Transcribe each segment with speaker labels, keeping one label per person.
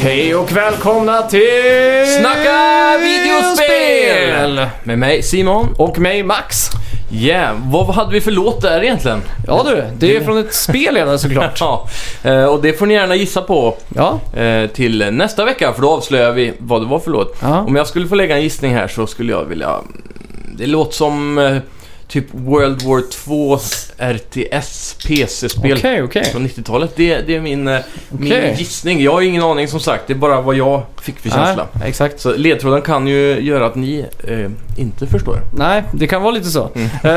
Speaker 1: Hej och välkomna till...
Speaker 2: Snacka videospel! Med mig Simon.
Speaker 1: Och mig Max.
Speaker 2: Yeah, vad hade vi för låt där egentligen?
Speaker 1: Ja du, det är från ett spel är det såklart.
Speaker 2: Ja, eh, och det får ni gärna gissa på
Speaker 1: Ja,
Speaker 2: eh, till nästa vecka för då avslöjar vi vad det var för låt.
Speaker 1: Ja.
Speaker 2: Om jag skulle få lägga en gissning här så skulle jag vilja... mm, Det låter som eh, typ World War 2s RTS
Speaker 1: okej,
Speaker 2: PC-spel
Speaker 1: okej.
Speaker 2: från 90-talet. Det, det är min, eh,
Speaker 1: Okej.
Speaker 2: min gissning. Jag har ingen aning som sagt, det är bara vad jag fick för känsla.
Speaker 1: Nej, Exakt.
Speaker 2: Så ledtråden kan ju göra att ni eh, inte förstår.
Speaker 1: Nej, det kan vara lite så. Eh,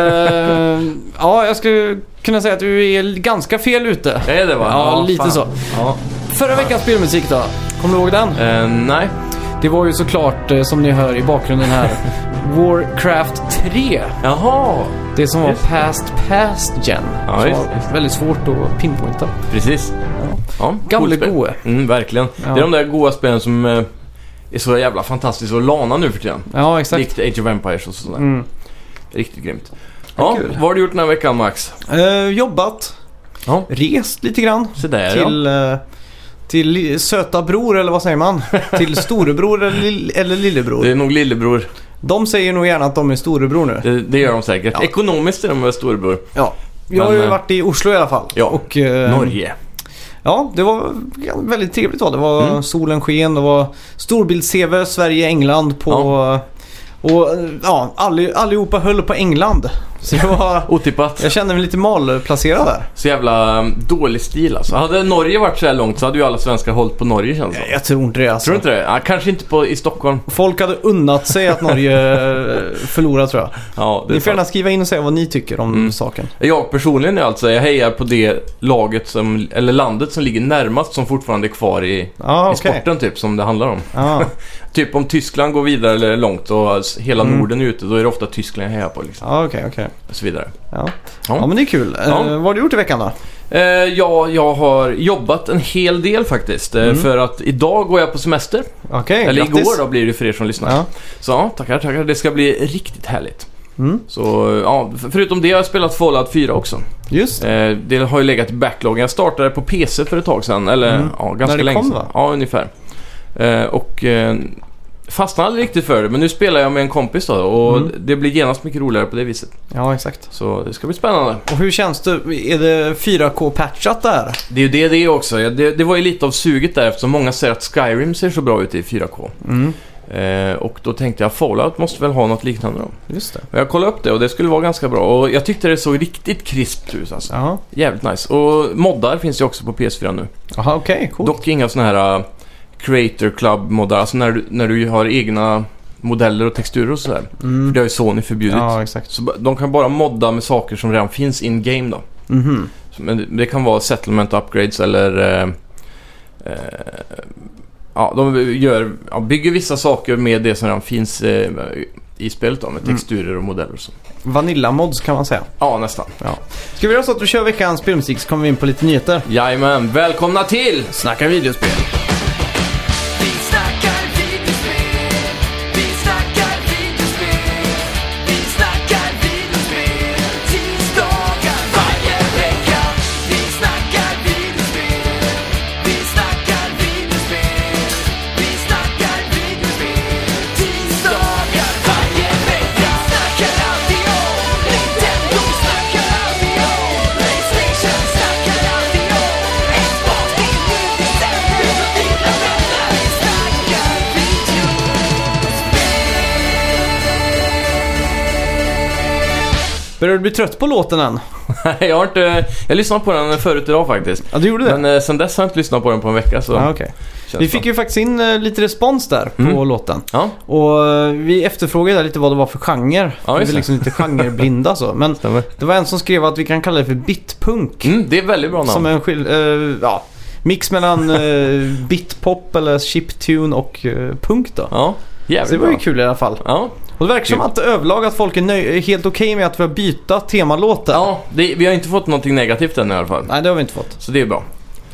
Speaker 1: ja, jag skulle kunna säga att du är ganska fel ute.
Speaker 2: Är det va?
Speaker 1: Ja, lite
Speaker 2: fan.
Speaker 1: så.
Speaker 2: Ja.
Speaker 1: Förra veckans spelmusik då? Kommer du ihåg den?
Speaker 2: Eh, nej.
Speaker 1: Det var ju såklart, eh, som ni hör i bakgrunden här, Warcraft 3.
Speaker 2: Jaha.
Speaker 1: Det som var
Speaker 2: Just det.
Speaker 1: past past gen.
Speaker 2: Ja,
Speaker 1: som
Speaker 2: just
Speaker 1: var väldigt svårt att pinpointa.
Speaker 2: Precis. Ja,
Speaker 1: Gamle
Speaker 2: coolt spel.
Speaker 1: goe.
Speaker 2: Mm, verkligen.
Speaker 1: Ja.
Speaker 2: Det är de där goa spelen som eh, är så jävla fantastiska att lana nu för tiden.
Speaker 1: Ja, exakt.
Speaker 2: Likt Age of Empires och sådär.
Speaker 1: Mm.
Speaker 2: Riktigt grymt. Ja,
Speaker 3: kul.
Speaker 2: vad har du gjort den här veckan Max?
Speaker 3: Eh, jobbat.
Speaker 2: Ja.
Speaker 3: Rest lite grann.
Speaker 2: Så där ja.
Speaker 3: Till, eh, till li- söta bror eller vad säger man? till storebror eller, lill- eller lillebror.
Speaker 2: Det är nog lillebror.
Speaker 3: De säger nog gärna att de är storebror nu.
Speaker 2: Det, det gör de säkert.
Speaker 3: Ja.
Speaker 2: Ekonomiskt är de väl storebror.
Speaker 3: Ja. Jag har
Speaker 2: Men,
Speaker 3: ju
Speaker 2: eh,
Speaker 3: varit i Oslo i alla fall.
Speaker 2: ja.
Speaker 3: Och, eh,
Speaker 2: Norge.
Speaker 3: Ja, det var väldigt trevligt var det. Det var
Speaker 2: Mm.
Speaker 3: solen sken, det var storbilds-CV, Sverige, England på... Och ja, alli- allihopa höll på England. Så det var...
Speaker 2: Otippat.
Speaker 3: Jag kände mig lite malplacerad där.
Speaker 2: Så jävla mm, dålig stil alltså. Hade Norge varit så här långt så hade ju alla svenskar hållit på Norge känns det som.
Speaker 3: Jag tror inte det alltså.
Speaker 2: Tror du inte det? Ja, kanske inte på, i Stockholm.
Speaker 3: Folk hade unnat sig att Norge förlorade tror jag.
Speaker 2: Ja, det är
Speaker 3: Ni får
Speaker 2: sant.
Speaker 3: gärna skriva in och säga vad ni tycker om
Speaker 2: Mm.
Speaker 3: saken.
Speaker 2: Jag personligen är alltså, jag hejar på det laget som, eller landet som ligger närmast som fortfarande är kvar i,
Speaker 3: Ja,
Speaker 2: i
Speaker 3: Ah, okej. Ah,
Speaker 2: sporten typ som det handlar om.
Speaker 3: Ja,
Speaker 2: Typ om Tyskland går vidare eller långt och s- hela
Speaker 3: Mm.
Speaker 2: Norden är ute, då är det ofta Tyskland jag hejar på liksom.
Speaker 3: ja, ah, okej, okej.
Speaker 2: Och så vidare.
Speaker 3: Ja.
Speaker 2: Ja.
Speaker 3: ja, men det är kul. Eh,
Speaker 2: Ja.
Speaker 3: vad har du gjort i veckan då?
Speaker 2: Eh, ja, jag har jobbat en hel del faktiskt. eh,
Speaker 3: Mm.
Speaker 2: För att idag går jag på semester.
Speaker 3: Okej,
Speaker 2: eller
Speaker 3: grattis.
Speaker 2: igår då blir det för er som lyssnar.
Speaker 3: Ja.
Speaker 2: Så ja, tackar, tackar. Det ska bli riktigt härligt.
Speaker 3: Mm.
Speaker 2: Så eh, ja, f- förutom det har jag spelat Fallout 4 också.
Speaker 3: Just det.
Speaker 2: Eh, det har ju legat i backlog. Jag startade på PC för ett tag sedan, eller
Speaker 3: Mm.
Speaker 2: ja, ganska
Speaker 3: När det
Speaker 2: länge
Speaker 3: kom,
Speaker 2: sedan.
Speaker 3: va?
Speaker 2: Ja, ungefär. Eh, och eh, fastnade aldrig riktigt för det, men nu spelar jag med en kompis då och
Speaker 3: Mm.
Speaker 2: det blir genast mycket roligare på det viset.
Speaker 3: Ja, exakt.
Speaker 2: Så det ska bli spännande.
Speaker 3: Och hur känns det? Är det 4K-patchat där?
Speaker 2: Det är ju det det är också. Ja, Det, det var ju lite av suget där eftersom många säger att Skyrim ser så bra ut i 4K.
Speaker 3: Mm,
Speaker 2: Eh, och då tänkte jag Fallout måste väl ha något liknande då.
Speaker 3: just det.
Speaker 2: Och jag kollade upp det och det skulle vara ganska bra och jag tyckte det såg riktigt krispt ut alltså.
Speaker 3: Jaha,
Speaker 2: Jävligt nice. Och moddar finns ju också på PS4 nu.
Speaker 3: Jaha okej, coolt.
Speaker 2: Dock inga såna här äh, Creator Club-moddar, alltså när du, när du har egna modeller och texturer och sådär.
Speaker 3: Mm.
Speaker 2: Det har ju Sony förbjudit.
Speaker 3: Ja, exakt.
Speaker 2: Så ba- de kan bara modda med saker som redan finns in-game då.
Speaker 3: Mhm.
Speaker 2: Så- Men det- det kan vara settlement upgrades eller... Eh, eh, ja, de gör, ja, bygger vissa saker med det som redan finns eh, i spelet då, med
Speaker 3: Mm.
Speaker 2: texturer och modeller och så.
Speaker 3: Vanilla mods kan man säga.
Speaker 2: Ja, nästan.
Speaker 3: Ska vi göra så att du kör veckans spelmusik så kommer vi in på lite nyheter.
Speaker 2: Jajamän, välkomna till!
Speaker 3: Snacka videospel.
Speaker 4: Vi snackar videospel, vi snackar videospel, vi snackar videospel, tisdagar varje vecka. Vi snackar videospel, vi snackar videospel, vi snackar videospel, tisdagar varje vecka. Snackar alltid om Nintendo, snackar alltid om Playstation, snackar alltid om Xbox, det är nu det sänder.
Speaker 3: Börjar du bli trött på låten än?
Speaker 2: jag har inte... Jag lyssnade på den förut idag faktiskt.
Speaker 3: Ja, du gjorde det?
Speaker 2: Men eh, sen dess har jag inte lyssnat på den på en vecka så...
Speaker 3: Ja, Ah, okej.
Speaker 2: känns
Speaker 3: Vi fick
Speaker 2: bra.
Speaker 3: ju faktiskt in eh, lite respons där på
Speaker 2: Mm.
Speaker 3: låten.
Speaker 2: Ja,
Speaker 3: Och eh, vi efterfrågade där lite vad det var för genre.
Speaker 2: Ja,
Speaker 3: vi
Speaker 2: just
Speaker 3: är
Speaker 2: det.
Speaker 3: liksom lite genreblinda så. Men
Speaker 2: stämmer.
Speaker 3: det var en som skrev att vi kan kalla det för bitpunk.
Speaker 2: Mm, det är väldigt bra namn.
Speaker 3: Som en skil- eh, ja, mix mellan eh, bitpop eller chiptune och eh, punk då.
Speaker 2: Ja,
Speaker 3: Så det
Speaker 2: jävligt
Speaker 3: var
Speaker 2: bra.
Speaker 3: ju kul i alla fall.
Speaker 2: Ja,
Speaker 3: Och det verkar som
Speaker 2: Kul.
Speaker 3: att överlag att folk är nöj- är helt okej med att vi har byta temalåt där.
Speaker 2: ja det, vi har inte fått någonting negativt än i alla fall.
Speaker 3: Nej, det har vi inte fått.
Speaker 2: Så det är bra.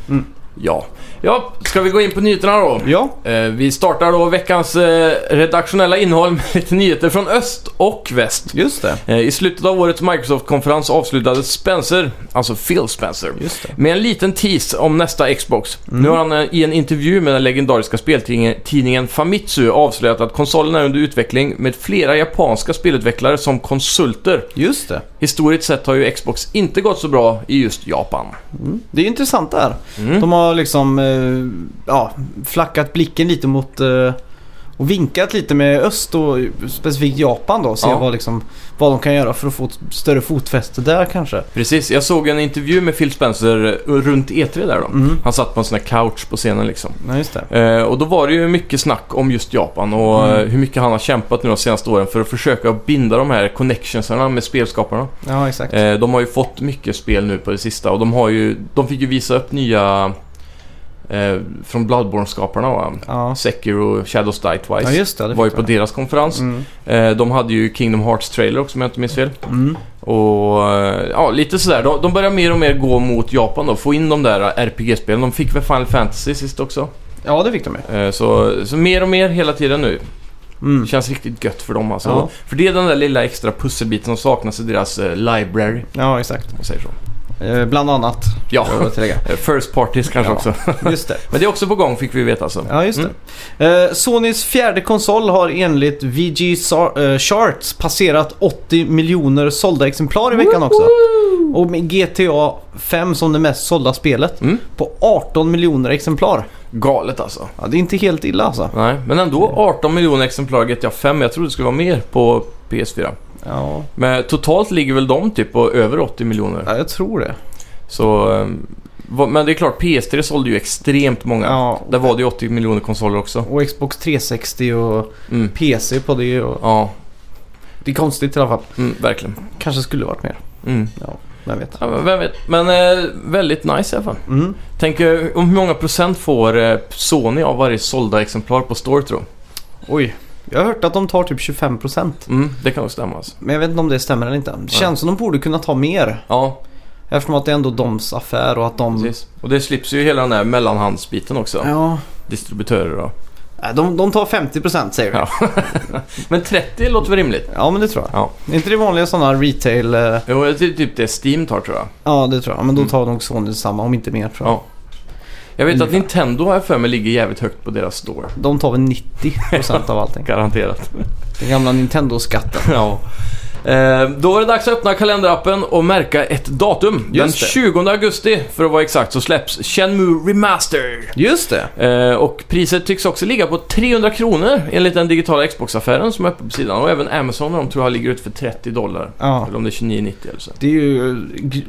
Speaker 3: Mm.
Speaker 2: Ja. ja, ska vi gå in på nyheterna då?
Speaker 3: Ja,
Speaker 2: Eh, Vi startar då veckans eh, redaktionella innehåll med lite nyheter från öst och väst.
Speaker 3: just det.
Speaker 2: Eh, I slutet av årets Microsoft-konferens avslutade Spencer, alltså Phil Spencer,
Speaker 3: Just det.
Speaker 2: med en liten tease om nästa Xbox. Nu har han eh, i en intervju med den legendariska speltidningen Famitsu avslöjat att konsolen är under utveckling med flera japanska spelutvecklare som konsulter.
Speaker 3: Just det.
Speaker 2: Historiskt sett har ju Xbox inte gått så bra i just Japan.
Speaker 3: Det är intressant där.
Speaker 2: Mm.
Speaker 3: De har liksom eh, ja, flackat blicken lite mot eh, och vinkat lite med öst och specifikt Japan då. Se
Speaker 2: Ja.
Speaker 3: vad, liksom, vad de kan göra för att få ett större fotfäste där kanske.
Speaker 2: Precis, jag såg en intervju med Phil Spencer eh, runt E3 där då.
Speaker 3: Mm.
Speaker 2: Han satt på en sån här couch på scenen liksom.
Speaker 3: Ja, just det.
Speaker 2: Eh, och då var det ju mycket snack om just Japan och
Speaker 3: Mm.
Speaker 2: eh, hur mycket han har kämpat nu de senaste åren för att försöka binda de här connectionsarna med spelskaparna.
Speaker 3: Ja, exakt.
Speaker 2: Eh, de har ju fått mycket spel nu på det sista och de har ju, de fick ju visa upp nya eh, från Bloodborne-skaparna va?
Speaker 3: Ja.
Speaker 2: Sekiro, Shadows Die
Speaker 3: ja,
Speaker 2: Twice.
Speaker 3: just det. det
Speaker 2: var ju
Speaker 3: fick
Speaker 2: på
Speaker 3: jag.
Speaker 2: deras konferens.
Speaker 3: Mm.
Speaker 2: Eh, de hade ju Kingdom Hearts-trailer också om jag inte minns fel.
Speaker 3: Mm.
Speaker 2: Och eh, ja, lite sådär. De, de börjar mer och mer gå mot Japan då. Få in de där eh, RPG-spelen. De fick väl Final Fantasy sist också.
Speaker 3: Ja, det fick de ju.
Speaker 2: Eh, Så, så mer och mer hela tiden nu.
Speaker 3: Mm.
Speaker 2: Det känns riktigt gött för dem alltså.
Speaker 3: Ja.
Speaker 2: För det är den där lilla extra pusselbiten som saknas i deras eh, library.
Speaker 3: Ja, exakt.
Speaker 2: Om man säger så.
Speaker 3: Eh, bland annat.
Speaker 2: Ja,
Speaker 3: får jag tillägga.
Speaker 2: eh, first parties kanske
Speaker 3: Ja.
Speaker 2: också.
Speaker 3: Just det.
Speaker 2: Men det är också på gång fick vi veta alltså.
Speaker 3: Ja, just det.
Speaker 2: Mm.
Speaker 3: Eh, Sonys fjärde konsol har enligt VG Sar- eh, Charts passerat 80 miljoner sålda exemplar i veckan också. Och med GTA 5 som det mest sålda spelet
Speaker 2: Mm.
Speaker 3: på 18 miljoner exemplar.
Speaker 2: Galet alltså.
Speaker 3: Ja, det är inte helt illa alltså.
Speaker 2: Nej, men ändå 18 miljoner exemplar GTA 5. Jag trodde det skulle vara mer på PS4.
Speaker 3: Ja,
Speaker 2: Men totalt ligger väl de typ på över 80 miljoner.
Speaker 3: ja jag tror det.
Speaker 2: Så... eh, vad- Men det är klart, PS3 sålde ju extremt många.
Speaker 3: Ja.
Speaker 2: Där var det ju 80 miljoner konsoler också.
Speaker 3: Och Xbox 360 och
Speaker 2: Mm.
Speaker 3: PC på det. Och...
Speaker 2: Ja,
Speaker 3: Det är konstigt i alla fall.
Speaker 2: mm, verkligen.
Speaker 3: Kanske skulle varit mer.
Speaker 2: Mm.
Speaker 3: Ja, vem vet.
Speaker 2: Ja, men vem vet. Men eh, väldigt nice i alla fall.
Speaker 3: Mm.
Speaker 2: Tänk eh, om hur många procent får eh, Sony av varje sålda exemplar på Store tror
Speaker 3: Oj. Jag har hört att de tar typ 25%.
Speaker 2: mm, Det kan nog stämma alltså.
Speaker 3: Men jag vet inte om det stämmer eller inte. Det känns som de borde kunna ta mer.
Speaker 2: Ja,
Speaker 3: Eftersom att det är ändå doms affär och att de...
Speaker 2: precis. Och det slips ju hela den här mellanhandsbiten också.
Speaker 3: Mm. Ja.
Speaker 2: Distributörer då.
Speaker 3: Nej, Äh, De, de tar 50% säger vi.
Speaker 2: Ja.
Speaker 3: Ja.
Speaker 2: Men 30 låter väl rimligt?
Speaker 3: men det tror jag.
Speaker 2: Ja.
Speaker 3: Är inte det vanliga sådana retail... eh,
Speaker 2: Jo, det är typ det Steam tar tror jag.
Speaker 3: Ja, det tror jag. Men då tar nog Sony samma, om inte mer tror jag.
Speaker 2: Mm. Ja. Jag vet att
Speaker 3: Ungefär.
Speaker 2: Nintendo har jag för mig ligger jävligt högt på deras Store.
Speaker 3: De tar väl 90% av allting.
Speaker 2: Garanterat.
Speaker 3: Den gamla Nintendo-skatten.
Speaker 2: ja. Eh, då var det dags att öppna kalenderappen och märka ett datum. Den
Speaker 3: Just det.
Speaker 2: 20 augusti, för att vara exakt, så släpps Shenmue Remaster.
Speaker 3: Just det.
Speaker 2: Eh, och priset tycks också ligga på 300 kronor enligt den digitala Xbox-affären som är uppe på sidan. Och även Amazon de tror jag ligger ut för 30 dollar.
Speaker 3: Ja.
Speaker 2: Eller om det är 29,90 eller så.
Speaker 3: Det är ju, eh,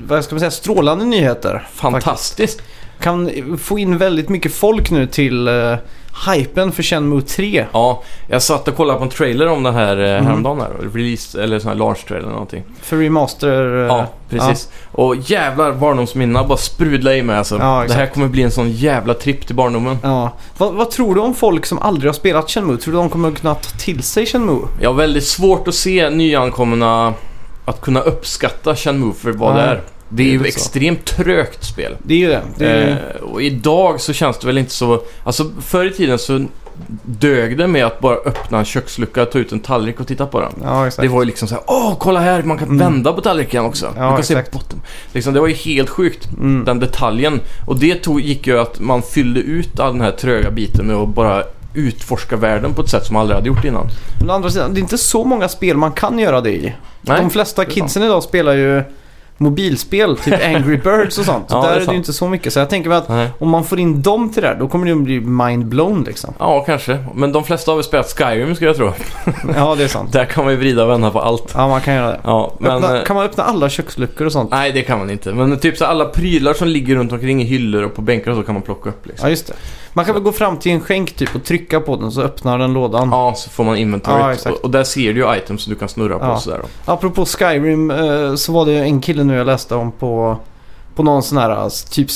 Speaker 3: vad ska man säga, strålande nyheter.
Speaker 2: Fantastiskt!
Speaker 3: Kan eh, få in väldigt mycket folk nu till uh, hypen för Shenmue 3.
Speaker 2: Ja, jag satt och kollade på en trailer om den här eh,
Speaker 3: Mhm.
Speaker 2: häromdagen. Här, release, eller sån här launch-trailer eller någonting.
Speaker 3: För remaster... eh,
Speaker 2: ja, precis. Och jävlar barndomsminnena bara sprudlar i mig alltså.
Speaker 3: Ja,
Speaker 2: det
Speaker 3: exakt.
Speaker 2: här kommer bli en sån jävla tripp till barndomen.
Speaker 3: Ja. Vad, vad tror du om folk som aldrig har spelat Shenmue? Tror du de kommer kunna ta till sig Shenmue?
Speaker 2: Jag har väldigt svårt att se nyankomna att kunna uppskatta Shenmue för vad
Speaker 3: Nej,
Speaker 2: det är. Det är
Speaker 3: det är
Speaker 2: ju
Speaker 3: så.
Speaker 2: extremt trögt spel.
Speaker 3: Det är ju det. det är, ju-
Speaker 2: Eh, och idag så känns det väl inte så... Alltså förr i tiden så dög det med att bara öppna en kökslucka, ta ut en tallrik och titta på den.
Speaker 3: ja, exakt.
Speaker 2: Det var ju liksom så här, åh kolla här, man kan
Speaker 3: Mm.
Speaker 2: vända på tallriken också.
Speaker 3: Ja,
Speaker 2: man kan
Speaker 3: exakt.
Speaker 2: se botten. Liksom, det var ju helt sjukt,
Speaker 3: Mm.
Speaker 2: den detaljen. Och det tog, gick ju att man fyllde ut all den här tröga biten med att bara utforska världen på ett sätt som man aldrig hade gjort innan.
Speaker 3: Men å andra sidan, det är inte så många spel man kan göra det i.
Speaker 2: Nej.
Speaker 3: De flesta
Speaker 2: är
Speaker 3: kidsen idag spelar ju mobilspel, typ Angry Birds och sånt.
Speaker 2: Ja, det är
Speaker 3: där är det
Speaker 2: sant.
Speaker 3: ju inte så mycket. Så jag tänker mig att
Speaker 2: Nej.
Speaker 3: om man får in dem till det här, då kommer det ju bli mind-blown liksom.
Speaker 2: Ja, kanske. Men de flesta har väl spelat Skyrim skulle jag tro.
Speaker 3: Ja, det är sant.
Speaker 2: Där kan man ju vrida och vända på allt.
Speaker 3: Ja, man kan göra det.
Speaker 2: Ja, men...
Speaker 3: öppna,
Speaker 2: eh,
Speaker 3: kan man öppna alla köksluckor och sånt?
Speaker 2: Nej, det kan man inte. Men typ så alla prylar som ligger runt omkring i hyllor och på bänkar och så kan man plocka upp liksom.
Speaker 3: Ja, just det. Man kan väl gå fram till en skänk typ och trycka på den så öppnar den lådan.
Speaker 2: Ja, så får man
Speaker 3: Ja,
Speaker 2: inventoriet.
Speaker 3: exakt.
Speaker 2: och, och där ser du ju items som du kan snurra på
Speaker 3: Ja.
Speaker 2: och sådär. då.
Speaker 3: Apropå Skyrim eh, så var det en kille nu jag läste om på, på någon sån här alltså, typ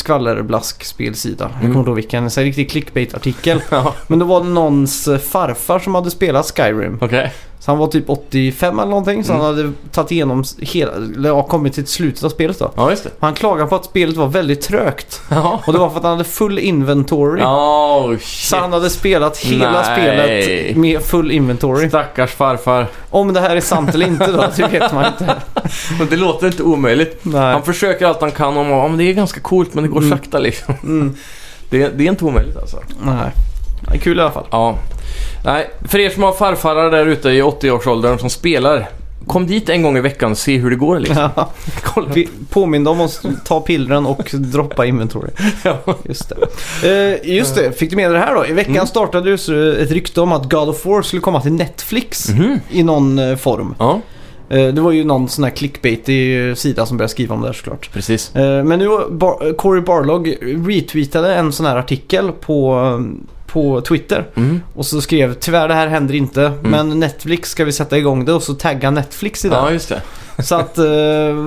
Speaker 3: skvallerblask-spelsida. Jag kommer
Speaker 2: Mm.
Speaker 3: inte ihåg vilken. En sån här riktig clickbait-artikel.
Speaker 2: Ja,
Speaker 3: Men då var det någons eh, farfar som hade spelat Skyrim.
Speaker 2: okej.
Speaker 3: Så han var typ 85 eller någonting. Så
Speaker 2: Mm.
Speaker 3: han hade tagit igenom s- hela, eller ja, kommit till slutet av spelet då.
Speaker 2: Ja, just det.
Speaker 3: Han klagade på att spelet var väldigt trögt.
Speaker 2: Ja,
Speaker 3: Och det var för att han hade full inventory.
Speaker 2: oh,
Speaker 3: Så
Speaker 2: shit.
Speaker 3: han hade spelat hela
Speaker 2: Nej.
Speaker 3: spelet med full inventory.
Speaker 2: Stackars farfar.
Speaker 3: Om det här är sant eller inte då, det vet man inte.
Speaker 2: Men det låter inte omöjligt.
Speaker 3: Nej.
Speaker 2: Han försöker allt han kan och man, ja, men det är ganska coolt men det går
Speaker 3: Mm.
Speaker 2: sakta liksom.
Speaker 3: Mm.
Speaker 2: Det, det är inte omöjligt alltså.
Speaker 3: Nej. Ja, Kul i alla fall.
Speaker 2: Ja. Nej, för er som har farfarar där ute i 80-årsåldern som spelar. Kom dit en gång i veckan och se hur det går liksom.
Speaker 3: Ja.
Speaker 2: Kolla.
Speaker 3: Vi påminde om att ta pillren och droppa inventory.
Speaker 2: Ja.
Speaker 3: Just det. Eh, just det, fick du med dig det här då? I veckan
Speaker 2: Mm.
Speaker 3: startade ju så ett rykte om att God of War skulle komma till Netflix
Speaker 2: Mhm.
Speaker 3: i någon eh, form.
Speaker 2: Ja,
Speaker 3: Eh, det var ju någon sån här clickbaitig sida som började skriva om det här såklart.
Speaker 2: precis.
Speaker 3: Eh, Men nu har Bar- Cory Barlog retweetade en sån här artikel på, eh, på Twitter.
Speaker 2: Mm.
Speaker 3: Och så skrev tyvärr det här händer inte men Netflix ska vi sätta igång det och så tagga Netflix i det.
Speaker 2: Ja, just det.
Speaker 3: Så att eh,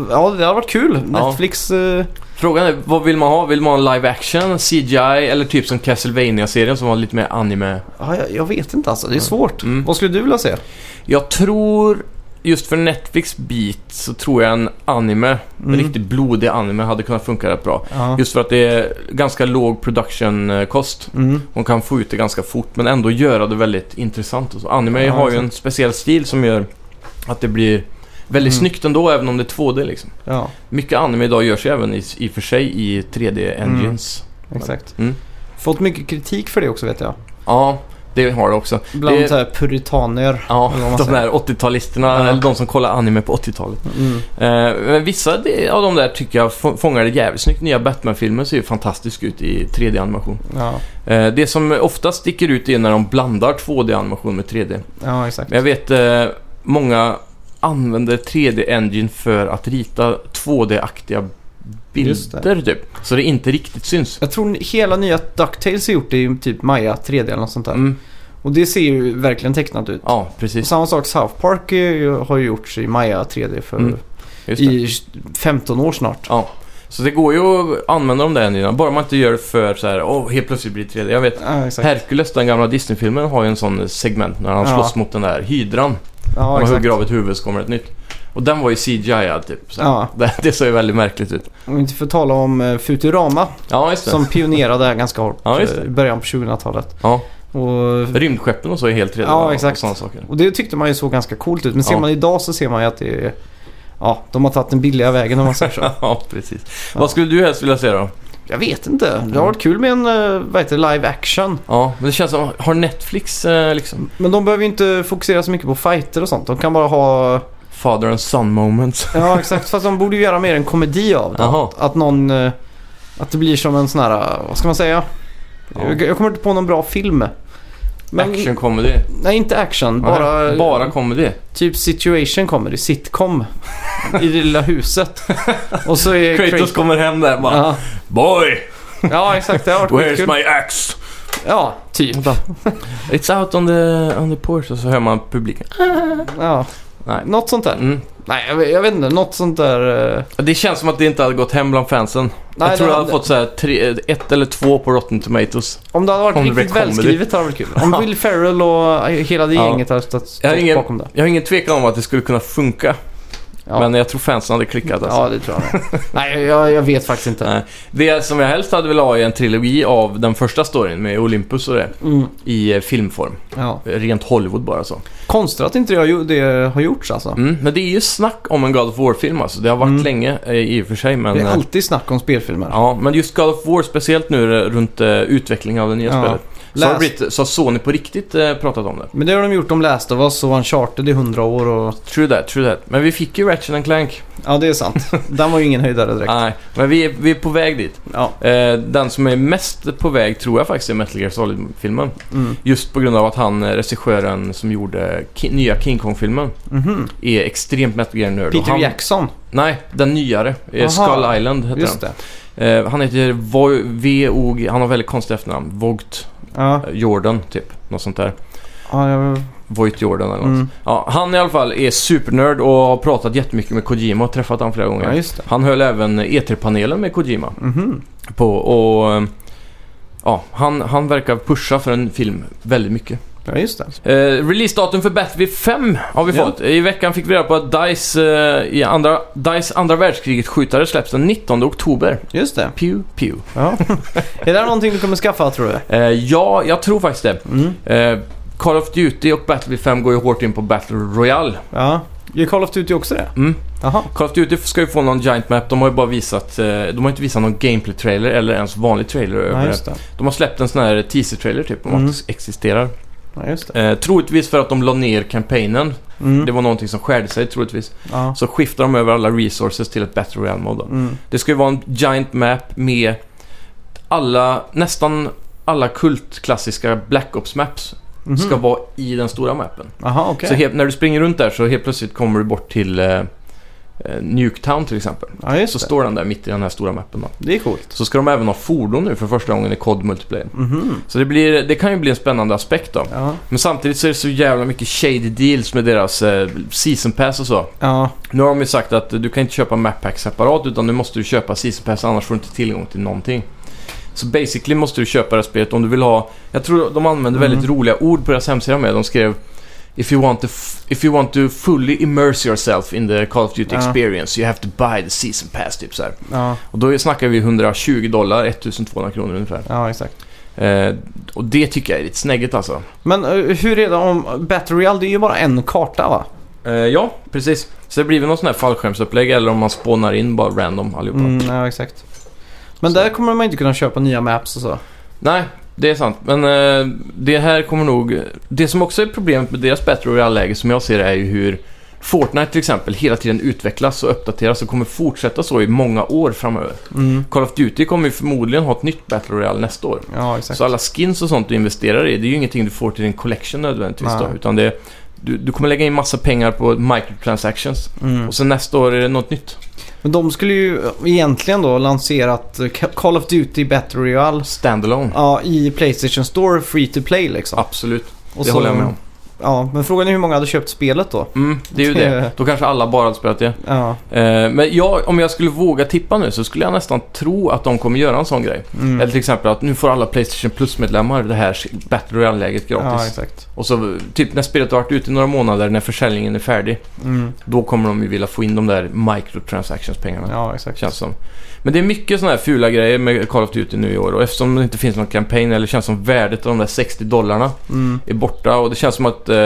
Speaker 3: ja det har varit kul.
Speaker 2: Ja.
Speaker 3: Netflix eh,
Speaker 2: Frågan är, vad vill man ha? Vill man ha live action, CGI eller typ som Castlevania-serien som var lite mer anime?
Speaker 3: ja, jag, jag vet inte alltså det är svårt.
Speaker 2: Mm.
Speaker 3: Vad skulle du vilja se?
Speaker 2: Jag tror, just för Netflix bit, så tror jag en anime, en
Speaker 3: Mm.
Speaker 2: riktigt blodig anime, hade kunnat funka rätt bra.
Speaker 3: Ja.
Speaker 2: Just för att det är ganska låg production-kost.
Speaker 3: Mm.
Speaker 2: Hon kan få ut det ganska fort, men ändå göra det väldigt intressant. Och så. Anime
Speaker 3: Ja,
Speaker 2: har ju
Speaker 3: exakt.
Speaker 2: en speciell stil som gör att det blir väldigt
Speaker 3: Mm.
Speaker 2: snyggt ändå, även om det är 2D liksom.
Speaker 3: Ja,
Speaker 2: Mycket anime idag görs ju även i, i och för sig i 3D-engines.
Speaker 3: exakt.
Speaker 2: Mm.
Speaker 3: Fått mycket kritik för det också vet jag.
Speaker 2: Ja, det har det också.
Speaker 3: Bland
Speaker 2: Det-
Speaker 3: så här puritaner.
Speaker 2: Ja,
Speaker 3: Eller vad man
Speaker 2: de
Speaker 3: säger.
Speaker 2: där 80-talisterna,
Speaker 3: Ja.
Speaker 2: eller de som kollar anime på 80-talet.
Speaker 3: Mm.
Speaker 2: Eh, men vissa de- av de där tycker jag få- fångar det jävligt snyggt. Nya Batman-filmen ser ju fantastisk ut i 3D-animation.
Speaker 3: Ja.
Speaker 2: Eh, det som ofta sticker ut är när de blandar 2D-animation med 3D.
Speaker 3: ja, exakt.
Speaker 2: Men jag vet eh, många använder 3D-engine för att rita 2D-aktiga
Speaker 3: Just det.
Speaker 2: bilder typ. Så det inte riktigt syns.
Speaker 3: Jag tror hela nya DuckTales är gjort i typ Maja 3D eller något sånt där.
Speaker 2: Mm.
Speaker 3: Och det ser ju verkligen tecknat ut.
Speaker 2: Ja,
Speaker 3: Och
Speaker 2: precis.
Speaker 3: samma sak South Park är ju- har ju gjorts i Maja 3D för
Speaker 2: Mm, Just det.
Speaker 3: i 15 år snart.
Speaker 2: Ja. Så det går ju att använda de där engine bara man inte gör det för så här, åh, helt plötsligt blir det 3D. Jag vet
Speaker 3: Ja, exakt.
Speaker 2: Hercules, den gamla Disney-filmen, har ju en sån segment när han
Speaker 3: Ja.
Speaker 2: slåss mot den där hydran.
Speaker 3: ja,
Speaker 2: när man
Speaker 3: exakt.
Speaker 2: hugger av ett huvud så kommer ett nytt. Och den var ju CGI typ. Så
Speaker 3: Ja,
Speaker 2: det, det såg ju väldigt märkligt ut.
Speaker 3: om vi inte får tala om eh, Futurama
Speaker 2: Ja, just det.
Speaker 3: som pionerade det här ganska hårt
Speaker 2: Ja, just
Speaker 3: eh,
Speaker 2: det.
Speaker 3: i början på 2000-talet.
Speaker 2: Ja.
Speaker 3: Och,
Speaker 2: Rymdskeppen och så är helt redan
Speaker 3: Ja, exakt.
Speaker 2: och sådana saker.
Speaker 3: och det tyckte man ju såg ganska coolt ut. Men ser
Speaker 2: Ja.
Speaker 3: man idag så ser man ju att det är, ja, de har tagit den billiga vägen om man säger så.
Speaker 2: Ja, precis.
Speaker 3: Ja.
Speaker 2: Vad skulle du helst vilja se då?
Speaker 3: Jag vet inte.
Speaker 2: Mm.
Speaker 3: Det har varit kul med en eh, vad heter det, live action.
Speaker 2: Ja, men det känns som, har Netflix eh, liksom
Speaker 3: Men de behöver ju inte fokusera så mycket på fighter och sånt. De kan bara ha...
Speaker 2: father and son moments?
Speaker 3: Ja, exakt. Fast de borde ju göra mer en komedi av det.
Speaker 2: Jaha.
Speaker 3: Att, att någon... eh, Att det blir som en sån här... eh, Vad ska man säga?
Speaker 2: Ja.
Speaker 3: Jag, jag kommer inte på någon bra film. Men,
Speaker 2: Action comedy?
Speaker 3: Nej, inte action. Bara,
Speaker 2: Nej, bara comedy?
Speaker 3: typ situation comedy. Sitcom. I det lilla huset. Och så är
Speaker 2: Kratos kommer hem där bara
Speaker 3: Ja.
Speaker 2: Boy!
Speaker 3: ja, exakt. Det har varit skitkul.
Speaker 2: Where's my axe?
Speaker 3: Ja, typ.
Speaker 2: It's out on the, on the porch och så hör man publiken.
Speaker 3: Ja.
Speaker 2: Nej.
Speaker 3: Något sånt där.
Speaker 2: Mm.
Speaker 3: Nej, jag, vet- jag vet inte. Något sånt där... eh,
Speaker 2: Det känns som att det inte hade gått hem bland fansen.
Speaker 3: Nej,
Speaker 2: jag tror
Speaker 3: det-
Speaker 2: jag hade fått så här tre, ett eller två på Rotten Tomatoes.
Speaker 3: Om det hade varit
Speaker 2: Om det
Speaker 3: riktigt
Speaker 2: blir comedy.
Speaker 3: välskrivet hade det varit kul. Om Will Ferrell och hela det
Speaker 2: Ja.
Speaker 3: gänget hade stått
Speaker 2: Jag har
Speaker 3: stått
Speaker 2: ingen-
Speaker 3: bakom det.
Speaker 2: Jag har ingen tvekan om att det skulle kunna funka.
Speaker 3: Ja.
Speaker 2: Men jag tror fansen hade klickat alltså.
Speaker 3: Ja, det tror jag. nog. Nej, jag, jag vet faktiskt inte.
Speaker 2: Nej. Det som jag helst hade velat ha är en trilogi av den första storyn med Olympus och det.
Speaker 3: Mm,
Speaker 2: I eh, filmform.
Speaker 3: ja.
Speaker 2: Rent Hollywood bara så.
Speaker 3: Konstigt att inte det har, ju- det har gjorts alltså.
Speaker 2: Mm. Men det är ju snack om en God of War-film alltså. Det har varit
Speaker 3: Mm.
Speaker 2: länge eh, i och för sig men...
Speaker 3: det är
Speaker 2: eh,
Speaker 3: alltid snack om spelfilmer.
Speaker 2: Ja, men just God of War, speciellt nu eh, runt eh, utvecklingen av det nya
Speaker 3: Ja.
Speaker 2: spelet. Så, har
Speaker 3: Läs-
Speaker 2: Brit- så har Sony på riktigt eh, pratat om det.
Speaker 3: Men det har de gjort om Last of Us och Uncharted i hundra år och...
Speaker 2: True that, true that. Men vi fick ju Ratchet and Clank.
Speaker 3: Ja, det är sant. Den var ju ingen höjdare direkt.
Speaker 2: Nej, men vi är, vi är på väg dit.
Speaker 3: Ja.
Speaker 2: Eh, den som är mest på väg tror jag faktiskt är Metal Gear Solid-filmen.
Speaker 3: Mm.
Speaker 2: Just på grund av att han, eh, regissören som gjorde ki- nya King Kong-filmen,
Speaker 3: Mhm.
Speaker 2: är extremt Metal Gear-nörd.
Speaker 3: Peter
Speaker 2: Och han,
Speaker 3: Jackson,
Speaker 2: Nej, den nyare.
Speaker 3: Aha.
Speaker 2: Aha. Skull Island heter
Speaker 3: just
Speaker 2: Just.
Speaker 3: det.
Speaker 2: den. Eh, han heter Vo- V.O.G. Han har väldigt konstigt efternamn. Vogt
Speaker 3: Ja,
Speaker 2: eh, Jordan, typ. Något sånt där.
Speaker 3: ja jag...
Speaker 2: Voight Jordan eller något.
Speaker 3: Mm.
Speaker 2: Ja, han i alla fall är supernörd och har pratat jättemycket med Kojima och träffat honom flera gånger.
Speaker 3: ja, just det.
Speaker 2: Han höll även E3-panelen med Kojima
Speaker 3: Mhm.
Speaker 2: på och... eh, Ja, han, han verkar pusha för en film väldigt mycket.
Speaker 3: Ja, just det.
Speaker 2: Eh, Releasedatum för Battlefield 5 har vi
Speaker 3: Ja.
Speaker 2: fått. I veckan fick vi reda på att DICE, eh, i andra, DICE andra världskriget-skjutare släpps den 19 oktober.
Speaker 3: Just det.
Speaker 2: Pew, pew.
Speaker 3: Ja. är det här någonting du kommer skaffa tror du?
Speaker 2: Eh, ja, jag tror faktiskt det.
Speaker 3: Mm.
Speaker 2: Eh, Call of Duty och Battlefield 5 går ju hårt in på Battle Royale.
Speaker 3: Ja. Gör Call of Duty också det?
Speaker 2: Mm.
Speaker 3: Jaha.
Speaker 2: Call of Duty ska ju få någon giant map. De har ju bara visat... eh, De har inte visat någon gameplay-trailer eller ens vanlig trailer
Speaker 3: Ja,
Speaker 2: över det.
Speaker 3: just det.
Speaker 2: De har släppt en sån här teaser-trailer typ om
Speaker 3: Mm.
Speaker 2: att det existerar.
Speaker 3: Ja, just det.
Speaker 2: Eh, troligtvis för att de la ner kampanjen.
Speaker 3: Mm.
Speaker 2: Det var någonting som skärde sig troligtvis.
Speaker 3: Ja.
Speaker 2: Så skiftar de över alla resources till ett Battle Royale-mode. då.
Speaker 3: Mm.
Speaker 2: Det ska ju vara en giant map med alla, nästan alla kultklassiska Black Ops-maps
Speaker 3: Mhm.
Speaker 2: ska vara i den stora mappen.
Speaker 3: Jaha, okej.
Speaker 2: Så helt, när du springer runt där så helt plötsligt kommer du bort till eh, eh, Nuketown till exempel.
Speaker 3: Ja, just
Speaker 2: Så
Speaker 3: det.
Speaker 2: står den där mitt i den här stora mappen då.
Speaker 3: Det är coolt.
Speaker 2: Så ska de även ha fordon nu för första gången i COD Multiplayer.
Speaker 3: Mhm.
Speaker 2: Så det, blir, det kan ju bli en spännande aspekt då.
Speaker 3: Ja.
Speaker 2: Men samtidigt så är det så jävla mycket shady deals med deras eh, season pass och så.
Speaker 3: Ja.
Speaker 2: Nu har de ju sagt att eh, du kan inte köpa map pack separat utan nu måste du köpa season pass annars får du inte tillgång till någonting. Så basically måste du köpa det här spelet om du vill ha... Jag tror de använde
Speaker 3: Mm.
Speaker 2: väldigt roliga ord på deras hemsida med. De skrev If you, want to f- if you want to fully immerse yourself in the Call of Duty
Speaker 3: Ja.
Speaker 2: experience you have to buy the season pass, typ så här.
Speaker 3: Ja.
Speaker 2: Och då snackar vi 120 dollar, 1200 kronor ungefär.
Speaker 3: ja, exakt.
Speaker 2: Eh, och det tycker jag är lite snäggigt alltså.
Speaker 3: Men eh, hur är det om Battle Royale? Det är ju bara en karta va?
Speaker 2: Eh, ja, precis. Så det blir väl någon sån här fallskärmsupplägg eller om man spånar in bara random allihopa.
Speaker 3: Mm, ja, exakt. Men där kommer man inte kunna köpa nya maps och så.
Speaker 2: Nej, det är sant. Men eh, det här kommer nog... Det som också är problemet med deras Battle Royale-läge som jag ser det är ju hur Fortnite till exempel hela tiden utvecklas och uppdateras och kommer fortsätta så i många år framöver.
Speaker 3: Mm.
Speaker 2: Call of Duty kommer ju förmodligen ha ett nytt Battle Royale nästa år.
Speaker 3: Ja, exakt.
Speaker 2: Så alla skins och sånt du investerar i, det är ju ingenting du får till din collection nödvändigtvis då,
Speaker 3: Nej.
Speaker 2: utan det, du, du kommer lägga in massa pengar på microtransactions
Speaker 3: Mm.
Speaker 2: och sen nästa år är det något nytt.
Speaker 3: Men de skulle ju egentligen då lanserat eh, Ca- Call of Duty Battle Royale
Speaker 2: Standalone.
Speaker 3: ja, i Playstation Store free to play liksom.
Speaker 2: Absolut,
Speaker 3: Och
Speaker 2: det håller jag med om.
Speaker 3: Ja, men frågan är hur många hade köpt spelet då?
Speaker 2: Mm, det är ju det. Då kanske alla bara hade spelat det.
Speaker 3: Ja,
Speaker 2: Eh, men jag, om jag skulle våga tippa nu så skulle jag nästan tro att de kommer göra en sån grej.
Speaker 3: mm.
Speaker 2: Eller till exempel att nu får alla Playstation Plus-medlemmar det här Battle Royale-läget
Speaker 3: ja
Speaker 2: gratis.
Speaker 3: exakt.
Speaker 2: och så typ när spelet har varit ute i några månader, när försäljningen är färdig,
Speaker 3: Mm.
Speaker 2: då kommer de ju vilja få in de där microtransactions-pengarna.
Speaker 3: Ja, exakt.
Speaker 2: Känns som. Men det är mycket sådana här fula grejer med Call of Duty nu i år och eftersom det inte finns någon kampanj eller känns som värdet av de där 60 dollarna
Speaker 3: Mm.
Speaker 2: är borta och det känns som att eh,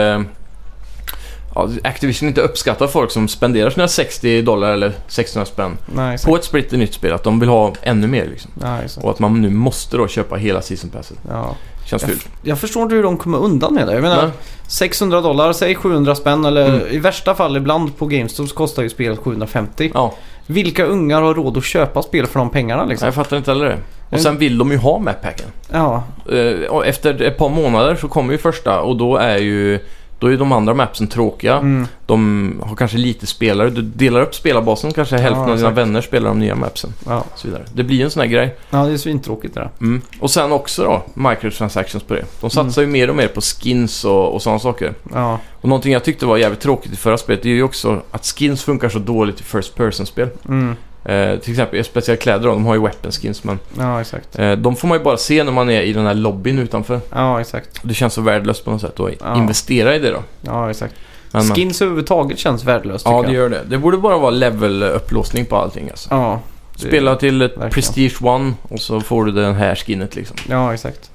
Speaker 2: ja, Activision inte uppskattar folk som spenderar sina 60 dollar eller 600 spänn
Speaker 3: Nej, exakt.
Speaker 2: på ett splitter nytt spel. Att de vill ha ännu mer liksom.
Speaker 3: Ja, exakt.
Speaker 2: Och att man nu måste då köpa hela season passet.
Speaker 3: Ja. eh,
Speaker 2: Känns fult.
Speaker 3: Jag förstår inte hur de kommer undan med det. Jag menar,
Speaker 2: Men,
Speaker 3: 600 dollar, säg 700 spänn eller
Speaker 2: Mm.
Speaker 3: i värsta fall ibland på GameStop så kostar ju spelet 750.
Speaker 2: ja,
Speaker 3: Vilka ungar har råd att köpa spel för de pengarna liksom?
Speaker 2: jag fattar inte heller det. Och sen vill de ju ha mappacken.
Speaker 3: Ja,
Speaker 2: Eh, och efter ett par månader så kommer ju första och då är ju då är de andra mapsen tråkiga.
Speaker 3: mm.
Speaker 2: De har kanske lite spelare. Du delar upp spelarbasen, kanske hälften av dina
Speaker 3: exakt.
Speaker 2: vänner spelar de nya mapsen.
Speaker 3: ja.
Speaker 2: Och så vidare. Det blir en sån här grej.
Speaker 3: ja det är svintråkigt det där.
Speaker 2: Mm. Och sen också då, microtransactions på det.
Speaker 3: Mm.
Speaker 2: De satsar ju mer och mer på skins och, och sådana saker.
Speaker 3: Ja,
Speaker 2: Och någonting jag tyckte var jävligt tråkigt i förra spelet, det är ju också att skins funkar så dåligt i First Person-spel.
Speaker 3: mm.
Speaker 2: Eh, till exempel, speciellt kläder då, de har ju weapon skins men
Speaker 3: ja exakt.
Speaker 2: eh, de får man ju bara se när man är i den här lobbyn utanför.
Speaker 3: Ja, exakt.
Speaker 2: Det känns så värdelöst på något sätt att
Speaker 3: Ja.
Speaker 2: investera i det då.
Speaker 3: Ja, exakt.
Speaker 2: Men, men-
Speaker 3: Skins överhuvudtaget känns värdelöst
Speaker 2: Ja, det
Speaker 3: tycker jag.
Speaker 2: gör det. Det borde bara vara level-upplåsning på allting alltså.
Speaker 3: Ja, det-
Speaker 2: Spela till ett
Speaker 3: verkligen.
Speaker 2: Prestige One och så får du den här skinnet liksom.
Speaker 3: ja exakt.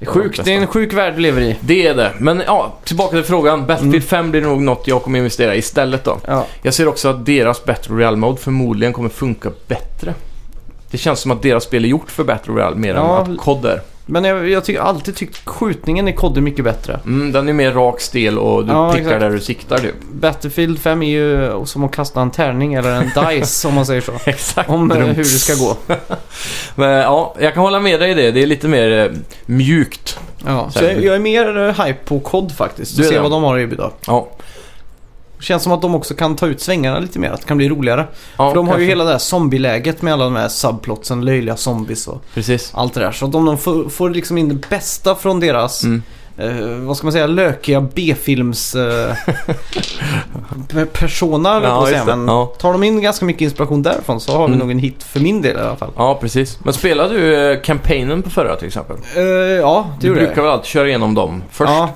Speaker 3: Det är
Speaker 2: Ja,
Speaker 3: sjukt, det är en
Speaker 2: bästa.
Speaker 3: sjuk värld vi lever i.
Speaker 2: Det är det. Men ja, tillbaka till frågan. Battlefield
Speaker 3: Mm.
Speaker 2: 5 blir nog något jag kommer investera i istället då.
Speaker 3: Ja,
Speaker 2: Jag ser också att deras Battle Royale-mode förmodligen kommer funka bättre. Det känns som att deras spel är gjort för Battle Royale mer
Speaker 3: Ja.
Speaker 2: än att COD är.
Speaker 3: Men jag, jag tycker alltid tyckt skjutningen i COD är mycket bättre.
Speaker 2: Mm, den är mer rak, stel och du
Speaker 3: Ja,
Speaker 2: prickar
Speaker 3: exakt.
Speaker 2: där du siktar typ.
Speaker 3: Battlefield 5 är ju som att kasta en tärning eller en dice om man säger så.
Speaker 2: Exakt.
Speaker 3: Om eh, hur det ska gå.
Speaker 2: Men, ja, jag kan hålla med dig i det. Det är lite mer eh, mjukt.
Speaker 3: Ja, så jag, jag är mer eh, hype på COD faktiskt.
Speaker 2: Du
Speaker 3: Och
Speaker 2: är
Speaker 3: se
Speaker 2: det.
Speaker 3: vad de har att erbjuda.
Speaker 2: Ja.
Speaker 3: Känns som att de också kan ta ut svängarna lite mer. Att det kan bli roligare.
Speaker 2: Ja,
Speaker 3: För de har
Speaker 2: kanske.
Speaker 3: ju hela det här zombieläget med alla de här subplotsen, löjliga zombies och
Speaker 2: Precis.
Speaker 3: allt det där. Så att om de får, får liksom in det bästa från deras,
Speaker 2: Mm.
Speaker 3: eh, vad ska man säga, lökiga B-films eh, pe- persona, höll jag på att säga.
Speaker 2: just det.
Speaker 3: Men
Speaker 2: Ja.
Speaker 3: tar de in ganska mycket inspiration därifrån så har vi
Speaker 2: Mm.
Speaker 3: nog en hit för min del i alla fall.
Speaker 2: Ja, precis. Men spelade du eh, campaignen på förra till exempel?
Speaker 3: Eh, ja, det
Speaker 2: Du
Speaker 3: gjorde
Speaker 2: brukar
Speaker 3: jag.
Speaker 2: väl alltid köra igenom dem först?
Speaker 3: Ja,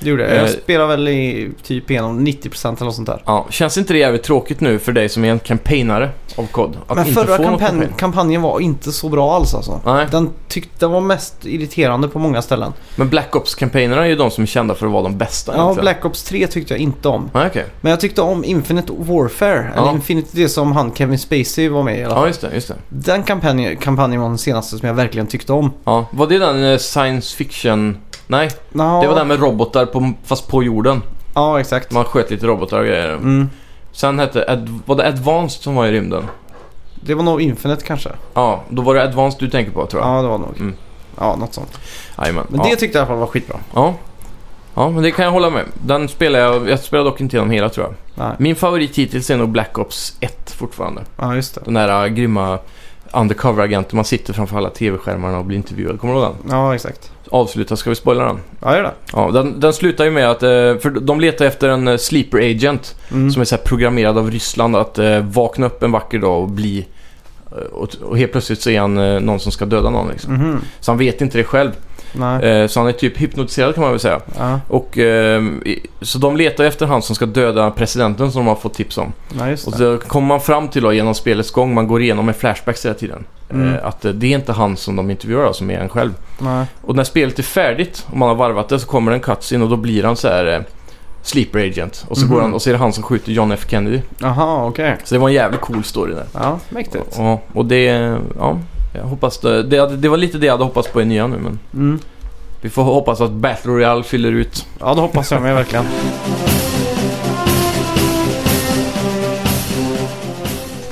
Speaker 3: det gjorde jag. Jag
Speaker 2: Eh.
Speaker 3: spelar väl i typ igenom 90% eller något sånt där.
Speaker 2: Ja, Känns inte det jävligt tråkigt nu för dig som är en campaignare av kod? Att
Speaker 3: Men
Speaker 2: inte
Speaker 3: förra
Speaker 2: få något
Speaker 3: kampan- kampanjen var inte så bra alls alltså.
Speaker 2: Nej,
Speaker 3: Den tyckte den var mest irriterande på många ställen.
Speaker 2: men Black Ops-campaignerna är ju de som är kända för att vara de bästa.
Speaker 3: Ja,
Speaker 2: egentligen.
Speaker 3: Black Ops 3 tyckte jag inte om.
Speaker 2: Nej, okej.
Speaker 3: Men jag tyckte om Infinite Warfare.
Speaker 2: Ja.
Speaker 3: Eller Infinite, det som han Kevin Spacey var med i. Eller?
Speaker 2: Ja, just det. Just det.
Speaker 3: Den kampanjen, kampanjen var den senaste som jag verkligen tyckte om.
Speaker 2: Ja. Var det den eh, science fiction... Nej,
Speaker 3: Ja,
Speaker 2: det var den med robotar på, fast på jorden.
Speaker 3: Ja, exakt.
Speaker 2: Man sköt lite robotar och grejer.
Speaker 3: Mm.
Speaker 2: Sen hette... Ad, var det Advanced som var i rymden?
Speaker 3: Det var nog Infinite kanske.
Speaker 2: Ja, då var det Advanced du tänker på tror jag.
Speaker 3: Ja, det var nog.
Speaker 2: Mm.
Speaker 3: Ja, något sånt.
Speaker 2: Jajamän.
Speaker 3: Men
Speaker 2: ja.
Speaker 3: det tyckte jag i alla fall var skitbra.
Speaker 2: Ja. Ja, men det kan jag hålla med. Den spelar jag... Jag spelar dock inte igenom hela tror jag.
Speaker 3: Nej.
Speaker 2: Min favorit hittills är nog Black Ops 1 fortfarande.
Speaker 3: Ja, just det.
Speaker 2: Den där äh, grymma undercover-agenten. Man sitter framför alla tv-skärmarna och blir intervjuad. Kommer du ihåg den?
Speaker 3: Ja, exakt.
Speaker 2: Avsluta, ska vi spoila den?
Speaker 3: Ja, gör det.
Speaker 2: Ja, den, den slutar ju med att... eh, För de letar efter en eh, sleeper agent
Speaker 3: Mm.
Speaker 2: som är så här programmerad av Ryssland att eh, vakna upp en vacker dag och bli... eh, Och, och helt plötsligt så är han eh, någon som ska döda någon liksom.
Speaker 3: Mhm.
Speaker 2: Så han vet inte det själv.
Speaker 3: Nej.
Speaker 2: Eh, Så han är typ hypnotiserad kan man väl säga.
Speaker 3: Ja.
Speaker 2: Och, eh, i- så de letar efter han som ska döda presidenten som de har fått tips om.
Speaker 3: Nej, just
Speaker 2: Och
Speaker 3: det.
Speaker 2: då kommer man fram till då, genom spelets gång, man går igenom med flashbacks hela tiden.
Speaker 3: Mm.
Speaker 2: Eh, Att eh, det är inte han som de intervjuar då, som är han själv.
Speaker 3: Nej.
Speaker 2: Och när spelet är färdigt, om man har varvat det, så kommer det en cutscene och då blir han så här eh, sleeper agent. Och så,
Speaker 3: Mhm.
Speaker 2: går han, och så är det han som skjuter John F Kennedy.
Speaker 3: Jaha, okej.
Speaker 2: Så det var en jävligt cool story där.
Speaker 3: Ja, mäktigt.
Speaker 2: Ja, och det, ja, jag hoppas det, det, hade- det var lite det jag hade hoppats på i nya nu men
Speaker 3: Mm.
Speaker 2: vi får hoppas att Battle Royale fyller ut.
Speaker 3: Ja, det hoppas jag med verkligen.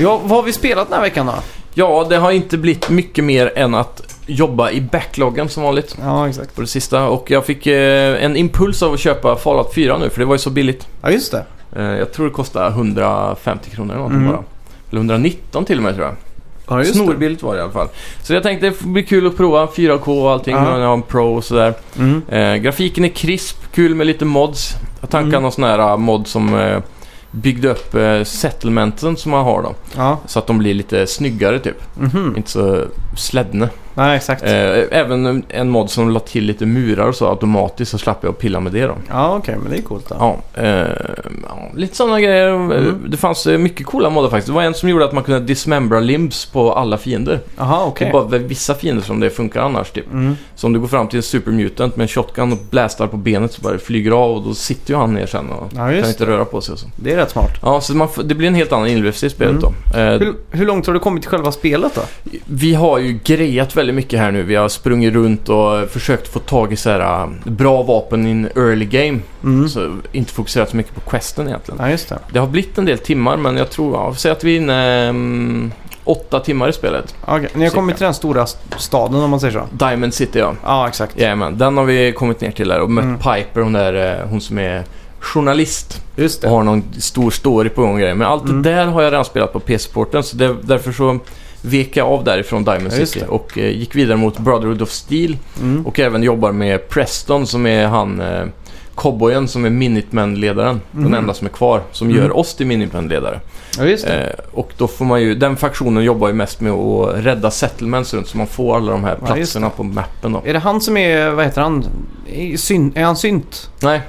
Speaker 3: Ja, vad har vi spelat den här veckan då?
Speaker 2: Ja, det har inte blivit mycket mer än att jobba i backloggen som vanligt.
Speaker 3: Ja, exakt.
Speaker 2: på det sista och jag fick eh, en impuls av att köpa Fallout 4 nu för det var ju så billigt.
Speaker 3: Ja, just det.
Speaker 2: Eh, jag tror det kostade 150 kronor eller någonting
Speaker 3: Mm.
Speaker 2: bara. Eller 119 till och med tror jag.
Speaker 3: Ja,
Speaker 2: Snorbilligt var det i alla fall. Så jag tänkte det blir kul att prova 4K och allting.
Speaker 3: Ja.
Speaker 2: Ja. Jag har en Pro och sådär.
Speaker 3: Mm.
Speaker 2: Eh, grafiken är krisp, kul med lite mods. Jag tankade
Speaker 3: Mm.
Speaker 2: någon sån här eh, mod som eh, byggde upp eh, settlementen som man har då.
Speaker 3: Ja.
Speaker 2: Så att de blir lite snyggare typ.
Speaker 3: Mhm.
Speaker 2: Inte så släddne.
Speaker 3: Nej, exakt.
Speaker 2: Eh, även en mod som la till lite murar och så automatiskt så slapp jag att pilla med det då.
Speaker 3: Ja, okej, men det är coolt då.
Speaker 2: Ja, eh, ja lite sådana grejer.
Speaker 3: Mm.
Speaker 2: Det fanns eh, mycket coola moddar faktiskt. Det var en som gjorde att man kunde dismembra limbs på alla fiender.
Speaker 3: Jaha,
Speaker 2: Det
Speaker 3: okej.
Speaker 2: är bara vissa fiender som det funkar annars. Typ.
Speaker 3: Mm.
Speaker 2: Så om du går fram till en supermutant med en shotgun och blästar på benet så bara det flyger av och då sitter ju han ner sen och
Speaker 3: Ja,
Speaker 2: kan
Speaker 3: just
Speaker 2: inte röra på sig och så.
Speaker 3: det. är rätt smart.
Speaker 2: Ja, så man, får- det blir en helt annan inlevelse i
Speaker 3: Mm.
Speaker 2: spelet då. Eh,
Speaker 3: Hur, hur långt har du kommit i själva spelet då?
Speaker 2: Vi har ju grejat väldigt mycket här nu. Vi har sprungit runt och försökt få tag i så här, eh, bra vapen i en early game.
Speaker 3: Mm.
Speaker 2: Så inte fokuserat så mycket på questen egentligen.
Speaker 3: Ja, just det.
Speaker 2: Det har blivit en del timmar, men jag tror... Ja, säg att vi är inne mm, åtta timmar i spelet.
Speaker 3: Okej, ni har
Speaker 2: Cirka.
Speaker 3: kommit till den stora st- staden om man säger så.
Speaker 2: Diamond City, ja.
Speaker 3: Ja, exakt.
Speaker 2: Jajamän, den har vi kommit ner till där och mött
Speaker 3: Mm.
Speaker 2: Piper, hon, där, eh, hon som är journalist
Speaker 3: Just
Speaker 2: och
Speaker 3: det.
Speaker 2: har någon stor story på gång och grejer. Men allt
Speaker 3: Mm.
Speaker 2: det där har jag redan spelat på PC-porten, så det, därför så vek jag av därifrån Diamond
Speaker 3: Ja, just
Speaker 2: City
Speaker 3: det.
Speaker 2: och eh, gick vidare mot Brotherhood of Steel
Speaker 3: Mm.
Speaker 2: och även jobbar med Preston som är han eh, cowboyen som är Minutemen-ledaren. Den
Speaker 3: Mhm.
Speaker 2: enda som är kvar, som
Speaker 3: Mm.
Speaker 2: gör oss till Minutemen-ledare.
Speaker 3: Ja, just det.
Speaker 2: Eh, och då får man ju, den faktionen jobbar ju mest med att rädda settlements runt så man får alla de här
Speaker 3: Ja, just
Speaker 2: platserna på mappen då.
Speaker 3: Är det han som är, vad heter han? Är, syn- är han synt?
Speaker 2: Nej,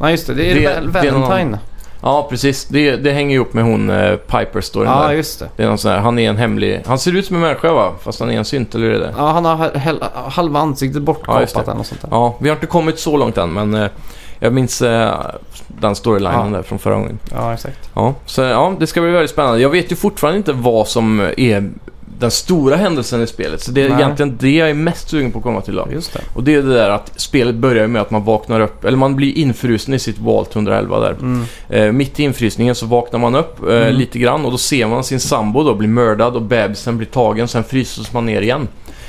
Speaker 3: Nej, just det. Det är
Speaker 2: Det-
Speaker 3: Val-
Speaker 2: det är någon-
Speaker 3: Valentine.
Speaker 2: ja precis. Det, det hänger ihop med hon eh, Piper storyn
Speaker 3: Ja,
Speaker 2: där.
Speaker 3: just det.
Speaker 2: Det är någon sån här, han är en hemlig, han ser ut som en människa va? Fast han är en synt, eller hur är det?
Speaker 3: Ja, han har he- hel- halva ansiktet
Speaker 2: Ja,
Speaker 3: bortkapat
Speaker 2: just det.
Speaker 3: eller något sånt där.
Speaker 2: Ja, vi har inte kommit så långt än men eh, jag minns eh, den storylinen
Speaker 3: Ja.
Speaker 2: där från förra gången.
Speaker 3: Ja, exakt.
Speaker 2: Ja, så ja, det ska bli väldigt spännande. Jag vet ju fortfarande inte vad som är den stora händelsen i spelet. Så det är
Speaker 1: Nej.
Speaker 2: egentligen det jag är mest sugen på att komma till idag.
Speaker 1: Just det.
Speaker 2: Och det är det där att spelet börjar ju med att man vaknar upp, eller man blir infrusen i sitt Walt 111 där.
Speaker 3: Mm.
Speaker 2: Eh, mitt i infrysningen så vaknar man upp eh,
Speaker 1: Mm.
Speaker 2: lite grann och då ser man sin sambo då bli mördad och bebisen blir tagen, sen fryses man ner igen.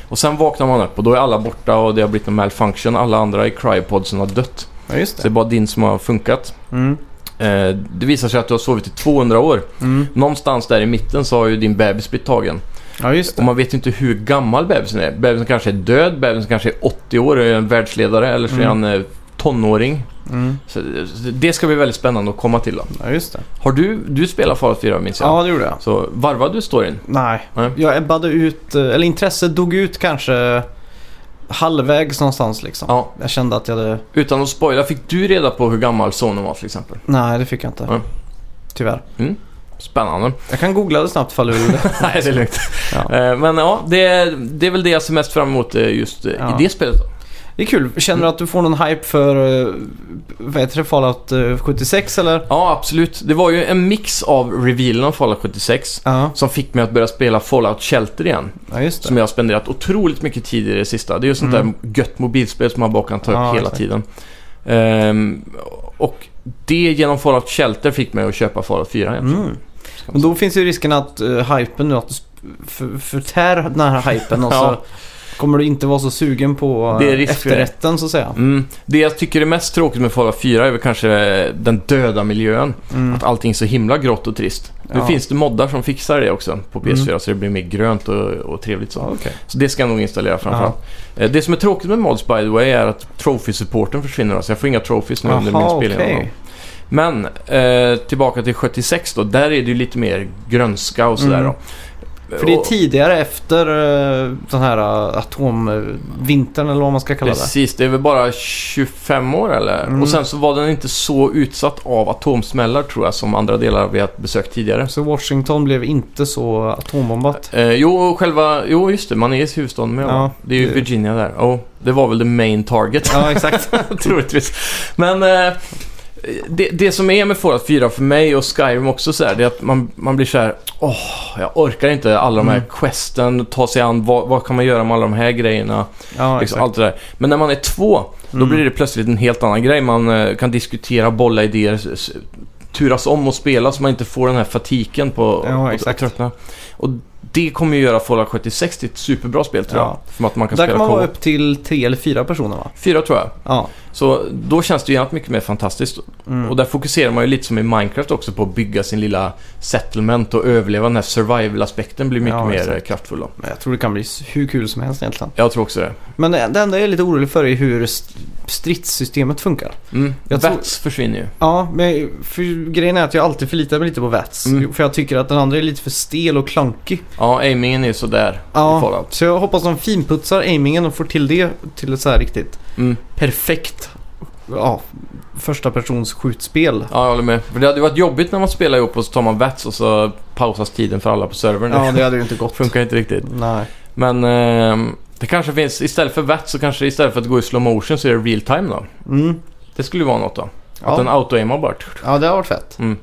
Speaker 2: Och sen vaknar man upp och då är alla borta och det har blivit en malfunction. Alla andra i cryopodsen har dött.
Speaker 3: Ja, just
Speaker 2: Så det
Speaker 3: det.
Speaker 2: är bara din som har funkat.
Speaker 3: Mm.
Speaker 2: Eh, det visar sig att du har sovit i 200 år.
Speaker 3: Mm.
Speaker 2: Någonstans där i mitten så har ju din bebis blivit tagen.
Speaker 3: Ja, just
Speaker 2: Och
Speaker 3: det.
Speaker 2: man vet ju inte hur gammal bebisen är. Bebisen kanske är död, bebisen kanske är 80 år och är en världsledare eller så är
Speaker 3: Mm.
Speaker 2: han eh, tonåring.
Speaker 3: Mm.
Speaker 2: Så eh, så det ska bli väldigt spännande att komma till då.
Speaker 3: Ja, just det.
Speaker 2: Har du, du spelar Fallout 4 minns jag?
Speaker 3: Ja, det gjorde jag.
Speaker 2: Så varvade du storyn?
Speaker 3: Nej.
Speaker 2: Nej.
Speaker 3: Jag ebbade ut, eh, eller intresset dog ut kanske halvvägs någonstans liksom.
Speaker 2: Ja.
Speaker 3: Jag kände att jag hade...
Speaker 2: Utan att spoila, fick du reda på hur gammal sonen var till exempel?
Speaker 3: Nej, det fick jag inte.
Speaker 2: Nej.
Speaker 3: Tyvärr.
Speaker 2: Spännande.
Speaker 3: Jag kan googla det snabbt ifall du vill det.
Speaker 2: Nej, det är lugnt.
Speaker 3: Ja.
Speaker 2: Eh, Men ja, det, är- det är väl det jag ser mest fram emot eh, just eh,
Speaker 3: Ja.
Speaker 2: i det spelet då.
Speaker 3: Det är kul. Känner du att du får någon hype för, eh, vad heter det, Fallout eh, 76 eller?
Speaker 2: Ja, absolut. Det var ju en mix av revealen av Fallout 76
Speaker 3: Ja,
Speaker 2: som fick mig att börja spela Fallout Shelter igen.
Speaker 3: ja just det.
Speaker 2: Som jag har spenderat otroligt mycket tid i det sista. Det är ju sånt
Speaker 3: Mm.
Speaker 2: där gött mobilspel som man bara kan ta upp
Speaker 3: Ja,
Speaker 2: hela
Speaker 3: exakt.
Speaker 2: tiden. Ehm, och det genom Fallout Shelter fick mig att köpa Fallout 4 igen.
Speaker 3: Mm. Men då finns ju risken att uh, hypen nu, att du sp- för, förtär den här hypen och
Speaker 2: Ja.
Speaker 3: så kommer du inte vara så sugen på eh,
Speaker 2: Det är risk för det.
Speaker 3: efterrätten så att säga.
Speaker 2: Mm. Det jag tycker är mest tråkigt med Fallout 4 är väl kanske den döda miljön.
Speaker 3: Mm.
Speaker 2: Att allting är så himla grått och trist. Nu
Speaker 3: Ja. Mm.
Speaker 2: finns det moddar som fixar det också på PS4 så det blir mer grönt och, och trevligt så.
Speaker 3: Ja, okej.
Speaker 2: Så det ska jag nog installera framförallt. Eh, Det som är tråkigt med mods by the way är att trophy-supporten försvinner. då, Så jag får inga trophies nu under min
Speaker 3: Jaha,
Speaker 2: spelning.
Speaker 3: okej.
Speaker 2: Men eh, tillbaka till 76 då. Där är det ju lite mer grönska och sådär
Speaker 3: Mm.
Speaker 2: då.
Speaker 3: För det är
Speaker 2: Och-
Speaker 3: tidigare efter eh, den här eh, atomvintern eller vad man ska kalla det.
Speaker 2: Precis, det är väl bara 25 år eller?
Speaker 3: Mm.
Speaker 2: Och sen så var den inte så utsatt av atomsmällar tror jag som andra delar vi har besökt tidigare.
Speaker 3: Så Washington blev inte så atombombat.
Speaker 2: Eh, jo, själva, jo, just det. Man är i huvudstaden med.
Speaker 3: Ja,
Speaker 2: det är ju
Speaker 3: det-
Speaker 2: Virginia där. Oh, det var väl the main target,
Speaker 3: Ja, exakt.
Speaker 2: troligtvis. Men eh, det, det som är med Fallout 4 för mig och Skyrim också så här, det är att man, man blir så här, åh, jag orkar inte alla de här
Speaker 3: Mm.
Speaker 2: questen, ta sig an, vad, vad kan man göra med alla de här grejerna,
Speaker 3: Ja,
Speaker 2: liksom,
Speaker 3: exakt.
Speaker 2: allt det där. Men när man är två, då
Speaker 3: Mm.
Speaker 2: blir det plötsligt en helt annan grej. Man eh, kan diskutera, bolla idéer, s- s- turas om och spela så man inte får den här fatiken på
Speaker 3: Ja,
Speaker 2: och- och
Speaker 3: exakt.
Speaker 2: tröttna. Och det kommer ju göra Fallout 76 till ett superbra spel tror
Speaker 3: Ja.
Speaker 2: jag. För att man kan
Speaker 3: Där kan
Speaker 2: spela
Speaker 3: man
Speaker 2: co-op.
Speaker 3: vara upp till tre eller fyra personer va?
Speaker 2: Fyra tror jag.
Speaker 3: Ja.
Speaker 2: Så då känns det ju egentligen mycket mer fantastiskt.
Speaker 3: Mm.
Speaker 2: Och där fokuserar man ju lite som i Minecraft också på att bygga sin lilla settlement och överleva. Den här survival-aspekten blir mycket
Speaker 3: Ja,
Speaker 2: mer
Speaker 3: exakt.
Speaker 2: eh, kraftfull då.
Speaker 3: Men jag tror det kan bli s- hur kul som helst egentligen.
Speaker 2: Jag tror också det.
Speaker 3: Men det det enda jag är lite orolig för är hur st- stridssystemet funkar.
Speaker 2: Mm.
Speaker 3: Jag tror-
Speaker 2: Vats försvinner ju.
Speaker 3: Ja, men för grejen är att jag alltid förlitar mig lite på VATS.
Speaker 2: Mm.
Speaker 3: För jag tycker att den andra är lite för stel och klankig.
Speaker 2: Ja, aimingen är ju sådär i
Speaker 3: Ja,
Speaker 2: Fallout.
Speaker 3: så jag hoppas de finputsar aimingen och får till det till ett så här riktigt
Speaker 2: Mm.
Speaker 3: perfekt ja, första persons skjutspel.
Speaker 2: Ja, jag håller med. För det hade ju varit jobbigt när man spelar ihop och så tar man vets och så pausas tiden för alla på servern.
Speaker 3: Ja,
Speaker 2: det
Speaker 3: det hade ju inte gått.
Speaker 2: funkar inte riktigt.
Speaker 3: Nej.
Speaker 2: Men ehm, det kanske finns, istället för vets så kanske istället för att gå i slow motion så är det real time då.
Speaker 3: Mm.
Speaker 2: Det skulle ju vara något då. Att den
Speaker 3: Ja.
Speaker 2: auto-aimar bara.
Speaker 3: ja, det har varit fett.
Speaker 2: Mm.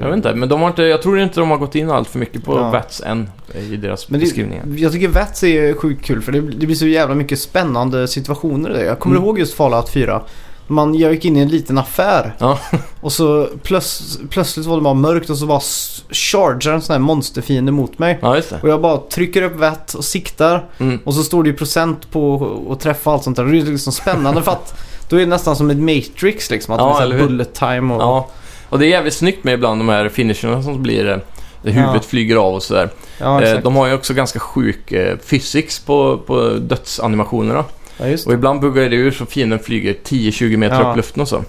Speaker 2: Jag vet inte, men de har inte, jag tror inte de har gått in allt för mycket på
Speaker 3: Ja.
Speaker 2: vets än i deras
Speaker 3: Men
Speaker 2: beskrivningar.
Speaker 3: det, jag tycker VATS är sjukt kul för det, det blir så jävla mycket spännande situationer i det. Jag kommer
Speaker 2: Mm.
Speaker 3: ihåg just Fallout 4. Man, jag gick in i en liten affär
Speaker 2: Ja.
Speaker 3: och så plöts, plötsligt var det bara mörkt och så bara s- chargear en sån här monsterfiende mot mig.
Speaker 2: Ja, just det.
Speaker 3: Och jag bara trycker upp vett och siktar
Speaker 2: Mm.
Speaker 3: och så står det ju procent på att träffa och allt sånt där. Det är liksom spännande för att då är det nästan som ett Matrix liksom. Att
Speaker 2: Ja,
Speaker 3: det är så
Speaker 2: eller
Speaker 3: här
Speaker 2: hur?
Speaker 3: bullet time och...
Speaker 2: Ja. Och det är jävligt snyggt med ibland de här finisherna som blir eh, där huvudet
Speaker 3: Ja.
Speaker 2: flyger av och sådär.
Speaker 3: ja,
Speaker 2: eh,
Speaker 3: exakt.
Speaker 2: de har ju också ganska sjuk eh, physics på, på dödsanimationerna.
Speaker 3: ja just
Speaker 2: Och
Speaker 3: det.
Speaker 2: ibland buggar det ur så fienden flyger 10-20 meter
Speaker 3: Ja.
Speaker 2: upp i luften och så.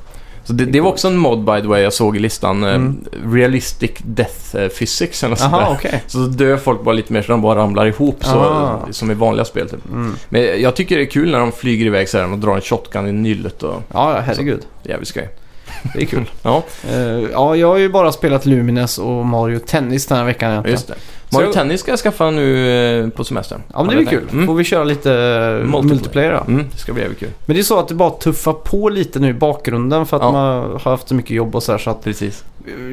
Speaker 2: Så det, det var också en mod by the way jag såg i listan. eh,
Speaker 3: Mm.
Speaker 2: Realistic Death eh, Physics eller något sånt
Speaker 3: Jaha,
Speaker 2: där.
Speaker 3: okej.
Speaker 2: Så dör folk bara lite mer så de bara ramlar ihop så,
Speaker 3: Ah.
Speaker 2: som i vanliga spel typ.
Speaker 3: Mm.
Speaker 2: Men jag tycker det är kul när de flyger iväg så här och drar en shotgun i nyllet och
Speaker 3: Ja, ja, herregud.
Speaker 2: det är jävligt skoj.
Speaker 3: Det är kul.
Speaker 2: Ja,
Speaker 3: Eh, ja, jag har ju bara spelat Lumines och Mario Tennis den här veckan egentligen.
Speaker 2: just det. Mario
Speaker 3: jag-
Speaker 2: Tennis ska jag skaffa nu eh, på semestern.
Speaker 3: Ja, men det
Speaker 2: Har
Speaker 3: blir
Speaker 2: jag
Speaker 3: kul.
Speaker 2: tänkt. Mm.
Speaker 3: Får vi köra lite multiplayer, multiplayer då?
Speaker 2: Mm, det ska bli jävligt kul.
Speaker 3: Men det är så att det bara tuffar på lite nu i bakgrunden för att
Speaker 2: Ja.
Speaker 3: man har haft så mycket jobb och sådär så att
Speaker 2: Precis.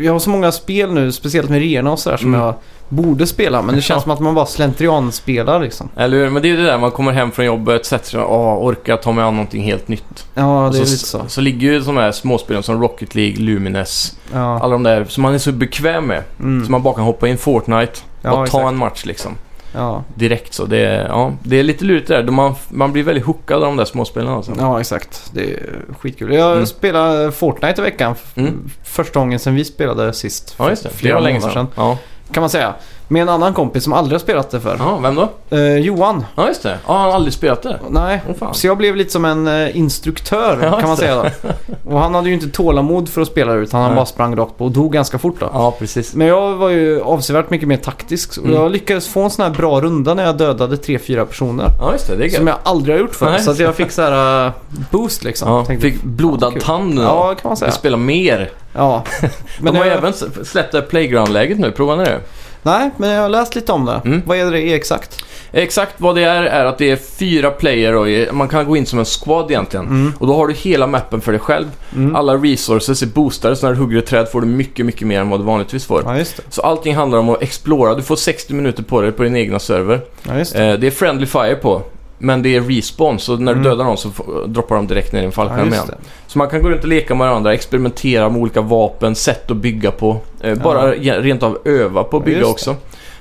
Speaker 3: jag har så många spel nu, speciellt med reorna och sådär som
Speaker 2: Mm.
Speaker 3: jag borde spela. Men det känns som att man bara slentrianspelar liksom.
Speaker 2: Eller hur? Men det är ju det där man kommer hem från jobbet, sätter sig och "Åh, orkar ta mig an någonting helt nytt.
Speaker 3: Ja,
Speaker 2: Och
Speaker 3: det är
Speaker 2: så,
Speaker 3: lite så.
Speaker 2: så ligger ju de här småspelen som Rocket League, Lumines,
Speaker 3: Ja.
Speaker 2: alla de där som man är så bekväm med.
Speaker 3: Mm.
Speaker 2: Så man bara kan hoppa in Fortnite
Speaker 3: Ja,
Speaker 2: och ta
Speaker 3: exakt.
Speaker 2: en match liksom.
Speaker 3: Ja.
Speaker 2: Direkt så. Det är, ja, det är lite lurigt det där. Då Man, man blir väldigt hookad av de där småspelen alltså.
Speaker 3: ja, exakt. Det är skitkul. Jag
Speaker 2: Mm.
Speaker 3: spelade Fortnite i veckan. f-
Speaker 2: Mm.
Speaker 3: Första gången sedan vi spelade sist.
Speaker 2: Ja, just det. Det
Speaker 3: Flera
Speaker 2: var länge
Speaker 3: månader
Speaker 2: sedan. Ja.
Speaker 3: Kan man säga. Med en annan kompis som aldrig har spelat det förr.
Speaker 2: ja, vem då?
Speaker 3: Eh, Johan.
Speaker 2: Ja, just det. Ja, han har aldrig spelat det.
Speaker 3: Nej,
Speaker 2: Åh, fan.
Speaker 3: så jag blev lite som en eh, instruktör
Speaker 2: Ja,
Speaker 3: kan man
Speaker 2: just
Speaker 3: säga då. Och han hade ju inte tålamod för att spela det utan han
Speaker 2: Nej.
Speaker 3: bara sprang rakt på och dog ganska fort då.
Speaker 2: Ja, precis.
Speaker 3: Men jag var ju avsevärt mycket mer taktisk och
Speaker 2: Mm.
Speaker 3: jag lyckades få en sån här bra runda när jag dödade 3-4 personer.
Speaker 2: Ja, just det. Det är
Speaker 3: Som
Speaker 2: gött.
Speaker 3: jag aldrig har gjort förut.
Speaker 2: Nej.
Speaker 3: Så att jag fick så här eh, boost liksom.
Speaker 2: Ja,
Speaker 3: Tänkte,
Speaker 2: fick blodad
Speaker 3: kul.
Speaker 2: tand nu då.
Speaker 3: ja, kan man säga.
Speaker 2: Vi spelar mer.
Speaker 3: Ja.
Speaker 2: Men
Speaker 3: Men
Speaker 2: De har
Speaker 3: jag,
Speaker 2: även s- släppt det här playground-läget nu. Provar ni det?
Speaker 3: Nej, men jag har läst lite om det.
Speaker 2: Mm.
Speaker 3: Vad är det det är exakt?
Speaker 2: Exakt vad det är, är att det är fyra player och i- man kan gå in som en squad egentligen. Och då har du hela mappen för dig själv.
Speaker 3: Mm.
Speaker 2: Alla resources är boostade, så när du hugger ett träd får du mycket, mycket mer än vad du vanligtvis får.
Speaker 3: Ja, just det.
Speaker 2: Så allting handlar om att explora. Du får 60 minuter på dig på din egna server.
Speaker 3: Ja, just det.
Speaker 2: Eh, det är friendly fire på, men det är respawn. Så när du
Speaker 3: Mm.
Speaker 2: dödar någon så f- droppar de direkt ner i en
Speaker 3: Ja,
Speaker 2: fallskärm
Speaker 3: just
Speaker 2: igen.
Speaker 3: det.
Speaker 2: Så man kan gå runt och leka med varandra, experimentera med olika vapen, sätt att bygga på. Eh, bara ge- rent av öva på att
Speaker 3: Ja,
Speaker 2: bygga
Speaker 3: just det.
Speaker 2: också.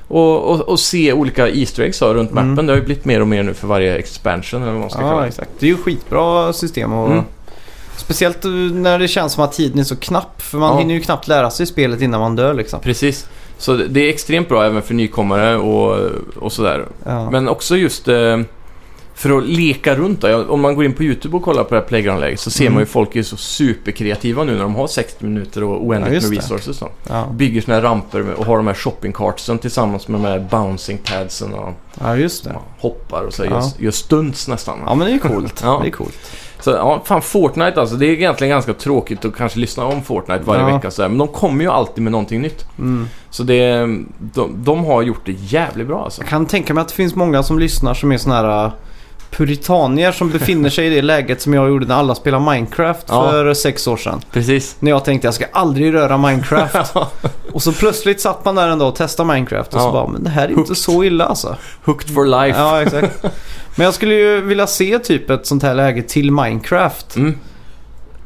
Speaker 2: Och, och, och se olika Easter eggs då, runt
Speaker 3: Mm.
Speaker 2: mappen. Det har ju blivit mer och mer nu för varje expansion eller vad man ska kalla
Speaker 3: Ja,
Speaker 2: det.
Speaker 3: exakt. Det är ju skitbra system och
Speaker 2: Mm.
Speaker 3: Speciellt eh, när det känns som att tiden är så knapp. För man
Speaker 2: Ja.
Speaker 3: hinner ju knappt lära sig spelet innan man dör liksom.
Speaker 2: Precis. Så det det är extremt bra även för nykommare och, och sådär.
Speaker 3: Ja.
Speaker 2: Men också just eh, för att leka runt då. Ja, Om man går in på YouTube och kollar på det här playground-läget så ser
Speaker 3: Mm.
Speaker 2: man ju folk är så superkreativa nu när de har 60 minuter och
Speaker 3: Ja,
Speaker 2: oändligt
Speaker 3: just
Speaker 2: med
Speaker 3: det.
Speaker 2: resources. Då.
Speaker 3: Ja.
Speaker 2: Bygger såna här ramper med- och har de här shoppingcartsen tillsammans med de här bouncing padsen och
Speaker 3: ja, just det.
Speaker 2: ja, hoppar och så
Speaker 3: Ja.
Speaker 2: gör, gör stunts nästan.
Speaker 3: Ja, men det är ju coolt.
Speaker 2: Ja.
Speaker 3: Det är coolt.
Speaker 2: Så ja, fan Fortnite alltså. Det är egentligen ganska tråkigt att kanske lyssna om Fortnite varje
Speaker 3: Ja.
Speaker 2: vecka så här, Men de kommer ju alltid med någonting nytt.
Speaker 3: Mm.
Speaker 2: Så det, de, de har gjort det jävligt bra alltså.
Speaker 3: Jag kan tänka mig att det finns många som lyssnar som är såna här eh, puritanier som befinner sig i det läget som jag gjorde när alla spelade Minecraft
Speaker 2: Ja.
Speaker 3: för sex år sedan.
Speaker 2: Precis.
Speaker 3: När jag tänkte jag ska aldrig röra Minecraft. och så plötsligt satt man där en dag och testade Minecraft och så
Speaker 2: Ja.
Speaker 3: bara, men det här är inte så illa alltså.
Speaker 2: Hooked for life.
Speaker 3: Ja, exakt. Men jag skulle ju vilja se typ ett sånt här läge till Minecraft.
Speaker 2: Mm.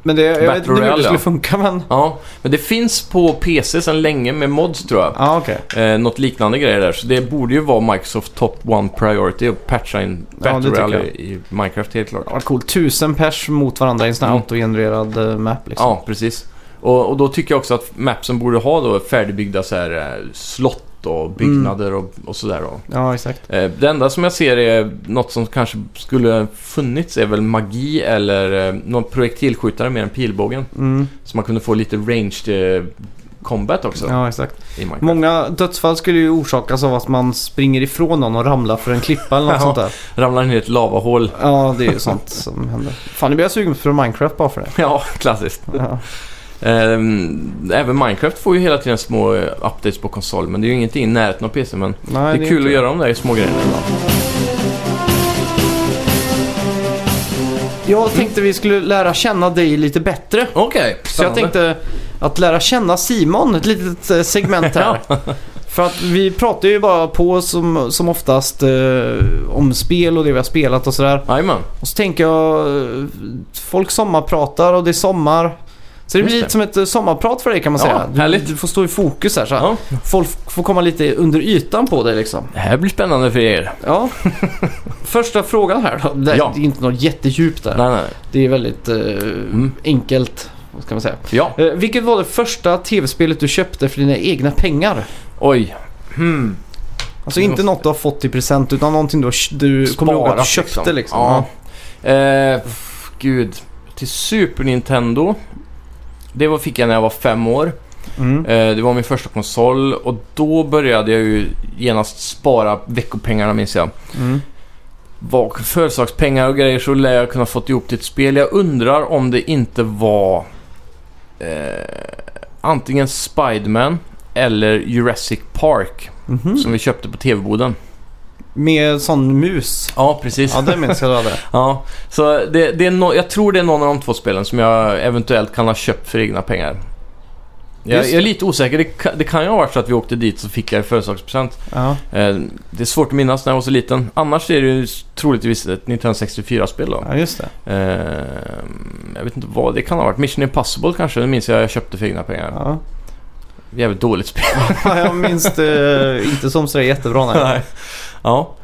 Speaker 3: Men det, jag vet
Speaker 2: Battle
Speaker 3: inte hur
Speaker 2: Royale,
Speaker 3: det
Speaker 2: ja.
Speaker 3: skulle funka men...
Speaker 2: Ja, men det finns på PC sedan länge med mods tror jag.
Speaker 3: Ja, okej.
Speaker 2: Eh, något liknande grejer där. Så det borde ju vara Microsoft top one priority att patcha in
Speaker 3: det
Speaker 2: Battle
Speaker 3: tycker
Speaker 2: Royale
Speaker 3: jag.
Speaker 2: i i Minecraft helt klart.
Speaker 3: Det var coolt. Tusen pers mot varandra i en sån här
Speaker 2: Mm.
Speaker 3: autogenererad eh, map liksom.
Speaker 2: Ja, precis. Och, och då tycker jag också att mapsen borde ha då färdigbyggda så här, eh, slott och
Speaker 3: Mm.
Speaker 2: byggnader och, och sådär då.
Speaker 3: Ja, exakt.
Speaker 2: Eh, Det enda som jag ser är något som kanske skulle funnits är väl magi eller eh, någon projektilskjutare mer än pilbågen.
Speaker 3: Mm.
Speaker 2: Så man kunde få lite ranged eh, combat också
Speaker 3: Ja, exakt.
Speaker 2: i Minecraft.
Speaker 3: Många dödsfall skulle ju orsakas av att man springer ifrån någon och ramlar för en klippa eller något
Speaker 2: Ja.
Speaker 3: sånt där.
Speaker 2: Ramlar ner i ett lavahål.
Speaker 3: Ja, det är ju sånt som händer. Fan, nu blir jag sugen på Minecraft bara för det.
Speaker 2: Ja, klassiskt.
Speaker 3: Ja.
Speaker 2: Ehm, Även Minecraft får ju hela tiden små eh, updates på konsol, men det är ju ingenting i närheten av PC. Men det
Speaker 3: Nej,
Speaker 2: är kul
Speaker 3: inte-
Speaker 2: att göra de där små grejerna ibland.
Speaker 3: Jag tänkte vi skulle lära känna dig lite bättre.
Speaker 2: Okej,
Speaker 3: Så jag
Speaker 2: spännande.
Speaker 3: tänkte att lära känna Simon, ett litet eh, segment här. För att vi pratar ju bara på som, som oftast eh, om spel och det vi har spelat och sådär.
Speaker 2: Jajamän.
Speaker 3: Och så tänker jag, eh, folk sommarpratar och det är sommar. Så det blir
Speaker 2: Just
Speaker 3: lite
Speaker 2: det.
Speaker 3: som ett eh, sommarprat för dig kan man
Speaker 2: Ja,
Speaker 3: säga. Du-
Speaker 2: härligt.
Speaker 3: Du får stå i fokus här så här.
Speaker 2: Ja.
Speaker 3: Folk får komma lite under ytan på dig liksom.
Speaker 2: Det här blir spännande för er.
Speaker 3: Ja. Första frågan här då. Det,
Speaker 2: Ja.
Speaker 3: det är inte något jättedjupt där.
Speaker 2: Nej, Mm. nej. nej.
Speaker 3: Det är väldigt eh, enkelt. Vad ska man säga?
Speaker 2: Ja,
Speaker 3: Eh, vilket var det första tv-spelet du köpte för dina egna pengar?
Speaker 2: oj. Hmm.
Speaker 3: Alltså inte något du har fått i present utan någonting du, har kö- du kommer ihåg att du
Speaker 2: Sparat,
Speaker 3: köpte liksom.
Speaker 2: Ja. Eh, pff, gud. Till Super Nintendo. Det var, fick jag när jag var fem år.
Speaker 3: Mm.
Speaker 2: Eh, det var min första konsol och då började jag ju genast spara veckopengarna minns jag.
Speaker 3: Mm.
Speaker 2: Var födelsedagspengar och grejer så lär jag kunna fått ihop till ett spel. Jag undrar om det inte var eh, antingen Spiderman eller Jurassic Park
Speaker 3: Mhm.
Speaker 2: som vi köpte på TV-boden.
Speaker 3: Med sån mus.
Speaker 2: Ja, precis.
Speaker 3: Ja, det minns jag du hade.
Speaker 2: Ja, så det, det är no, jag tror det är någon av de två spelen som jag eventuellt kan ha köpt för egna pengar. Jag,
Speaker 3: Just
Speaker 2: jag är lite osäker. Det kan, det kan ju ha varit så att vi åkte dit så fick jag i födelsedagspresent.
Speaker 3: Ja.
Speaker 2: Eh, det är svårt att minnas när jag var så liten. Annars är det ju troligtvis ett 1964-spel då.
Speaker 3: ja, just det.
Speaker 2: Eh, jag vet inte vad det kan ha varit. Mission Impossible kanske. Det minns jag jag köpte för egna pengar.
Speaker 3: Ja.
Speaker 2: Jävligt dåligt spel.
Speaker 3: Jag minns det inte som sådär jättebra. Nej.
Speaker 2: Nej. Ja.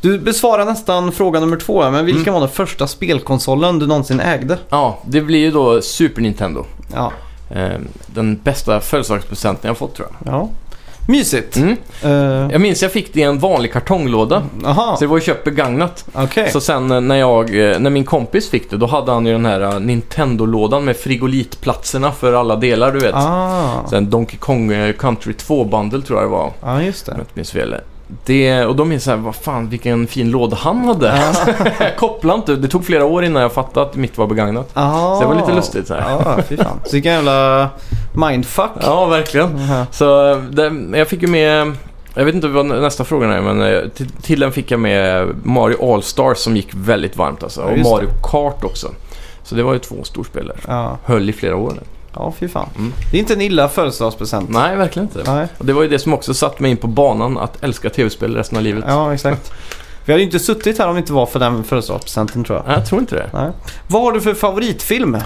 Speaker 3: Du besvarar nästan fråga nummer två, här, men vilken var den första spelkonsolen du någonsin ägde?
Speaker 2: ja, det blir ju då Super Nintendo.
Speaker 3: Ja.
Speaker 2: Eh, den bästa födelsedagspresenten jag fått tror jag.
Speaker 3: ja. Mysigt.
Speaker 2: Mm.
Speaker 3: Eh,
Speaker 2: Jag minns jag fick det i en vanlig kartonglåda.
Speaker 3: Jaha,
Speaker 2: Så det var ju köpt begagnat.
Speaker 3: Eh, okej.
Speaker 2: Så sen eh, när, jag, eh, när min kompis fick det, då hade han ju den här eh, Nintendo-lådan med frigolitplatserna för alla delar, du vet.
Speaker 3: Ah.
Speaker 2: Sen Donkey Kong eh, Country 2-bundle tror jag det var, om
Speaker 3: Ja, just
Speaker 2: jag
Speaker 3: det.
Speaker 2: inte minns fel. Det, och då minns jag, vad fan vilken fin låda han hade.
Speaker 3: Ja.
Speaker 2: jag kopplade inte, det tog flera år innan jag fattade att mitt var begagnat.
Speaker 3: Ah.
Speaker 2: Så det var lite lustigt så här.
Speaker 3: Ja, fy fan. Så vilken jävla mindfuck.
Speaker 2: Ja, verkligen.
Speaker 3: Jaha.
Speaker 2: Så eh, det, jag fick ju med, jag vet inte vad nä- nästa fråga är, men eh, till, till den fick jag med Mario All-Stars som gick väldigt varmt alltså.
Speaker 3: Ja,
Speaker 2: och
Speaker 3: just det.
Speaker 2: Mario Kart också. Så det var ju två storspelare.
Speaker 3: Ja,
Speaker 2: Höll i flera år. nu.
Speaker 3: ja fy fan.
Speaker 2: Mm.
Speaker 3: Det är inte en illa födelsedagspresent.
Speaker 2: Nej, verkligen inte.
Speaker 3: Nej.
Speaker 2: Och det var ju det som också satte mig in på banan att älska tv-spel resten av livet.
Speaker 3: Ja, exakt. Vi hade ju inte suttit här om det inte var för den födelsedagspresenten tror jag.
Speaker 2: Nej, jag tror inte det.
Speaker 3: Nej. Vad har du för favoritfilm?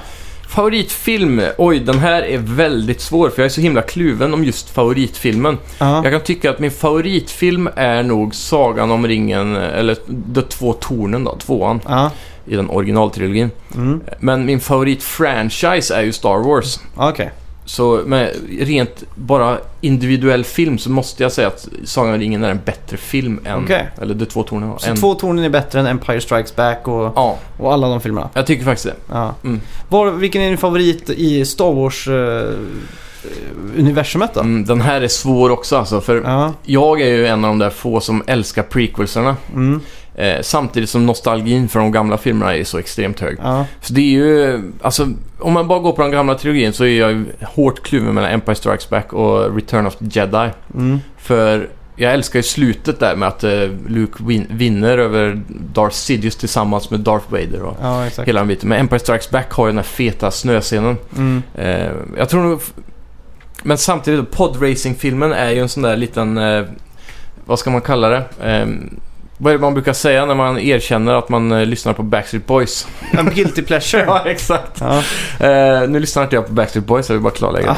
Speaker 2: Favoritfilm? Oj, den här är väldigt svår för jag är så himla kluven om just favoritfilmen.
Speaker 3: Ja.
Speaker 2: Jag kan tycka att min favoritfilm är nog Sagan om ringen, eller De två tornen då, tvåan.
Speaker 3: Ja.
Speaker 2: i den originaltrilogin.
Speaker 3: Mm.
Speaker 2: Men min favoritfranchise är ju Star Wars.
Speaker 3: Ja, Okej.
Speaker 2: Så med rent bara individuell film så måste jag säga att Sagan om ringen är en bättre film än...
Speaker 3: Okej.
Speaker 2: Eller De två tornen.
Speaker 3: Så
Speaker 2: än-
Speaker 3: Två tornen är bättre än Empire Strikes Back och,
Speaker 2: Ja,
Speaker 3: och alla de filmerna?
Speaker 2: jag tycker faktiskt det.
Speaker 3: Ja.
Speaker 2: Mm.
Speaker 3: Var, vilken är din favorit i Star Wars-universumet då?
Speaker 2: Mm, den här är svår också alltså, för
Speaker 3: Ja.
Speaker 2: jag är ju en av de där få som älskar prequelserna.
Speaker 3: Mm.
Speaker 2: Eh, samtidigt som nostalgin för de gamla filmerna är så extremt hög.
Speaker 3: Ja.
Speaker 2: Så det är ju, alltså om man bara går på den gamla trilogin så är jag ju hårt kluven mellan Empire Strikes Back och Return of the Jedi.
Speaker 3: Mm.
Speaker 2: För jag älskar ju slutet där med att eh, Luke vin- vinner över Darth Sidious tillsammans med Darth Vader och
Speaker 3: ja, exakt.
Speaker 2: hela den biten. Men Empire Strikes Back har ju den här feta snöscenen.
Speaker 3: Mm.
Speaker 2: Eh, jag tror nog... f- Men samtidigt, podracing-filmen är ju en sån där liten... Eh, vad ska man kalla det? Eh, vad är det man brukar säga när man erkänner att man eh, lyssnar på Backstreet Boys?
Speaker 3: En guilty pleasure.
Speaker 2: ja, exakt.
Speaker 3: Ja.
Speaker 2: Eh, nu lyssnar inte jag på Backstreet Boys, jag vill bara klarlägga.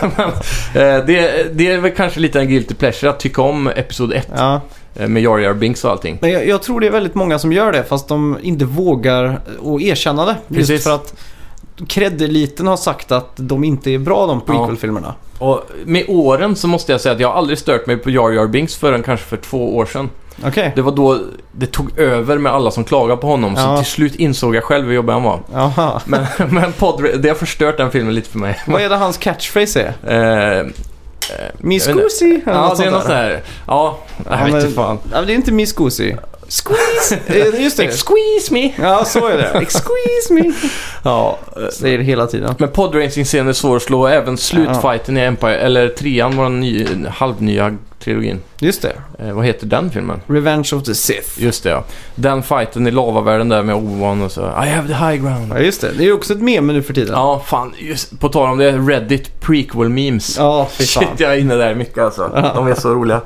Speaker 2: Men, eh, det, det är väl kanske lite en guilty pleasure att tycka om Episod 1
Speaker 3: Ja.
Speaker 2: eh, med Jar Jar Binks och allting.
Speaker 3: Men jag, jag tror det är väldigt många som gör det fast de inte vågar att erkänna det.
Speaker 2: Precis.
Speaker 3: Just för att kreddeliten har sagt att de inte är bra de prequel-filmerna.
Speaker 2: Och med åren så måste jag säga att jag har aldrig stört mig på Jar Jar Binks förrän kanske för två år sedan.
Speaker 3: Okej.
Speaker 2: Det var då det tog över med alla som klagade på honom, så
Speaker 3: Ja.
Speaker 2: till slut insåg jag själv hur jobbig han var.
Speaker 3: Jaha.
Speaker 2: Men, men podd, det har förstört den filmen lite för mig.
Speaker 3: Vad är det hans catchphrase är?
Speaker 2: Eh,
Speaker 3: Miss
Speaker 2: Jag vet inte.
Speaker 3: Goosey? eller
Speaker 2: ja,
Speaker 3: något
Speaker 2: det är
Speaker 3: sånt
Speaker 2: något
Speaker 3: där.
Speaker 2: sådär. Ja, jag
Speaker 3: Ja,
Speaker 2: vet inte
Speaker 3: men-
Speaker 2: fan.
Speaker 3: Ja, men det är inte Miss Goosey. Squeeze! Eh, Just det.
Speaker 2: Squeeze me!
Speaker 3: Ja, så är det. Excuse me!
Speaker 2: Ja,
Speaker 3: Säger det hela tiden.
Speaker 2: Men podracing-scenen är svår att slå. Även slutfighten i Empire, eller trean var den ny, halvnya trilogin.
Speaker 3: Just det.
Speaker 2: Eh, vad heter den filmen?
Speaker 3: Revenge of the Sith.
Speaker 2: Just det ja. Den fighten i lavavärlden där med Obi-Wan och så. I have the high ground.
Speaker 3: Ja, just det. Det är ju också ett meme nu för tiden.
Speaker 2: Ja, fan. Just, på tal om det, Reddit prequel-memes.
Speaker 3: Ja, fy
Speaker 2: Shit,
Speaker 3: fan.
Speaker 2: jag är inne där mycket alltså. De är så roliga.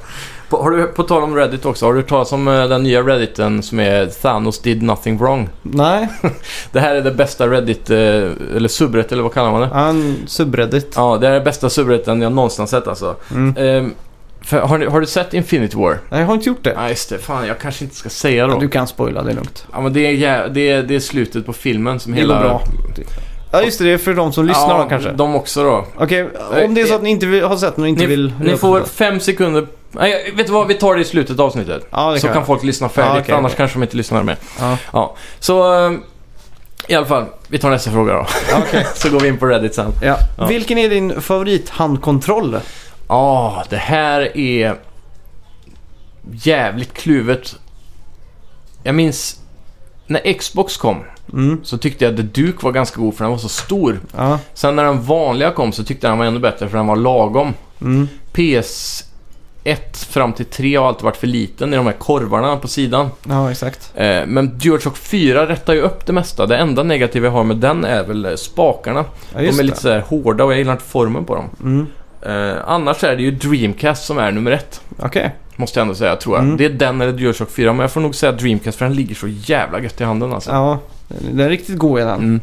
Speaker 2: På, har du, på tal om Reddit också, har du hört talas om eh, den nya Redditen som är Thanos did nothing wrong?
Speaker 3: Nej,
Speaker 2: Det här är det bästa Reddit, eh, eller subreddit eller vad kallar man det?
Speaker 3: han subreddit.
Speaker 2: Ja, det här är den bästa subredditen jag någonsin har sett alltså.
Speaker 3: Mm.
Speaker 2: Ehm, för, har, ni, har du sett Infinity War?
Speaker 3: Nej, jag har inte gjort det.
Speaker 2: Nej, just det. Fan, jag kanske inte ska säga då.
Speaker 3: Du kan spoila, det är lugnt.
Speaker 2: Ja, men det är, jä- det, är, det är slutet på filmen som
Speaker 3: Det går
Speaker 2: hela...
Speaker 3: bra. Ja, just det. Det är för de som lyssnar
Speaker 2: ja,
Speaker 3: då kanske.
Speaker 2: De också då.
Speaker 3: Okej, om det är så att ni inte vill, har sett den och inte
Speaker 2: Ni,
Speaker 3: vill...
Speaker 2: ni får fem sekunder... Nej, vet du vad? Vi tar det i slutet av avsnittet.
Speaker 3: Ja, det
Speaker 2: så
Speaker 3: kan,
Speaker 2: kan
Speaker 3: jag.
Speaker 2: folk lyssna färdigt,
Speaker 3: Ja, okej,
Speaker 2: annars
Speaker 3: okej.
Speaker 2: kanske de inte lyssnar mer.
Speaker 3: Ja.
Speaker 2: Ja. Så... ehm, I alla fall, vi tar nästa fråga då.
Speaker 3: Ja, okej.
Speaker 2: så går vi in på Reddit sen.
Speaker 3: Ja.
Speaker 2: Ja.
Speaker 3: Vilken är din favorithandkontroll?
Speaker 2: Ja, det här är jävligt kluvet. Jag minns när Xbox kom
Speaker 3: Mm.
Speaker 2: så tyckte jag The Duke var ganska god för den var så stor.
Speaker 3: Ja.
Speaker 2: Sen när den vanliga kom så tyckte jag den var ännu bättre för den var lagom.
Speaker 3: Mm.
Speaker 2: PS1 1 fram till 3 har alltid varit för liten i de här korvarna på sidan.
Speaker 3: Ja, exakt.
Speaker 2: Eh, men DualShock 4 rättar ju upp det mesta. Det enda negativa jag har med den är väl eh, spakarna.
Speaker 3: Ja,
Speaker 2: De
Speaker 3: just
Speaker 2: är
Speaker 3: det.
Speaker 2: lite sådär hårda och jag gillar inte formen på dem.
Speaker 3: Mm.
Speaker 2: Eh, annars är det ju Dreamcast som är nummer ett.
Speaker 3: Okej.
Speaker 2: Måste jag ändå säga, tror jag.
Speaker 3: Mm.
Speaker 2: Det är den eller DualShock 4, men jag får nog säga Dreamcast för den ligger så jävla gött i handen alltså.
Speaker 3: Ja, den är riktigt god är den.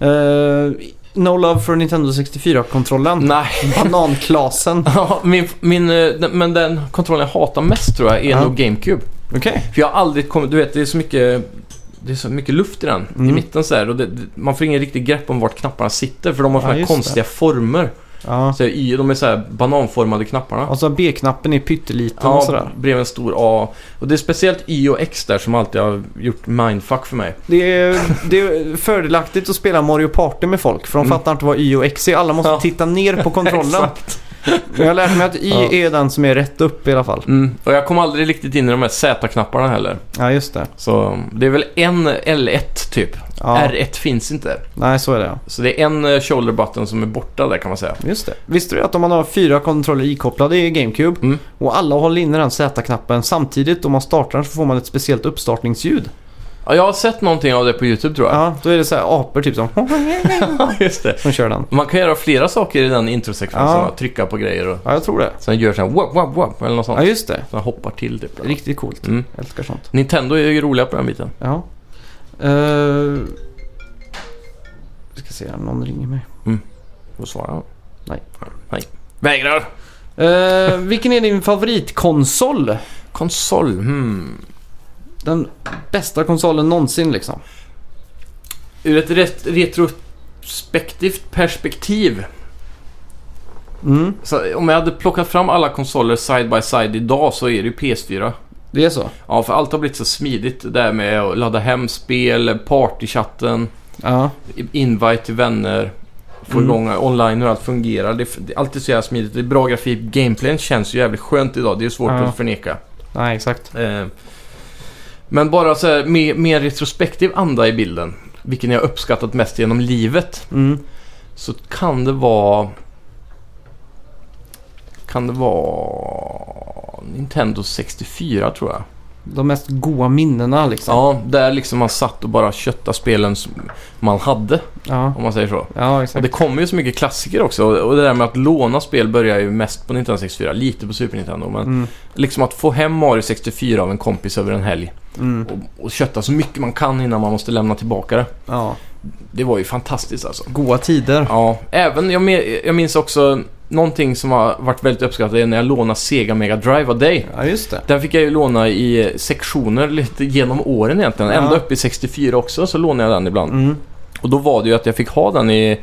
Speaker 2: Mm.
Speaker 3: Eh, no Love för Nintendo 64-kontrollen.
Speaker 2: Nej,
Speaker 3: Bananklasen.
Speaker 2: Ja, min, min, eh, den- men den kontrollen jag hatar mest tror jag är
Speaker 3: Ja.
Speaker 2: nog GameCube.
Speaker 3: Okej.
Speaker 2: För jag har aldrig kommit, du vet det är så mycket, det är så mycket luft i den i
Speaker 3: Mm.
Speaker 2: mitten så här, och det, det- Man får ingen riktig grepp om vart knapparna sitter för de har
Speaker 3: Ja,
Speaker 2: såna här
Speaker 3: just det.
Speaker 2: konstiga former.
Speaker 3: Ja.
Speaker 2: Så här, y, de är så här bananformade knapparna.
Speaker 3: Och så B-knappen är pytteliten och sådär.
Speaker 2: bredvid en stor A. Och det är speciellt Y och X där som alltid har gjort mindfuck för mig.
Speaker 3: Det är, det är fördelaktigt att spela Mario Party med folk för de
Speaker 2: Mm.
Speaker 3: fattar inte vad Y och X är. Alla måste
Speaker 2: Ja.
Speaker 3: titta ner på kontrollen.
Speaker 2: Exakt.
Speaker 3: Men jag har lärt mig att Y
Speaker 2: Ja.
Speaker 3: är den som är rätt upp i alla fall.
Speaker 2: Mm. Och jag kom aldrig riktigt in i de här Z-knapparna heller.
Speaker 3: Ja, just det.
Speaker 2: Så det är väl en L1 typ.
Speaker 3: Ja.
Speaker 2: R1 finns inte.
Speaker 3: Nej, så är det ja.
Speaker 2: Så det är en eh, shoulder button som är borta där kan man säga.
Speaker 3: Just det. Visste du att om man har fyra kontroller ikopplade i GameCube
Speaker 2: Mm.
Speaker 3: och alla håller inne den Z-knappen samtidigt om man startar den så får man ett speciellt uppstartningsljud.
Speaker 2: Ja, jag har sett någonting av det på YouTube tror jag.
Speaker 3: Ja, då är det så här apor typ som,
Speaker 2: Ja, just det.
Speaker 3: som kör den.
Speaker 2: Man kan göra flera saker i den introsekvensen.
Speaker 3: Ja.
Speaker 2: va? Trycka på grejer och
Speaker 3: Ja, jag tror det.
Speaker 2: sen gör sån här wop, wop, wop eller något sånt.
Speaker 3: Ja, just det.
Speaker 2: Så den hoppar till typ.
Speaker 3: Riktigt coolt.
Speaker 2: Mm.
Speaker 3: Jag älskar sånt.
Speaker 2: Nintendo är ju roliga på den biten.
Speaker 3: Ja. Uh, ska se, här, någon ringer mig.
Speaker 2: Då svarar han.
Speaker 3: Nej.
Speaker 2: Nej. Vägrar.
Speaker 3: Eh, vilken är din favoritkonsol?
Speaker 2: Konsol. Hmm.
Speaker 3: Den bästa konsolen någonsin liksom.
Speaker 2: Ur ett ret- retrospektivt perspektiv.
Speaker 3: Mm,
Speaker 2: Så om jag hade plockat fram alla konsoler side by side idag så är det ju PS4.
Speaker 3: det är så.
Speaker 2: Ja, för allt har blivit så smidigt. Det där med att ladda hem spel, partychatten,
Speaker 3: Ja,
Speaker 2: invite till vänner, få
Speaker 3: Mm.
Speaker 2: igång online hur allt fungerar. Det, det, allt är så jävla smidigt. Det är bra grafik. Gameplayen känns ju jävligt skönt idag. Det är svårt
Speaker 3: Ja.
Speaker 2: att förneka.
Speaker 3: nej exakt.
Speaker 2: Eh, men bara så här, med, med retrospektiv anda i bilden, vilken jag uppskattat mest genom livet,
Speaker 3: Mm.
Speaker 2: så kan det vara... Kan det vara... Nintendo 64 tror jag.
Speaker 3: De mest goa minnena liksom.
Speaker 2: Ja, där liksom man satt och bara kötta spelen som man hade,
Speaker 3: Ja,
Speaker 2: om man säger så.
Speaker 3: ja
Speaker 2: Och
Speaker 3: exakt.
Speaker 2: det kommer ju så mycket klassiker också och det där med att låna spel börjar ju mest på Nintendo 64, lite på Super Nintendo. Men
Speaker 3: Mm,
Speaker 2: liksom att få hem Mario 64 av en kompis över en helg
Speaker 3: mm.
Speaker 2: och, och kötta så mycket man kan innan man måste lämna tillbaka det.
Speaker 3: Ja,
Speaker 2: Det var ju fantastiskt alltså.
Speaker 3: goa tider.
Speaker 2: Ja, även, jag, me- jag minns också någonting som har varit väldigt uppskattat är när jag lånade Sega Mega Drive av dig.
Speaker 3: Ja, just det.
Speaker 2: Den fick jag ju låna i sektioner lite genom åren egentligen.
Speaker 3: Ja.
Speaker 2: Ända upp i 64 också så lånade jag den ibland.
Speaker 3: Mm.
Speaker 2: Och då var det ju att jag fick ha den i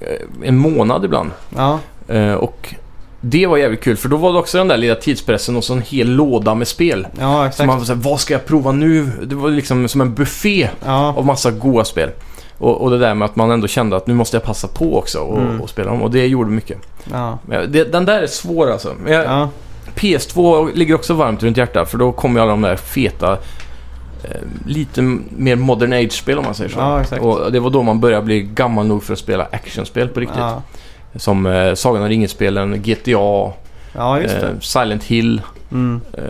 Speaker 2: eh, en månad ibland.
Speaker 3: Ja,
Speaker 2: Eh, Och det var jävligt kul för då var det också den där lilla tidspressen och så en hel låda med spel.
Speaker 3: ja
Speaker 2: Så
Speaker 3: exakt.
Speaker 2: man var såhär, vad ska jag prova nu? Det var liksom som en buffé
Speaker 3: Ja,
Speaker 2: av massa goa spel. Och, och det där med att man ändå kände att nu måste jag passa på också och,
Speaker 3: Mm.
Speaker 2: och spela dem. Och det gjorde mycket.
Speaker 3: ja,
Speaker 2: Men jag- det, den där är svår alltså. Men jag,
Speaker 3: ja.
Speaker 2: PS2 ligger också varmt runt hjärtat för då kommer ju alla de där feta, eh, lite m- mer modern age-spel om man säger så.
Speaker 3: Ja, exakt.
Speaker 2: och det var då man började bli gammal nog för att spela actionspel på riktigt.
Speaker 3: Ja,
Speaker 2: Som eh, Sagan om ringen-spelen, GTA,
Speaker 3: ja just det.
Speaker 2: eh, Silent Hill,
Speaker 3: Mm,
Speaker 2: eh,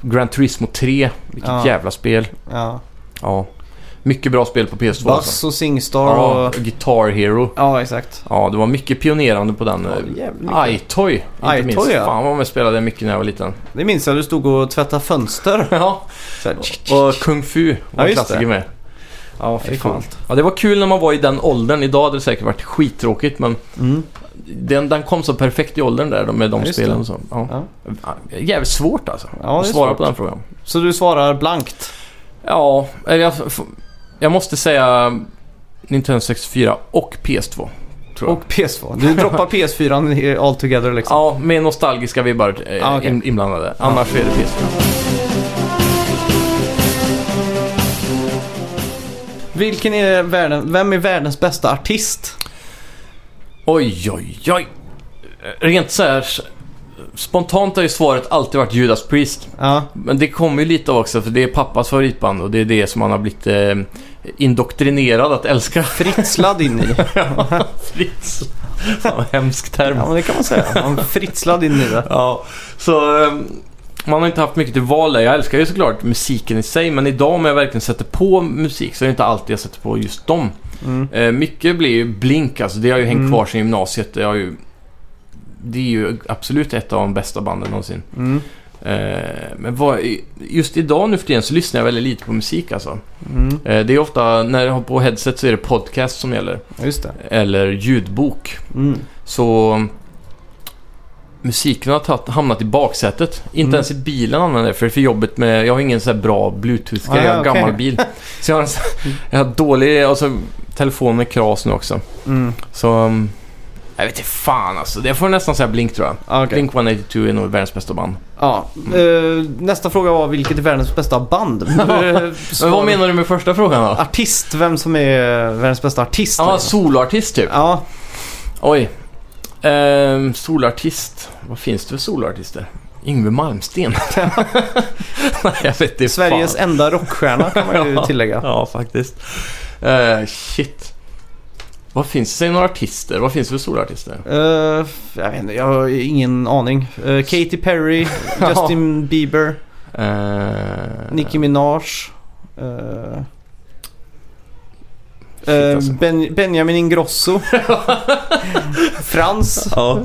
Speaker 2: Gran Turismo 3. Vilket
Speaker 3: Ja.
Speaker 2: jävla spel.
Speaker 3: ja.
Speaker 2: Ja. Mycket bra spel på PS2 alltså.
Speaker 3: Bass och Singstar
Speaker 2: Ja,
Speaker 3: och...
Speaker 2: Guitar Hero.
Speaker 3: Ja, exakt.
Speaker 2: Ja, det var mycket pionerande på den.
Speaker 3: Ja, jävligt mycket.
Speaker 2: Ja, iToy, inte
Speaker 3: iToy,
Speaker 2: minst.
Speaker 3: ja.
Speaker 2: Fan vad man spelade mycket när jag var liten.
Speaker 3: Det minns jag, du stod och tvättade fönster.
Speaker 2: ja,
Speaker 3: Så här,
Speaker 2: och Kung Fu var
Speaker 3: Ja,
Speaker 2: en
Speaker 3: just
Speaker 2: klassiker
Speaker 3: det.
Speaker 2: med.
Speaker 3: ja,
Speaker 2: Det är coolt. Ja, det var kul när man var i den åldern. Idag hade det säkert varit skittråkigt men
Speaker 3: Mm.
Speaker 2: den, den kom så perfekt i åldern där med de
Speaker 3: Ja, just
Speaker 2: spelen
Speaker 3: det.
Speaker 2: och så. Ja.
Speaker 3: Ja.
Speaker 2: Ja, Jävligt svårt alltså.
Speaker 3: Ja, det
Speaker 2: att
Speaker 3: är
Speaker 2: svara
Speaker 3: svårt.
Speaker 2: på den frågan.
Speaker 3: Så du svarar blankt?
Speaker 2: Ja, eller jag, f- jag måste säga Nintendo 64 och PS2. Tror jag.
Speaker 3: Och PS4. Du droppar PS4 i- all together liksom?
Speaker 2: Ja, med nostalgiska vibbar eh,
Speaker 3: Ja, okej.
Speaker 2: in- inblandade. Annars är det PS4.
Speaker 3: Vilken är världen, vem är världens bästa artist?
Speaker 2: Oj, oj, oj. Rent så här spontant har ju svaret alltid varit Judas Priest.
Speaker 3: Ja,
Speaker 2: Men det kommer ju lite av också, för det är pappas favoritband och det är det som han har blivit eh, indoktrinerad att älska.
Speaker 3: fritslad in i.
Speaker 2: Fritz. Fan, vad hemsk term.
Speaker 3: Ja, men det kan man säga. Man fritslad in i det.
Speaker 2: Ja, så eh, man har inte haft mycket till val där. Jag älskar ju såklart musiken i sig, men idag om jag verkligen sätter på musik så är det inte alltid jag sätter på just dem.
Speaker 3: Mm.
Speaker 2: Eh, mycket blir ju blink, alltså det har ju hängt
Speaker 3: Mm.
Speaker 2: kvar sedan gymnasiet. Det, har ju, det är ju absolut ett av de bästa banden någonsin.
Speaker 3: Mm.
Speaker 2: Eh, men vad, just idag nu för tiden så lyssnar jag väldigt lite på musik alltså.
Speaker 3: Mm.
Speaker 2: Eh, det är ofta, när jag har på headset så är det podcast som gäller.
Speaker 3: Just det.
Speaker 2: Eller ljudbok.
Speaker 3: Mm.
Speaker 2: Så musiken har tatt, hamnat i baksätet. Inte
Speaker 3: Mm.
Speaker 2: ens i bilen använder jag det, för, för jobbet med... Jag har ingen så här bra bluetooth-grej.
Speaker 3: Ah,
Speaker 2: jag har en
Speaker 3: okej.
Speaker 2: gammal bil. Så jag har, en, så- jag har dålig... Alltså, telefon med kras nu också.
Speaker 3: Mm.
Speaker 2: Så... um, Jag vet inte fan alltså. Det får nästan säga Blink tror jag.
Speaker 3: Ja, okej.
Speaker 2: Blink 182 är nog världens bästa band.
Speaker 3: Ja.
Speaker 2: Mm.
Speaker 3: eh, nästa fråga var vilket är världens bästa band? Eh,
Speaker 2: Men vad menar du med första frågan då?
Speaker 3: Artist, vem som är världens bästa artist?
Speaker 2: Ja, ah,
Speaker 3: liksom.
Speaker 2: soloartist typ.
Speaker 3: ja.
Speaker 2: Oj. Ehm, solartist. Vad finns det för solartister? Yngwie Malmsteen. Nej, jag vet inte.
Speaker 3: Sveriges
Speaker 2: fan.
Speaker 3: enda rockstjärna kan man ju
Speaker 2: Ja.
Speaker 3: tillägga.
Speaker 2: Ja, faktiskt. Eh, shit. Vad finns det? Säg några artister. Vad finns det för solartister?
Speaker 3: Eh, jag vet inte, jag har ingen aning. Eh, Katy Perry, Justin Bieber,
Speaker 2: Uh,
Speaker 3: Nicki Minaj. eh,
Speaker 2: Shit,
Speaker 3: eh,
Speaker 2: alltså.
Speaker 3: ben- Benjamin Ingrosso. Frans.
Speaker 2: Ja.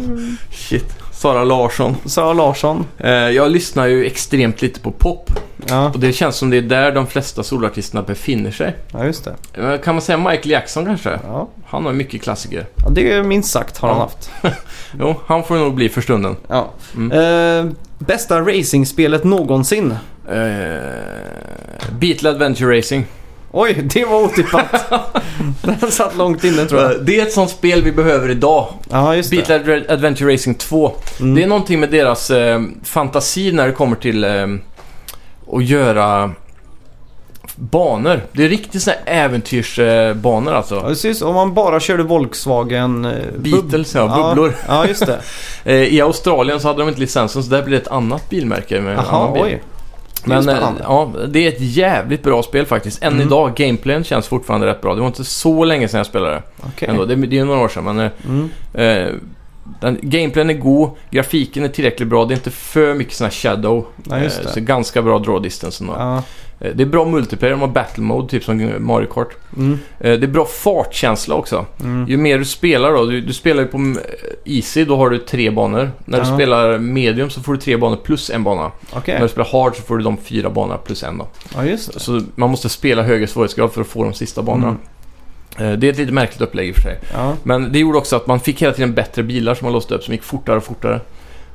Speaker 2: Shit. Sara Larsson.
Speaker 3: Sara Larsson.
Speaker 2: Eh, jag lyssnar ju extremt lite på pop.
Speaker 3: Ja,
Speaker 2: Och det känns som det är där de flesta solartisterna befinner sig.
Speaker 3: ja just det.
Speaker 2: Eh, Kan man säga Michael Jackson kanske?
Speaker 3: Ja.
Speaker 2: Han har ju mycket klassiker.
Speaker 3: ja, det är minst sagt har han
Speaker 2: Ja.
Speaker 3: haft.
Speaker 2: Jo, han får nog bli för stunden.
Speaker 3: Ja.
Speaker 2: Mm.
Speaker 3: Eh, bästa racingspelet någonsin.
Speaker 2: Uh, Beatle Adventure Racing.
Speaker 3: Oj, det var otippat. Den satt långt inne tror jag.
Speaker 2: Eh, Det är ett sånt spel vi behöver idag.
Speaker 3: Ja, just det.
Speaker 2: Beatle Adre- Adventure Racing 2.
Speaker 3: Mm.
Speaker 2: Det är någonting med deras eh, fantasi när det kommer till eh, att göra banor. Det är riktigt såna här äventyrsbanor
Speaker 3: Ja,
Speaker 2: alltså.
Speaker 3: precis. Om man bara körde Volkswagen... eh, bub-
Speaker 2: Beatles, ja. Bubblor.
Speaker 3: Ja, ja just det.
Speaker 2: Eh, I Australien så hade de inte licensen så där blir det ett annat bilmärke med en
Speaker 3: Jaha,
Speaker 2: annan bil.
Speaker 3: oj. Det är
Speaker 2: Men eh,
Speaker 3: spännande.
Speaker 2: ja, det är ett jävligt bra spel faktiskt. Än
Speaker 3: Mm.
Speaker 2: idag, gameplayen känns fortfarande rätt bra. Det var inte så länge sedan jag spelade det.
Speaker 3: Okej.
Speaker 2: Ändå. Det, det är ju några år sedan men... eh,
Speaker 3: Mm.
Speaker 2: Eh, den, gameplayen är god, grafiken är tillräckligt bra, det är inte för mycket sån här shadow.
Speaker 3: Ja, just
Speaker 2: Eh,
Speaker 3: det.
Speaker 2: så ganska bra draw distance ändå.
Speaker 3: Ja.
Speaker 2: Eh, det är bra multiplayer, de har battle mode, typ som Mario Kart.
Speaker 3: Mm.
Speaker 2: Eh, det är bra fartkänsla också.
Speaker 3: Mm.
Speaker 2: Ju mer du spelar då, du, du spelar ju på mm, easy, då har du tre banor. När du
Speaker 3: Ja.
Speaker 2: spelar medium så får du tre banor plus en bana.
Speaker 3: Okej.
Speaker 2: När du spelar hard så får du de fyra banorna plus en då.
Speaker 3: Ja, just det.
Speaker 2: Så man måste spela högre svårighetsgrad för att få de sista banorna.
Speaker 3: Mm.
Speaker 2: Eh, det är ett lite märkligt upplägg i och för sig.
Speaker 3: Ja.
Speaker 2: Men det gjorde också att man fick hela tiden bättre bilar som man låste upp som gick fortare och fortare.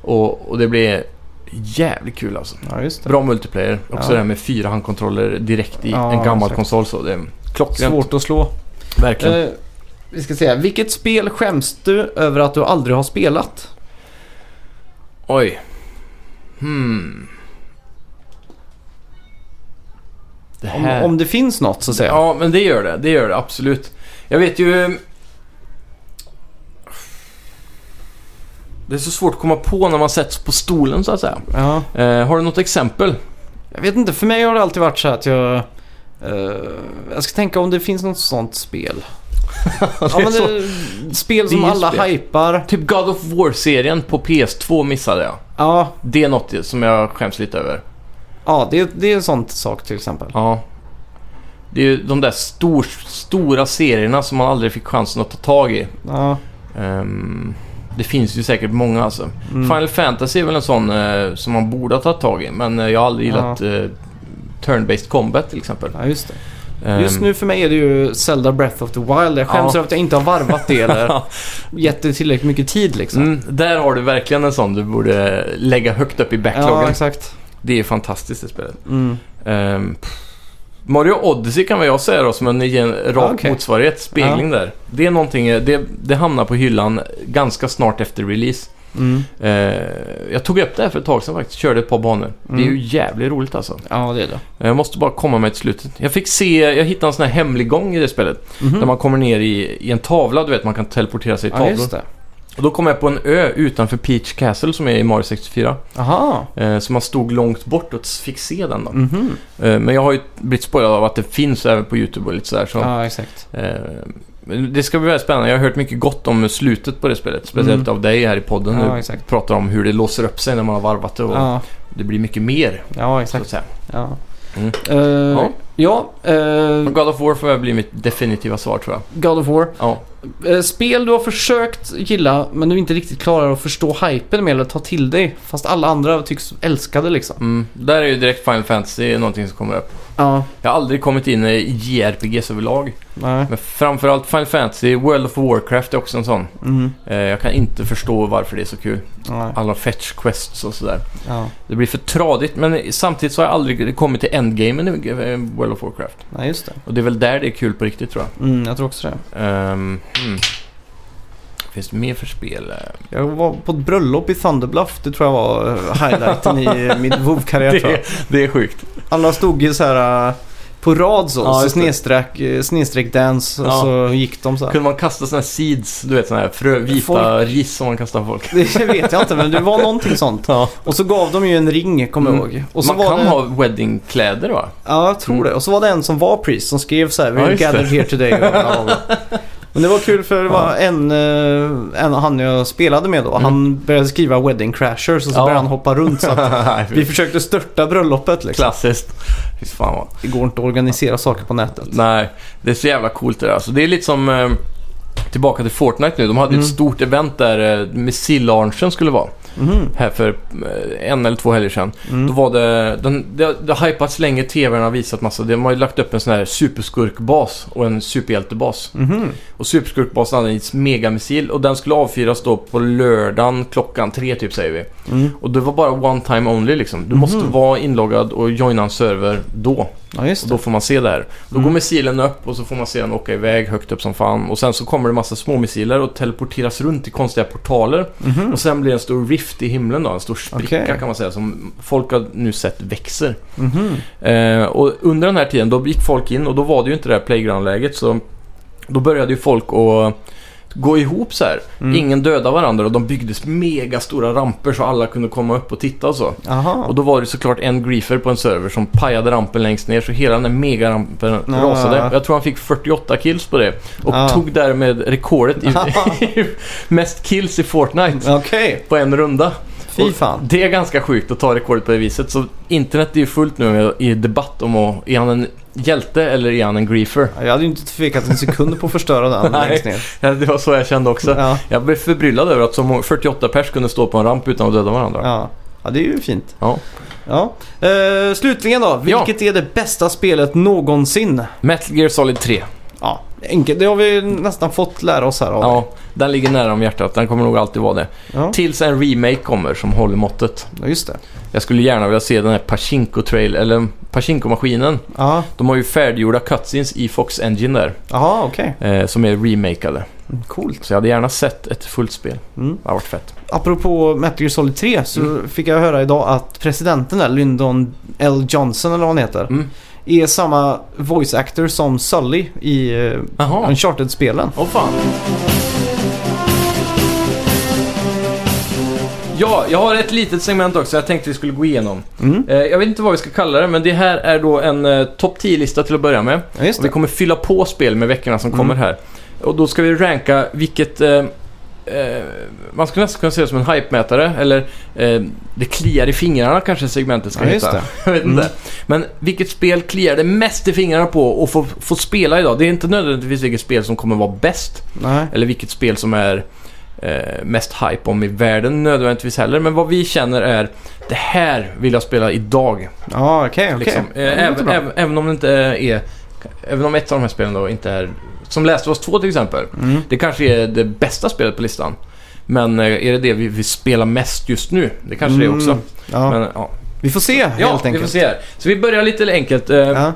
Speaker 2: Och, och det blev jävligt kul alltså.
Speaker 3: ja, just det.
Speaker 2: Bra multiplayer. Också
Speaker 3: Ja.
Speaker 2: det här med fyra handkontroller direkt i
Speaker 3: Ja,
Speaker 2: en gammal
Speaker 3: exakt.
Speaker 2: konsol. Så det är klockrent.
Speaker 3: Svårt att slå.
Speaker 2: Verkligen.
Speaker 3: Eh, vi ska se. Vilket spel skäms du över att du aldrig har spelat?
Speaker 2: Oj. Hmm. Det
Speaker 3: Om,
Speaker 2: här...
Speaker 3: om det finns något så att säga.
Speaker 2: Ja, men det gör det. Det gör det absolut. Jag vet ju... eh, Det är så svårt att komma på när man sätts på stolen så att säga.
Speaker 3: Ja.
Speaker 2: Eh, har du något exempel?
Speaker 3: Jag vet inte, för mig har det alltid varit så här att jag... eh, jag ska tänka om det finns något sånt spel. ja, men
Speaker 2: så-
Speaker 3: det, spel
Speaker 2: Det är
Speaker 3: som
Speaker 2: ju
Speaker 3: alla
Speaker 2: spel.
Speaker 3: hypar.
Speaker 2: Typ God of War-serien på PS2 missade jag.
Speaker 3: Ja,
Speaker 2: Det är något som jag skäms lite över.
Speaker 3: ja det, det är en sån sak till exempel.
Speaker 2: Ja. Det är ju de där stor, stora serierna som man aldrig fick chansen att ta tag i.
Speaker 3: Ja,
Speaker 2: Ehm, det finns ju säkert många alltså.
Speaker 3: mm.
Speaker 2: Final Fantasy är väl en sån eh, som man borde ha tagit tag i, men eh, jag har aldrig gillat eh, Turn-based combat till exempel.
Speaker 3: ja just det.
Speaker 2: Ehm,
Speaker 3: Just nu för mig är det ju Zelda Breath of the Wild. Jag skäms
Speaker 2: Ja.
Speaker 3: över att jag inte har varvat det eller gett det tillräckligt mycket tid liksom.
Speaker 2: mm, där har du verkligen en sån du borde lägga högt upp i
Speaker 3: ja,
Speaker 2: backloggen.
Speaker 3: exakt.
Speaker 2: det är fantastiskt det spelet.
Speaker 3: Mm.
Speaker 2: Ehm, pff. Mario Odyssey kan väl jag säga då som en gen- rak
Speaker 3: Ah, okej.
Speaker 2: motsvarighet, spegling där. Det är någonting, eh, det, det hamnar på hyllan ganska snart efter release.
Speaker 3: Mm.
Speaker 2: Eh, jag tog upp det här för ett tag sedan faktiskt, körde ett par banor. Det är ju jävligt roligt alltså.
Speaker 3: Ja, det är det.
Speaker 2: Jag måste bara komma med till slutet. Jag fick se, jag hittade en sån här
Speaker 3: Mm.
Speaker 2: hemlig gång i det spelet. Där man kommer ner i, i en tavla, du vet man kan teleportera sig i
Speaker 3: Mhm. Ja,
Speaker 2: tavlor.
Speaker 3: just det.
Speaker 2: Och då kom jag på en ö utanför Peach Castle som är i Mario 64.
Speaker 3: Aha.
Speaker 2: Eh, så man stod långt bort och fick se den då.
Speaker 3: Mhm.
Speaker 2: Eh, men jag har ju blivit spoilad av att det finns även på YouTube och lite sådär. Så,
Speaker 1: Ja, exakt.
Speaker 2: eh, men det ska bli väldigt spännande. Jag har hört mycket gott om slutet på det spelet. Speciellt
Speaker 3: Mm.
Speaker 2: av dig här i podden.
Speaker 1: Ja,
Speaker 2: du
Speaker 1: exakt.
Speaker 2: pratar om hur det låser upp sig när man har varvat det. Och
Speaker 1: Ja,
Speaker 2: Det blir mycket mer,
Speaker 1: ja
Speaker 2: så att
Speaker 1: exakt.
Speaker 2: säga.
Speaker 1: Ja.
Speaker 2: Mm.
Speaker 1: Eh, ja, eh,
Speaker 2: God of War får bli mitt definitiva svar tror jag.
Speaker 1: God of War.
Speaker 2: Ja.
Speaker 1: Eh, spel du har försökt gilla men du inte riktigt klarar att förstå hypen med eller ta till dig. Fast alla andra tycks älska det liksom.
Speaker 2: Mm. Där är ju direkt Final Fantasy någonting som kommer upp.
Speaker 1: Ja,
Speaker 2: Jag har aldrig kommit in i JRPGs överlag.
Speaker 1: nej.
Speaker 2: Men framförallt Final Fantasy, World of Warcraft är också en sån.
Speaker 3: Mm.
Speaker 2: Eh, jag kan inte förstå varför det är så kul.
Speaker 3: Nej.
Speaker 2: Alla fetch quests och sådär.
Speaker 3: Ja.
Speaker 2: Det blir för tradigt men samtidigt så har jag aldrig kommit till endgamen i eh, World of Warcraft.
Speaker 3: Nej, just det.
Speaker 2: Och det är väl där det är kul på riktigt tror jag.
Speaker 3: Mm, jag tror också det.
Speaker 2: Ehm, hmm. Finns det mer för spel? Eh,
Speaker 3: Jag var på ett bröllop i Thunderbluff. Det tror jag var eh, highlighten i eh, min WoW-karriär tror jag.
Speaker 2: Det, det är sjukt.
Speaker 3: Alla stod ju så här eh, på rad så.
Speaker 2: Ja,
Speaker 3: så
Speaker 2: just det.
Speaker 3: snedstreck, eh, snedstreck dance och
Speaker 2: Ja.
Speaker 3: så gick de så här.
Speaker 2: Kunde man kasta såna här seeds, du vet såna här frö, vita
Speaker 3: Folk-
Speaker 2: ris som man kastar på folk?
Speaker 3: Det vet jag inte men det var någonting sånt.
Speaker 2: Ja.
Speaker 3: Och så gav de ju en ring kommer jag
Speaker 2: Mm.
Speaker 3: ihåg. Och så
Speaker 2: man
Speaker 3: var
Speaker 2: kan
Speaker 3: det...
Speaker 2: ha weddingkläder va?
Speaker 3: Ja, jag tror
Speaker 2: Mm.
Speaker 3: det. Och så var det en som var priest som skrev så här
Speaker 2: Ja,
Speaker 3: We're
Speaker 2: just det.
Speaker 3: gathered here today. Och bla, bla, bla. Men det var kul för det var en, eh, en han jag spelade med då. Han började skriva Wedding Crashers och så
Speaker 2: Mm. Ja.
Speaker 3: började han hoppa runt så att vi försökte störta bröllopet liksom.
Speaker 2: Klassiskt. Fy fan vad.
Speaker 3: Det går inte att organisera saker på nätet.
Speaker 2: Nej, det är så jävla coolt det där. Alltså, det är lite som eh, tillbaka till Fortnite nu. De hade
Speaker 3: Mm.
Speaker 2: ett stort event där eh, missil-launchen skulle vara.
Speaker 3: Mhm.
Speaker 2: Här för eh, en eller två helger sedan.
Speaker 3: Mm.
Speaker 2: Då var det... Den, det, det har hypats länge. TVn har visat massa. De har ju lagt upp en sån här superskurkbas och en superhjältebas.
Speaker 3: Mhm.
Speaker 2: Och superskurkbasen hade en megamissil och den skulle avfyras då på lördagen klockan tre typ säger vi.
Speaker 3: Mm. Mhm.
Speaker 2: Och det var bara one time only liksom. Du måste vara inloggad och joina en server då.
Speaker 3: Ja, just
Speaker 2: Och
Speaker 3: det.
Speaker 2: då får man se det här. Då
Speaker 3: Mm.
Speaker 2: går missilen upp och så får man se den åka iväg högt upp som fan. Och sen så kommer det massa små missiler och teleporteras runt i konstiga portaler.
Speaker 3: Mhm.
Speaker 2: Och sen blir det en stor rift i himlen då. En stor spricka
Speaker 3: Okej.
Speaker 2: kan man säga som folk har nu sett växer.
Speaker 3: Mhm.
Speaker 2: Eh, och under den här tiden då gick folk in och då var det ju inte det här playground-läget så då började ju folk att gå ihop så här.
Speaker 3: Mm.
Speaker 2: Ingen döda varandra och de byggdes mega stora ramper så alla kunde komma upp och titta och så.
Speaker 3: Aha.
Speaker 2: Och då var det såklart en griefer på en server som pajade rampen längst ner så hela den där megarampen
Speaker 3: Ah.
Speaker 2: rasade. Jag tror han fick 48 kills på det och
Speaker 3: Ah.
Speaker 2: tog därmed rekordet i mest kills i Fortnite
Speaker 3: Okej,
Speaker 2: på en runda.
Speaker 3: fy
Speaker 2: Och
Speaker 3: fan.
Speaker 2: Det är ganska sjukt att ta rekordet på det viset. Så internet är ju fullt nu med, i debatt om att, är han en hjälte eller är han en griefer?
Speaker 3: Jag hade ju inte tvekat en sekund på att förstöra den
Speaker 2: Nej.
Speaker 3: längst ner.
Speaker 2: Ja, Det var så jag kände också.
Speaker 3: Ja.
Speaker 2: Jag blev förbryllad över att så många, 48 pers kunde stå på en ramp utan att döda varandra.
Speaker 3: Ja. ja, det är ju fint.
Speaker 2: Ja.
Speaker 3: Ja. Eh, slutligen då,
Speaker 2: Ja.
Speaker 3: vilket är det bästa spelet någonsin?
Speaker 2: Metal Gear Solid 3.
Speaker 3: Ja, enkelt. Det har vi nästan fått lära oss här av.
Speaker 2: Ja, den ligger nära om hjärtat. Den kommer nog alltid vara det.
Speaker 3: Ja.
Speaker 2: Tills en remake kommer som håller måttet.
Speaker 3: ja, just det.
Speaker 2: Jag skulle gärna vilja se den här pachinko trail eller Pachinko-maskinen.
Speaker 3: Ja,
Speaker 2: De har ju färdiggjorda cutscenes i Fox Engine där,
Speaker 3: Jaha, okej.
Speaker 2: eh, som är remakeade.
Speaker 3: Coolt.
Speaker 2: Så jag hade gärna sett ett fullt spel.
Speaker 3: Mm.
Speaker 2: Det har varit fett.
Speaker 3: Apropå Metal Gear Solid 3 så
Speaker 2: Mm.
Speaker 3: fick jag höra idag att presidenten där, Lyndon L. Johnson eller vad han heter,
Speaker 2: Mm.
Speaker 3: är samma voice actor som Sully i eh,
Speaker 2: Jaha.
Speaker 3: Uncharted-spelen.
Speaker 2: Åh fan. Ja, jag har ett litet segment också jag tänkte vi skulle gå igenom.
Speaker 3: Mm.
Speaker 2: Eh, jag vet inte vad vi ska kalla det, men det här är då en eh, topp 10-lista till att börja med.
Speaker 3: Ja, just
Speaker 2: Och vi
Speaker 3: det.
Speaker 2: kommer fylla på spel med veckorna som
Speaker 3: Mm.
Speaker 2: kommer här. Och då ska vi ranka vilket... Eh, eh, man skulle nästan kunna se det som en hype-mätare. Eller eh, det kliar i fingrarna kanske segmentet ska
Speaker 3: Ja, just
Speaker 2: heta.
Speaker 3: det.
Speaker 2: Jag vet
Speaker 3: Mm.
Speaker 2: inte. Men vilket spel kliar det mest i fingrarna på och få, få spela idag? Det är inte nödvändigtvis vilket spel som kommer vara bäst.
Speaker 3: Nej.
Speaker 2: Eller vilket spel som är eh, mest hype om i världen nödvändigtvis heller. Men vad vi känner är det här vill jag spela idag.
Speaker 3: Ja, okej, okej.
Speaker 2: Liksom.
Speaker 3: Ja, det
Speaker 2: Eh,
Speaker 3: låter
Speaker 2: även,
Speaker 3: bra.
Speaker 2: även, även om det inte är... Även om ett av de här spelen då inte är... Som Last of Us 2 till exempel.
Speaker 3: Mm.
Speaker 2: Det kanske är det bästa spelet på listan. Men eh, är det det vi vill spela mest just nu? Det kanske det är också.
Speaker 3: Mm, Ja.
Speaker 2: Men, ja,
Speaker 3: Vi får se helt
Speaker 2: ja
Speaker 3: enkelt.
Speaker 2: vi får se här. Så vi börjar lite enkelt. Eh,
Speaker 3: Ja. Mm.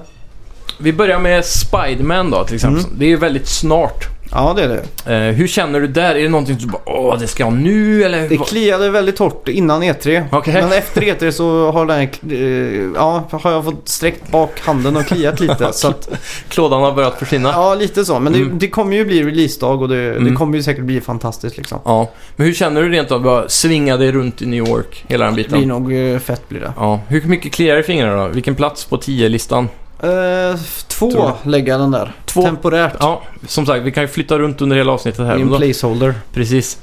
Speaker 2: Vi börjar med Spiderman då till exempel. Det är ju väldigt snart.
Speaker 3: Ja, det är det.
Speaker 2: Eh, hur känner du där? Är det någonting du bara åh, det ska jag nu eller?
Speaker 3: Det
Speaker 2: vad?"
Speaker 3: kliade väldigt hårt innan E3.
Speaker 2: Okej.
Speaker 3: Men efter E3 så har, den, här- eh, ja, har jag fått sträckt bak handen och kliat lite. så att,
Speaker 2: Klådan har börjat försvinna? Ja.
Speaker 3: ja, lite så. Men det,
Speaker 2: Mm.
Speaker 3: det kommer ju bli releasedag och det, det
Speaker 2: Mm.
Speaker 3: kommer ju säkert bli fantastiskt liksom.
Speaker 2: Men hur känner du rent av? Bara svinga dig runt i New York, hela den
Speaker 3: Det blir
Speaker 2: biten?
Speaker 3: nog eh, fett blir det.
Speaker 2: Ja. Hur mycket kliar i fingrarna då? Vilken plats på 10-listan?
Speaker 3: Eh, två
Speaker 2: Tror
Speaker 3: lägga den där.
Speaker 2: Två.
Speaker 3: Temporärt.
Speaker 2: Ja, som sagt, vi kan ju flytta runt under hela avsnittet
Speaker 3: Det
Speaker 2: här.
Speaker 3: är
Speaker 2: men
Speaker 3: en
Speaker 2: då-
Speaker 3: placeholder.
Speaker 2: Precis.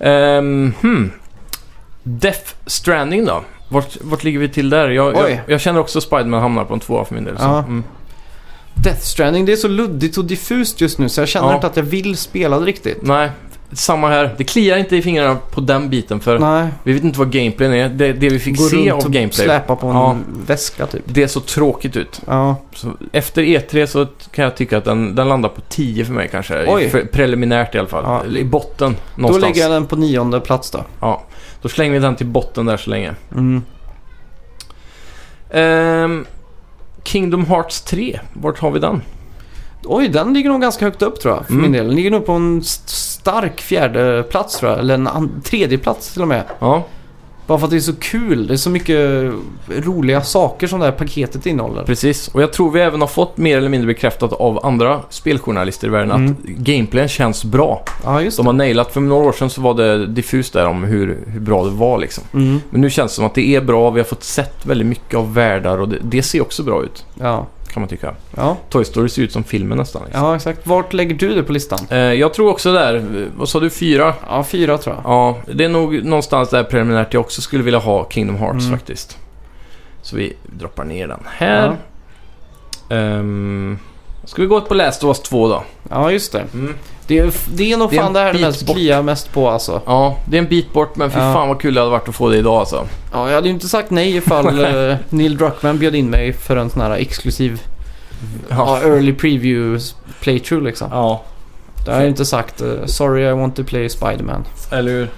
Speaker 2: Ehm, hmm. Death Stranding då? Vart, vart ligger vi till där? Jag, jag,
Speaker 3: Oj.
Speaker 2: jag känner också Spiderman hamnar på en tvåa för min del. Så.
Speaker 3: Ja.
Speaker 2: Mm.
Speaker 3: Death Stranding, det är så luddigt och diffust just nu så jag känner
Speaker 2: Ja.
Speaker 3: inte att jag vill spela det riktigt.
Speaker 2: Nej, samma här. Det kliar inte i fingrarna på den biten för
Speaker 3: Nej.
Speaker 2: vi vet inte vad gameplayen är. Det, det vi fick
Speaker 3: Gå
Speaker 2: se
Speaker 3: runt
Speaker 2: av
Speaker 3: och
Speaker 2: gameplay,
Speaker 3: släpa på en
Speaker 2: Ja.
Speaker 3: väska typ.
Speaker 2: det är så tråkigt ut.
Speaker 3: Ja.
Speaker 2: Så efter E3 så kan jag tycka att den, den landar på 10 för mig kanske.
Speaker 3: Oj.
Speaker 2: I- För, preliminärt i alla fall.
Speaker 3: Ja.
Speaker 2: Eller I botten
Speaker 3: Då
Speaker 2: någonstans.
Speaker 3: lägger jag den på nionde plats då.
Speaker 2: Ja. Då slänger vi den till botten där så länge.
Speaker 3: Mm.
Speaker 2: Ehm, Kingdom Hearts 3, vart har vi den?
Speaker 3: Oj, den ligger nog ganska högt upp tror jag för
Speaker 2: Mm.
Speaker 3: min del. Den ligger nog på en st- stark fjärde plats tror jag. Eller en an- tredje plats till och med.
Speaker 2: Ja,
Speaker 3: Bara för att det är så kul. Det är så mycket roliga saker som det här paketet innehåller.
Speaker 2: precis. Och jag tror vi även har fått mer eller mindre bekräftat av andra speljournalister i världen
Speaker 3: Mm.
Speaker 2: att gameplayen känns bra.
Speaker 3: Ja, just
Speaker 2: De
Speaker 3: det.
Speaker 2: har nailat, för några år sedan så var det diffust där om hur, hur bra det var liksom.
Speaker 3: Mm.
Speaker 2: Men nu känns det som att det är bra, vi har fått sett väldigt mycket av världar och det, det ser också bra ut.
Speaker 3: Ja.
Speaker 2: Kan man tycka.
Speaker 3: Ja.
Speaker 2: Toy Story ser ut som filmen nästan. Liksom.
Speaker 3: ja, exakt. Vart lägger du det på listan?
Speaker 2: Eh, jag tror också där, eh, vad sa du, fyra?
Speaker 3: Ja, fyra tror jag.
Speaker 2: Ja, det är nog någonstans där preliminärt jag också skulle vilja ha Kingdom Hearts
Speaker 3: Mm.
Speaker 2: faktiskt. Så vi droppar ner den här. Ehm, ska vi gå på Last of Us 2 då?
Speaker 3: Ja, just det.
Speaker 2: Mm.
Speaker 3: Det är, det är nog
Speaker 2: Det är
Speaker 3: fan
Speaker 2: en
Speaker 3: det här det
Speaker 2: bit
Speaker 3: mest
Speaker 2: bort.
Speaker 3: kliar mest på alltså.
Speaker 2: Ja, det är en bit bort men fy
Speaker 3: Ja.
Speaker 2: fan vad kul det hade varit att få det idag alltså.
Speaker 3: Ja, jag hade ju inte sagt nej ifall eh, Neil Druckmann bjöd in mig för en sån här exklusiv ja. early preview playthrough liksom.
Speaker 2: ja.
Speaker 3: Då hade jag inte sagt eh, “Sorry, I want to play Spiderman”.
Speaker 2: eller hur?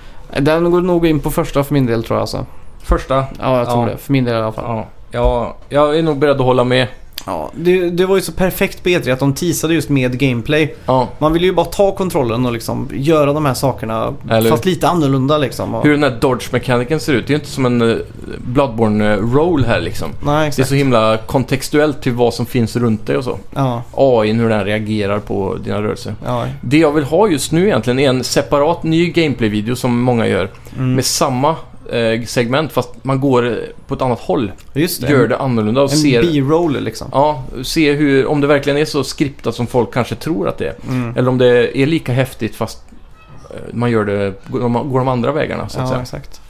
Speaker 3: Den går nog in på första för min del tror jag alltså.
Speaker 2: Första.
Speaker 3: Ja, jag tror
Speaker 2: Ja.
Speaker 3: det. För min del i alla fall.
Speaker 2: Ja. ja, jag är nog beredd att hålla med.
Speaker 3: Ja, det, det var ju så perfekt på E3 att de teasade just med gameplay.
Speaker 2: Ja.
Speaker 3: Man ville ju bara ta kontrollen och liksom göra de här sakerna
Speaker 2: Eller-
Speaker 3: fast lite annorlunda liksom. Och,
Speaker 2: Hur den här Dodge-mekaniken ser ut, det är ju inte som en eh, Bloodborne-roll här liksom.
Speaker 3: Nej,
Speaker 2: Det är
Speaker 3: exakt.
Speaker 2: så himla kontextuellt till vad som finns runt dig och så.
Speaker 3: Ja,
Speaker 2: AI, hur den reagerar på dina rörelser.
Speaker 3: ja.
Speaker 2: Det jag vill ha just nu egentligen är en separat ny gameplay-video som många gör.
Speaker 3: Mm.
Speaker 2: Med samma eh, segment fast man går eh, på ett annat håll.
Speaker 3: Just det.
Speaker 2: Gör det annorlunda och
Speaker 3: en
Speaker 2: ser...
Speaker 3: B-roll liksom.
Speaker 2: Ja, se hur, om det verkligen är så skriptat som folk kanske tror att det är.
Speaker 3: Mm.
Speaker 2: Eller om det är lika häftigt fast eh, man gör det, går de, går de andra vägarna så att
Speaker 3: Ja,
Speaker 2: säga.
Speaker 3: exakt.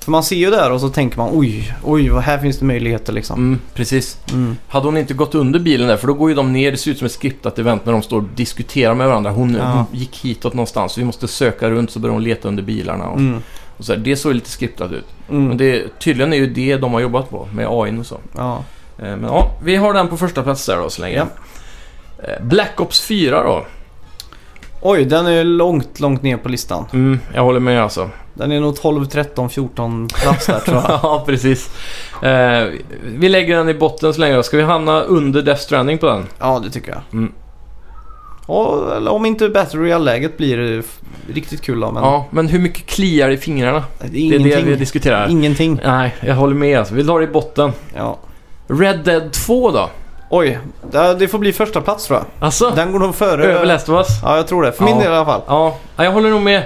Speaker 3: För man ser ju där och så tänker man oj, oj, vad här finns det möjligheter liksom.
Speaker 2: Mm, precis.
Speaker 3: Mm.
Speaker 2: Hade hon inte gått under bilen där, för då går ju de ner, det ser ut som ett skriptat event när de står och diskuterar med varandra. Hon,
Speaker 3: Ja.
Speaker 2: hon gick hitåt någonstans, vi måste söka runt, så börjar hon leta under bilarna. Och,
Speaker 3: Mm.
Speaker 2: och så här, det såg lite skriptat ut. Men
Speaker 3: Mm.
Speaker 2: det, tydligen är ju det de har jobbat på, med AI och så. Eh,
Speaker 3: Ja.
Speaker 2: Men ja, vi har den på första plats där då så länge.
Speaker 3: Ja.
Speaker 2: Eh, Black Ops 4 då.
Speaker 3: Oj, den är långt, långt ner på listan.
Speaker 2: Mm, jag håller med alltså.
Speaker 3: Den är nog 12, 13, 14 plats där tror jag.
Speaker 2: ja, precis. Eh, vi lägger den i botten så länge då. Ska vi hamna under Death Stranding på den?
Speaker 3: Ja, det tycker jag.
Speaker 2: Mm.
Speaker 3: Ja, eller om inte Battle Royale-läget blir eh, riktigt kul då, men
Speaker 2: Ja, men hur mycket kliar i fingrarna?
Speaker 3: det är
Speaker 2: Det är det vi
Speaker 3: ingenting.
Speaker 2: diskuterar.
Speaker 3: ingenting.
Speaker 2: Nej, jag håller med. Alltså. Vi tar det i botten.
Speaker 3: Ja.
Speaker 2: Red Dead 2 då?
Speaker 3: Oj, det det får bli första plats tror jag.
Speaker 2: Alltså,
Speaker 3: Den går nog före...
Speaker 2: över Last of Us?
Speaker 3: Ja, jag tror det. För min
Speaker 2: Ja.
Speaker 3: del i alla fall.
Speaker 2: Ja, jag håller nog med.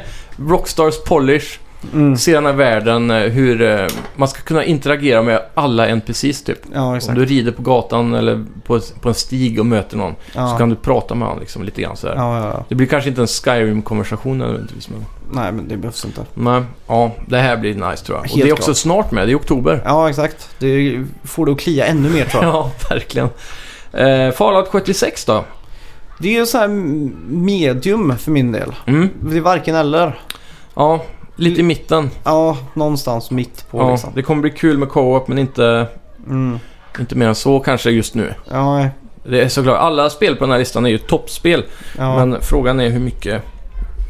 Speaker 2: Rockstars polish,
Speaker 3: Mm.
Speaker 2: se den här världen, eh, hur eh, man ska kunna interagera med alla NPCs typ.
Speaker 3: Ja,
Speaker 2: Om
Speaker 3: exakt.
Speaker 2: du rider på gatan eller på, på en stig och möter någon
Speaker 3: Ja.
Speaker 2: så kan du prata med honom liksom, lite grann sådär.
Speaker 3: Ja, ja, ja.
Speaker 2: Det blir kanske inte en Skyrim-konversation nödvändigtvis men...
Speaker 3: Nej, men det behövs inte.
Speaker 2: Nej, ja, det här blir nice tror jag.
Speaker 3: Helt
Speaker 2: och det är också
Speaker 3: klart.
Speaker 2: snart med, det är i oktober.
Speaker 3: Ja, exakt. Det får det att klia ännu mer tror jag.
Speaker 2: Ja, verkligen. Eh, Fallout 76 då?
Speaker 3: Det är ju så här medium för min del.
Speaker 2: Mm.
Speaker 3: Det är varken eller.
Speaker 2: Ja, lite i mitten.
Speaker 3: Ja, någonstans mitt på
Speaker 2: Ja,
Speaker 3: liksom.
Speaker 2: Det kommer bli kul med co-op men inte,
Speaker 3: Mm.
Speaker 2: inte mer än så kanske just nu.
Speaker 3: Ja,
Speaker 2: Det är såklart, alla spel på den här listan är ju toppspel.
Speaker 3: ja,
Speaker 2: Men frågan är hur mycket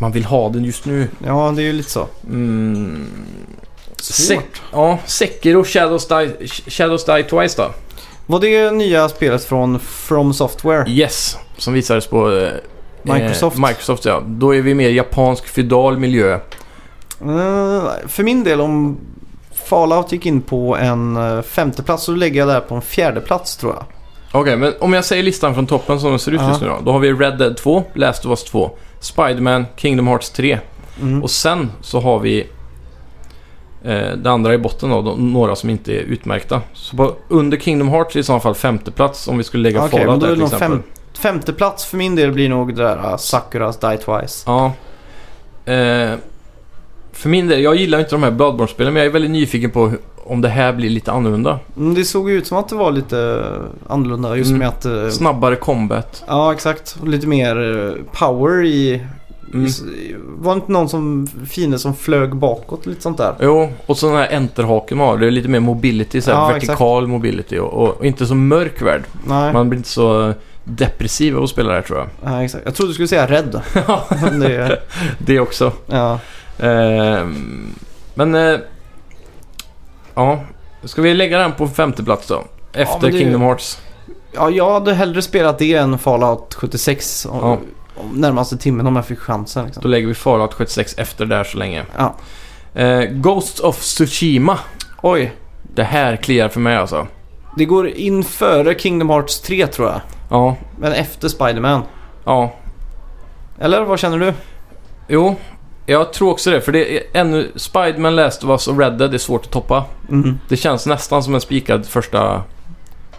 Speaker 2: man vill ha den just nu.
Speaker 3: ja, det är ju lite så.
Speaker 2: Mm. Sek- ja, Sekiro Shadows Die, Shadows Die Twice då.
Speaker 3: Var det nya spelet från From Software?
Speaker 2: Yes, som visades på eh,
Speaker 3: Microsoft.
Speaker 2: Eh, Microsoft ja. Då är vi mer japansk feudal miljö.
Speaker 3: Eh, för min del om Fallout gick in på en eh, femteplats så lägger jag det här på en fjärdeplats tror jag.
Speaker 2: Okej, men om jag säger listan från toppen som den ser ut
Speaker 3: Ja.
Speaker 2: just nu då. Då har vi Red Dead 2, Last of Us 2, Spiderman, Kingdom Hearts 3.
Speaker 3: Mm.
Speaker 2: Och sen så har vi eh, det andra i botten då, de, några som inte är utmärkta. Så på, under Kingdom Hearts är i så fall femte plats om vi skulle lägga
Speaker 3: Okej, men
Speaker 2: Fallout
Speaker 3: då
Speaker 2: där
Speaker 3: är
Speaker 2: till
Speaker 3: det nog
Speaker 2: exempel.
Speaker 3: fem, femte plats för min del blir nog det där eh, Sakuras Die Twice.
Speaker 2: Ja. Eh, för min del, jag gillar ju inte de här Bloodborne-spelen men jag är väldigt nyfiken på hur- om det här blir lite annorlunda.
Speaker 3: Mm, det såg ju ut som att det var lite eh, annorlunda just
Speaker 2: Mm.
Speaker 3: med att... eh,
Speaker 2: Snabbare combat.
Speaker 3: Ja, exakt. Och Lite mer eh, power i...
Speaker 2: Mm.
Speaker 3: i s- i- Var det inte någon som, fine som flög bakåt lite sånt där?
Speaker 2: Jo, och så den här enterhaken man har. Det är lite mer mobility, så här,
Speaker 3: Ja,
Speaker 2: vertikal mobility och, och, och inte så mörk värld.
Speaker 3: Nej,
Speaker 2: Man blir inte så depressiv av att spela där tror jag.
Speaker 3: ja, exakt. Jag trodde du skulle säga rädd. Men det,
Speaker 2: Det också.
Speaker 3: ja.
Speaker 2: Ehm, men... Eh, ja. Ska vi lägga den på femte plats då? Efter
Speaker 3: men det-
Speaker 2: Kingdom Hearts.
Speaker 3: ja, jag hade hellre spelat det än Fallout 76 om,
Speaker 2: Ja.
Speaker 3: om närmaste timmen om jag fick chansen.
Speaker 2: Då
Speaker 3: Liksom.
Speaker 2: lägger vi Fallout 76 efter där så länge.
Speaker 3: Ja.
Speaker 2: Eh, Ghosts of Tsushima.
Speaker 3: Oj,
Speaker 2: Det här kliar för mig alltså.
Speaker 3: det går in före Kingdom Hearts 3 tror jag.
Speaker 2: Ja.
Speaker 3: Men efter Spider-Man.
Speaker 2: Ja.
Speaker 3: Eller vad känner du?
Speaker 2: Jo. Jag tror också det, för det är ännu... Spiderman, Last of Us och Red Dead är svårt att toppa.
Speaker 3: Mm.
Speaker 2: Det känns nästan som en spikad första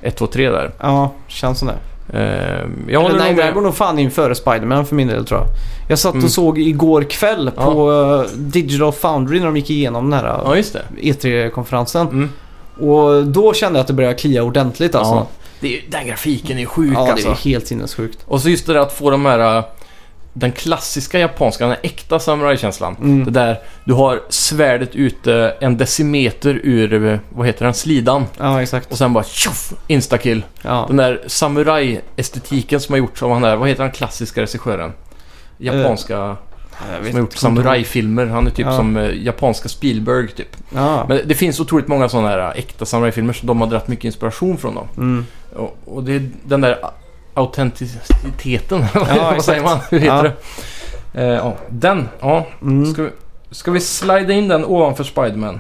Speaker 2: 1, 2, 3 där.
Speaker 3: Ja, känns som det.
Speaker 2: Ehm, jag
Speaker 3: Eller
Speaker 2: håller
Speaker 3: nej,
Speaker 2: nog
Speaker 3: det här
Speaker 2: med.
Speaker 3: går nog fan in före Spider-Man för min del tror jag. Jag satt och
Speaker 2: Mm.
Speaker 3: såg igår kväll
Speaker 2: Ja.
Speaker 3: på eh, Digital Foundry när de gick igenom den här
Speaker 2: Ja, just det.
Speaker 3: E3-konferensen.
Speaker 2: Mm.
Speaker 3: Och då kände jag att det började klia ordentligt alltså.
Speaker 2: Ja. Det är, ju- den grafiken är sjuk
Speaker 3: Ja, det
Speaker 2: alltså.
Speaker 3: är helt sinnessjukt.
Speaker 2: Och så just det där att få de här... äh, Den klassiska japanska, den här äkta samurajkänslan.
Speaker 3: Mm.
Speaker 2: Det där, du har svärdet ute en decimeter ur, eh, vad heter den, slidan.
Speaker 3: Ja, exakt.
Speaker 2: Och sen bara tjoff, instakill.
Speaker 3: Ja.
Speaker 2: Den där samurajestetiken som har gjorts av han där, vad heter den klassiska regissören? Japanska,
Speaker 3: Eh,
Speaker 2: som har gjort samurajfilmer. Han är typ
Speaker 3: Ja.
Speaker 2: som eh, japanska Spielberg typ.
Speaker 3: Ja.
Speaker 2: Men det finns otroligt många sådana här äh, äkta samurajfilmer så de har dragit mycket inspiration från dem.
Speaker 3: Mm.
Speaker 2: Och, och det är den där a- autenticiteten, vad
Speaker 3: exakt.
Speaker 2: säger man? Hur heter
Speaker 3: Ja.
Speaker 2: det? Eh, ja, den, ja.
Speaker 3: Mm.
Speaker 2: Ska vi, ska vi slida in den ovanför Spiderman?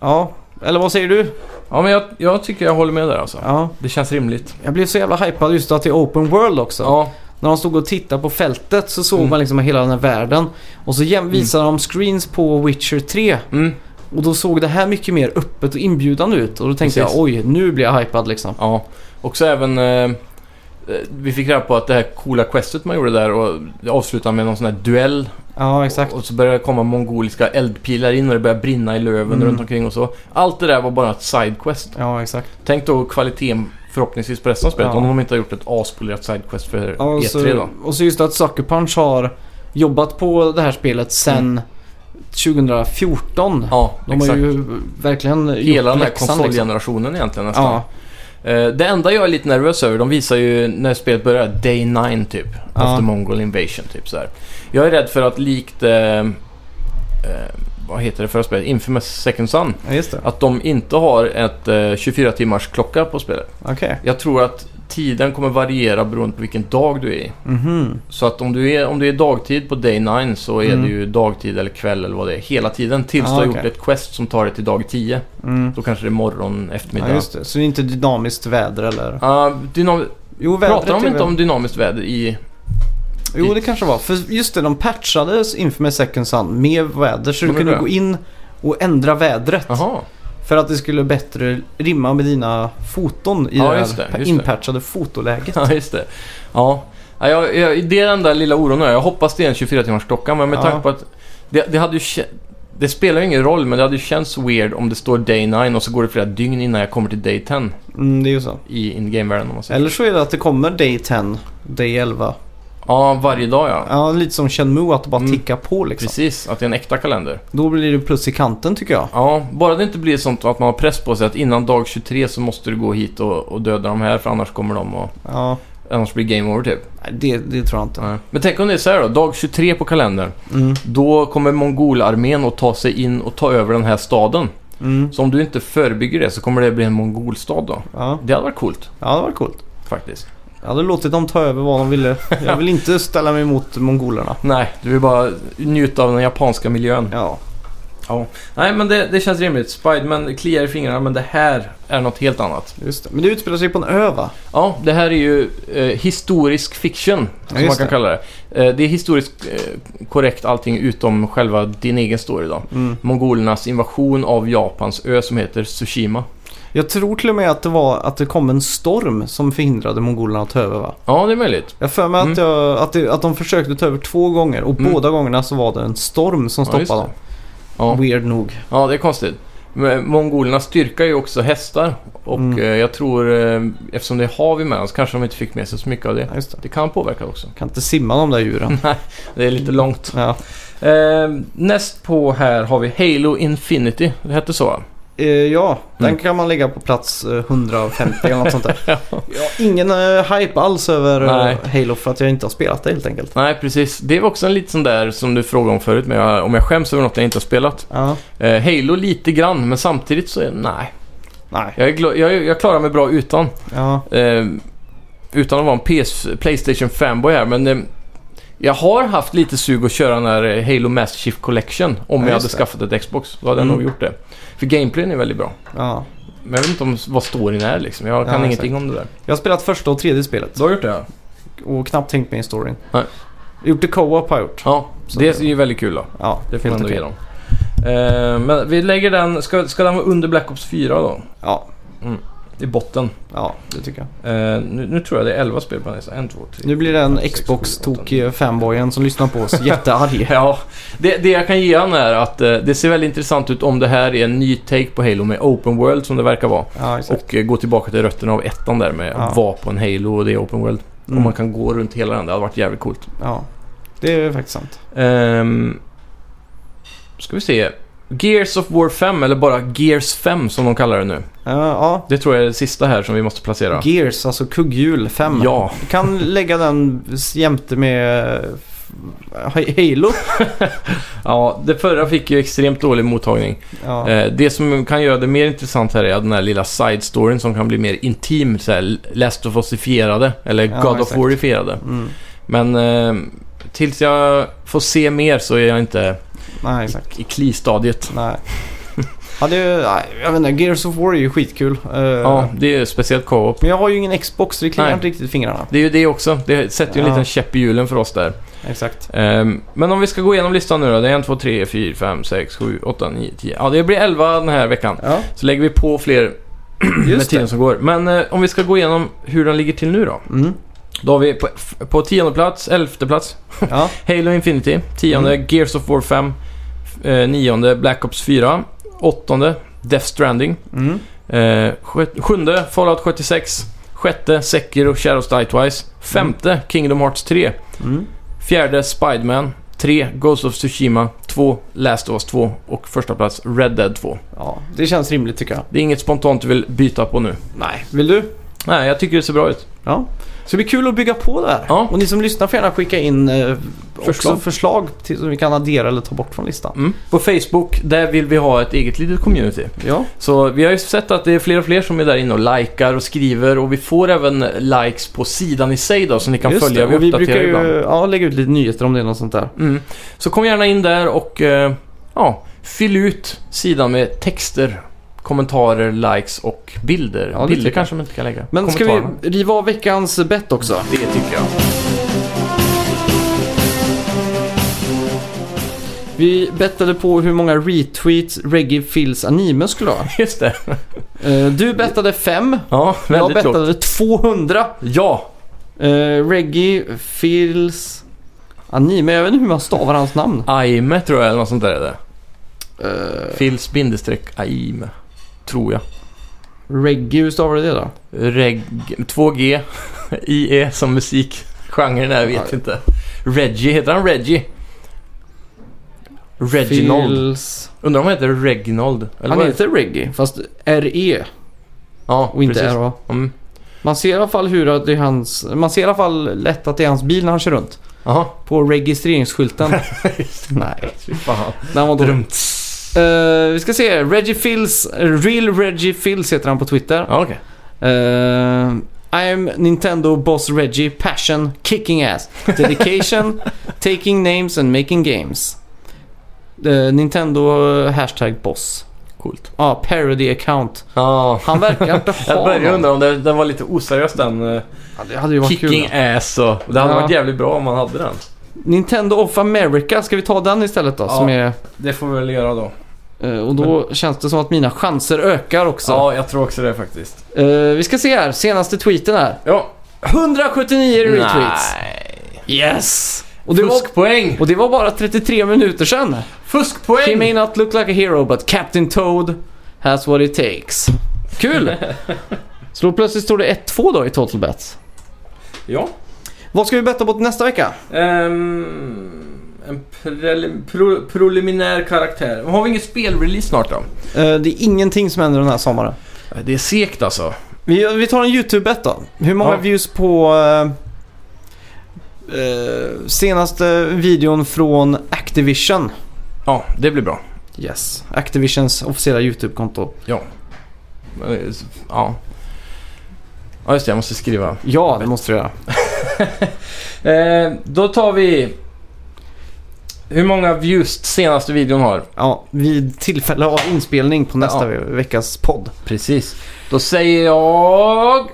Speaker 3: ja. Eller vad säger du?
Speaker 2: Ja, men jag, jag tycker jag håller med där alltså.
Speaker 3: Ja.
Speaker 2: Det känns rimligt.
Speaker 3: Jag blev så jävla hypad just att det är open world också.
Speaker 2: Ja,
Speaker 3: När de stod och tittade på fältet så såg
Speaker 2: Mm.
Speaker 3: man liksom hela den här världen. Och så jäm- visade de screens på Witcher 3.
Speaker 2: mm,
Speaker 3: Och då såg det här mycket mer öppet och inbjudande ut. Och då tänkte
Speaker 2: Precis.
Speaker 3: jag oj, nu blir jag hypad liksom.
Speaker 2: ja. Och så även... Eh, eh, vi fick reda på att det här coola questet man gjorde där och det avslutade med någon sån här duell.
Speaker 3: Ja, exakt.
Speaker 2: Och så började det komma mongoliska eldpilar in och det började brinna i löven
Speaker 3: Mm.
Speaker 2: runt omkring och så. Allt det där var bara ett sidequest.
Speaker 3: Ja, exakt.
Speaker 2: Tänk då kvaliteten förhoppningsvis på resten av spelet
Speaker 3: Ja.
Speaker 2: om de inte har gjort ett aspolerat sidequest för
Speaker 3: Ja, och,
Speaker 2: E3
Speaker 3: så,
Speaker 2: då.
Speaker 3: och så just att Sucker Punch har jobbat på det här spelet sedan 2014.
Speaker 2: Ja,
Speaker 3: De
Speaker 2: exakt.
Speaker 3: har ju verkligen
Speaker 2: Hela
Speaker 3: gjort
Speaker 2: den här
Speaker 3: läxan, liksom.
Speaker 2: konsolgenerationen egentligen nästan.
Speaker 3: Ja,
Speaker 2: Eh, Det enda jag är lite nervös över, de visar ju när spelet börjar Day 9 typ.
Speaker 3: Ja.
Speaker 2: After Mongol Invasion typ så här. Jag är rädd för att likt... Eh, eh, vad heter det förra spelet? Infamous Second Son.
Speaker 3: ja, just det.
Speaker 2: Att de inte har ett eh, 24 timmars klocka på spelet.
Speaker 3: Okej.
Speaker 2: Jag tror att tiden kommer variera beroende på vilken dag du är i.
Speaker 3: Mhm.
Speaker 2: Så att om du är, om du är dagtid på Day 9 så är
Speaker 3: Mm.
Speaker 2: det ju dagtid eller kväll eller vad det är hela tiden. Tills
Speaker 3: Ah,
Speaker 2: du har
Speaker 3: okej.
Speaker 2: gjort ett quest som tar dig till dag 10.
Speaker 3: Mm.
Speaker 2: Då kanske det är morgon,
Speaker 3: Ja,
Speaker 2: eftermiddag.
Speaker 3: just det. Så det är inte dynamiskt väder eller?
Speaker 2: Ah, dynam-
Speaker 3: Jo, vädret
Speaker 2: Pratar de
Speaker 3: är
Speaker 2: inte
Speaker 3: väl-
Speaker 2: om dynamiskt väder i...
Speaker 3: Jo, det kanske var. För just det, de patchades inför med Second Sun med väder. Så du
Speaker 2: Gjorde
Speaker 3: kunde
Speaker 2: det?
Speaker 3: gå in och ändra vädret.
Speaker 2: Jaha.
Speaker 3: För att det skulle bättre rimma med dina foton i
Speaker 2: Ja,
Speaker 3: det
Speaker 2: just
Speaker 3: här
Speaker 2: det, just det.
Speaker 3: inpatchade fotoläget.
Speaker 2: Ja, just det. Ja. Ja, jag, jag, det är den där lilla oron jag har. Jag hoppas det är en 24-timmars klocka, men med
Speaker 3: Ja.
Speaker 2: tanke på att... Det, det hade ju... kä- Det spelar ju ingen roll, men det hade ju känts weird om det står Day 9 och så går det flera dygn innan jag kommer till Day 10
Speaker 3: Mm, det är ju så.
Speaker 2: i in-game-världen om man säger.
Speaker 3: Eller så är det att det kommer Day 10, Day 11.
Speaker 2: Ja, varje dag ja.
Speaker 3: Ja, lite som Shenmue att det bara
Speaker 2: Mm.
Speaker 3: tickar på liksom.
Speaker 2: Precis, att det är en äkta kalender.
Speaker 3: Då blir det plus i kanten tycker jag.
Speaker 2: Ja, bara det inte blir sånt att man har press på sig att innan dag 23 så måste du gå hit och, och döda de här för annars kommer de och...
Speaker 3: Ja,
Speaker 2: Annars blir game over typ.
Speaker 3: nej, det, det tror jag inte.
Speaker 2: Nej. Men tänk om det är så här då, dag 23 på kalendern.
Speaker 3: Mm.
Speaker 2: Då kommer mongolarmén att ta sig in och ta över den här staden.
Speaker 3: Mm.
Speaker 2: Så om du inte förebygger det så kommer det bli en mongolstad då.
Speaker 3: Ja.
Speaker 2: Det hade varit coolt
Speaker 3: ja, det var coolt.
Speaker 2: faktiskt.
Speaker 3: Jag hade låtit dem ta över vad de ville. Jag vill inte ställa mig emot mongolerna.
Speaker 2: Nej, du vill bara njuta av den japanska miljön.
Speaker 3: Ja.
Speaker 2: Nej, men det, det känns rimligt. Spiderman kliar i fingrarna, men det här är något helt annat.
Speaker 3: Just det. Men det utspelar sig på en ö va?
Speaker 2: Ja, det här är ju eh, historisk fiction, som
Speaker 3: just
Speaker 2: man kan
Speaker 3: det.
Speaker 2: kalla det. Eh, det är historiskt eh, korrekt allting utom själva din egen story då.
Speaker 3: Mm.
Speaker 2: Mongolernas invasion av Japans ö som heter Tsushima.
Speaker 3: Jag tror till och med att det var att det kom en storm som förhindrade mongolerna att ta över va?
Speaker 2: Ja, det är möjligt.
Speaker 3: Jag har för mig
Speaker 2: Mm.
Speaker 3: att, jag, att, det, att de försökte ta över två gånger och
Speaker 2: Mm.
Speaker 3: båda gångerna så var det en storm som
Speaker 2: Ja, just
Speaker 3: stoppade dem.
Speaker 2: Ja.
Speaker 3: Weird nog.
Speaker 2: Ja, det är konstigt. Men Mongolerna styrkar ju också hästar och
Speaker 3: Mm.
Speaker 2: eh, jag tror eh, eftersom det är hav emellan så kanske de inte fick med sig så mycket av det.
Speaker 3: Ja, just det.
Speaker 2: Det kan påverka också.
Speaker 3: Kan inte simma de där
Speaker 2: Mm.
Speaker 3: djuren.
Speaker 2: Det är lite långt.
Speaker 3: ja.
Speaker 2: Eh, näst på här har vi Halo Infinity. Det hette så va?
Speaker 3: Eh, ja, den
Speaker 2: Mm.
Speaker 3: kan man lägga på plats eh, 150 eller något sånt där. ja, ingen eh, hype alls över eh,
Speaker 2: Nej.
Speaker 3: Halo för att jag inte har spelat det helt enkelt.
Speaker 2: Nej, precis. Det var också en liten sån där som du frågade om förut, men jag, om jag skäms över något jag inte har spelat.
Speaker 3: Ja.
Speaker 2: Eh, Halo lite grann, men samtidigt så är nej.
Speaker 3: Nej.
Speaker 2: Jag, är gla- jag, jag klarar mig bra utan.
Speaker 3: Ja.
Speaker 2: Eh, utan att vara en PS, Playstation fanboy här, men eh, jag har haft lite sug att köra den här eh, Halo Mass Chief Collection om jag hade
Speaker 3: just det.
Speaker 2: skaffat ett Xbox. Då hade
Speaker 3: Mm.
Speaker 2: jag nog gjort det. För gameplayen är väldigt bra.
Speaker 3: ja.
Speaker 2: Men jag vet inte om vad storyn är liksom. Jag
Speaker 3: Ja,
Speaker 2: kan
Speaker 3: exakt.
Speaker 2: ingenting om det där.
Speaker 3: Jag har spelat första och tredje spelet
Speaker 2: Du har gjort det ja.
Speaker 3: och knappt tänkt mig i storyn.
Speaker 2: Nej.
Speaker 3: Gjort det co-op har jag gjort.
Speaker 2: Ja,
Speaker 3: Så
Speaker 2: det
Speaker 3: det-
Speaker 2: är ju väldigt kul då.
Speaker 3: Ja,
Speaker 2: Det får man
Speaker 3: helt
Speaker 2: ändå
Speaker 3: okej.
Speaker 2: ge dem. Eh, men vi lägger den, ska, ska den vara under Black Ops 4 då?
Speaker 3: Ja,
Speaker 2: I botten.
Speaker 3: ja, det tycker jag.
Speaker 2: Eh, nu, nu tror jag det är 11 spel på den listan. 1, 2, 3.
Speaker 3: Nu blir den
Speaker 2: sex, sju,
Speaker 3: Xbox-tokige fanboyen som lyssnar på oss jättearg.
Speaker 2: Ja, det, det jag kan ge han är att eh, det ser väldigt intressant ut om det här är en ny take på Halo med Open World som det verkar vara.
Speaker 3: Ja, exakt.
Speaker 2: Och eh, gå tillbaka till rötterna av ettan där med
Speaker 3: Ja.
Speaker 2: att vara på en Halo och det är Open World.
Speaker 3: Mm.
Speaker 2: Om man kan gå runt hela den, det hade varit jävligt coolt.
Speaker 3: Ja, det är faktiskt sant.
Speaker 2: Um, ska vi se. Gears of War 5, eller bara Gears 5 som de kallar det nu.
Speaker 3: Eh, ja,
Speaker 2: Det tror jag är det sista här som vi måste placera.
Speaker 3: Gears, alltså kugghjul 5.
Speaker 2: Ja,
Speaker 3: Du kan lägga den jämte med eh, Halo.
Speaker 2: ja, det förra fick ju extremt dålig mottagning.
Speaker 3: Ja,
Speaker 2: Eh, Det som kan göra det mer intressant här är den här lilla side-storyn som kan bli mer intim, så här Last of Us-ifierade eller
Speaker 3: Ja,
Speaker 2: God of
Speaker 3: exakt.
Speaker 2: War-ifierade.
Speaker 3: mm.
Speaker 2: Men eh, tills jag får se mer så är jag inte
Speaker 3: Nej, exakt.
Speaker 2: i kli-stadiet.
Speaker 3: Nej. Ja, det är, nej, jag vet inte, Gears of War är ju skitkul. Eh,
Speaker 2: Ja, det är speciellt co-op.
Speaker 3: Men jag har ju ingen Xbox, så det kliar
Speaker 2: Nej.
Speaker 3: inte riktigt fingrarna.
Speaker 2: Det är ju det också. Det sätter ju en
Speaker 3: Ja.
Speaker 2: liten käpp i hjulen för oss där.
Speaker 3: Exakt.
Speaker 2: Eh, Men om vi ska gå igenom listan nu då. Det är 1, 2, 3, 4, 5, 6, 7, 8, 9, 10. Ja, det blir 11 den här veckan.
Speaker 3: Ja,
Speaker 2: Så lägger vi på fler med
Speaker 3: just
Speaker 2: tiden
Speaker 3: det.
Speaker 2: som går. Men eh, om vi ska gå igenom hur den ligger till nu då.
Speaker 3: Mm.
Speaker 2: Då har vi på, f- på tionde plats, elfte plats,
Speaker 3: Ja, Mm.
Speaker 2: Halo Infinity. Tionde, Gears of War 5. f- Eh, nionde, Black Ops 4. Åttonde, Death Stranding.
Speaker 3: mm.
Speaker 2: Eh, sjut- sjunde, Fallout 76. Sjätte, Sekiro Shadows Die Twice. Femte, Kingdom Hearts 3.
Speaker 3: Mm.
Speaker 2: Fjärde, Spiderman. Tre, Ghost of Tsushima. Två, Last of Us 2. Och första plats, Red Dead 2.
Speaker 3: ja, det känns rimligt tycker jag.
Speaker 2: Det är inget spontant du vill byta på nu.
Speaker 3: Nej, vill du?
Speaker 2: Nej, jag tycker det ser bra ut.
Speaker 3: Ja. Så det blir kul att bygga på där.
Speaker 2: Ja.
Speaker 3: Och ni som lyssnar får gärna skicka in eh, också
Speaker 2: Förslag.
Speaker 3: förslag till, som vi kan addera eller ta bort från listan.
Speaker 2: Mm. På Facebook, där vill vi ha ett eget litet community.
Speaker 3: Ja,
Speaker 2: Så vi har ju sett att det är fler och fler som är där inne och likar och skriver och vi får även likes på sidan i sig då som ni kan
Speaker 3: just
Speaker 2: följa.
Speaker 3: det. Och vi
Speaker 2: uppdaterar
Speaker 3: brukar ju
Speaker 2: ibland.
Speaker 3: ja, lägga ut lite nyheter om det är något sånt där.
Speaker 2: Mm. Så kom gärna in där och eh, ja, fyll ut sidan med texter, kommentarer, likes och bilder.
Speaker 3: Ja, det tycker
Speaker 2: bilder
Speaker 3: jag.
Speaker 2: kanske man inte kan lägga.
Speaker 3: Men ska vi
Speaker 2: Kommentarerna.
Speaker 3: riva av veckans bett också?
Speaker 2: Det tycker jag.
Speaker 3: Vi bettade på hur många retweets Reggie Phils anime skulle ha.
Speaker 2: Just det.
Speaker 3: Eh, Du bettade 5.
Speaker 2: Ja,
Speaker 3: Jag
Speaker 2: väldigt klokt.
Speaker 3: bettade 200.
Speaker 2: Ja,
Speaker 3: Eh, Reggie Phils anime. Jag vet inte hur man stavar hans namn.
Speaker 2: Aime tror jag eller något sånt där är det.
Speaker 3: Eh,
Speaker 2: Fils bindestreck Aime. Tror jag.
Speaker 3: Reggie, hur stavar du det då?
Speaker 2: Reg... 2G, IE E som musik. Genren är, jag vet
Speaker 3: Ja.
Speaker 2: inte. Reggie, heter han Reggie? Reginald.
Speaker 3: Phils...
Speaker 2: Undrar om han heter Reginald? Eller
Speaker 3: Han
Speaker 2: vad-
Speaker 3: heter Reggie, fast RE
Speaker 2: ja,
Speaker 3: och inte
Speaker 2: precis.
Speaker 3: RA.
Speaker 2: Mm.
Speaker 3: Man ser i alla fall hur att det är hans... Man ser i alla fall lätt att det är hans bil när han kör runt.
Speaker 2: Jaha,
Speaker 3: På registreringsskylten. Nej,
Speaker 2: fy fan.
Speaker 3: den var dålig.
Speaker 2: Drumt.
Speaker 3: Eh, vi ska se. Reggie Phils, Real Reggie Phils heter han på Twitter.
Speaker 2: Ja, okej.
Speaker 3: Eh,
Speaker 1: I am Nintendo boss Reggie, passion, kicking ass, dedication, taking names and making games. Eh, Nintendo eh, hashtag boss.
Speaker 2: Coolt.
Speaker 1: Ja, parody account.
Speaker 2: Ja.
Speaker 1: Han verkar inte ha
Speaker 2: Jag började
Speaker 1: någon.
Speaker 2: undra om det- den var lite oseriös den. eh,
Speaker 1: Ja, det hade ju varit
Speaker 2: Kicking
Speaker 1: kul.
Speaker 2: ass och... Det hade
Speaker 1: Ja.
Speaker 2: varit jävligt bra om man hade den.
Speaker 1: Nintendo of America, ska vi ta den istället då?
Speaker 2: Ja.
Speaker 1: Som är,
Speaker 2: Det får vi väl göra då.
Speaker 1: eh, och då känns det som att mina chanser ökar också.
Speaker 2: Ja, jag tror också det faktiskt.
Speaker 1: Eh, vi ska se här, senaste tweeten här.
Speaker 2: Ja.
Speaker 1: 179 retweets.
Speaker 2: Nej.
Speaker 1: Yes! Och det, var,
Speaker 2: Fuskpoäng!
Speaker 1: och det var bara 33 minuter sedan. He may
Speaker 2: Fuskpoäng!
Speaker 1: not look like a hero but Captain Toad has what it takes. Kul! Så då plötsligt står det 1-2 då i Total Bets.
Speaker 2: Ja.
Speaker 3: Vad ska vi betta på nästa vecka?
Speaker 2: Ehm, en prelim- pro- preliminär karaktär. Har vi ingen spelrelease snart då?
Speaker 3: Eh, det är ingenting som händer den här sommaren.
Speaker 2: Det är segt alltså.
Speaker 3: Vi, vi tar en YouTube-bet då. Hur många
Speaker 2: Ja.
Speaker 3: views på eh, eh, senaste videon från Activision?
Speaker 2: Ja, det blir bra.
Speaker 3: Yes. Activisions officiella YouTube-konto.
Speaker 2: Eh, s- Ja. Ja, just det. Jag måste skriva.
Speaker 3: Ja, det måste du göra.
Speaker 2: Eh, då tar vi... Hur många views senaste videon har?
Speaker 3: Ja, vid tillfälle av inspelning på nästa ve- veckas podd.
Speaker 2: Precis. Då säger jag...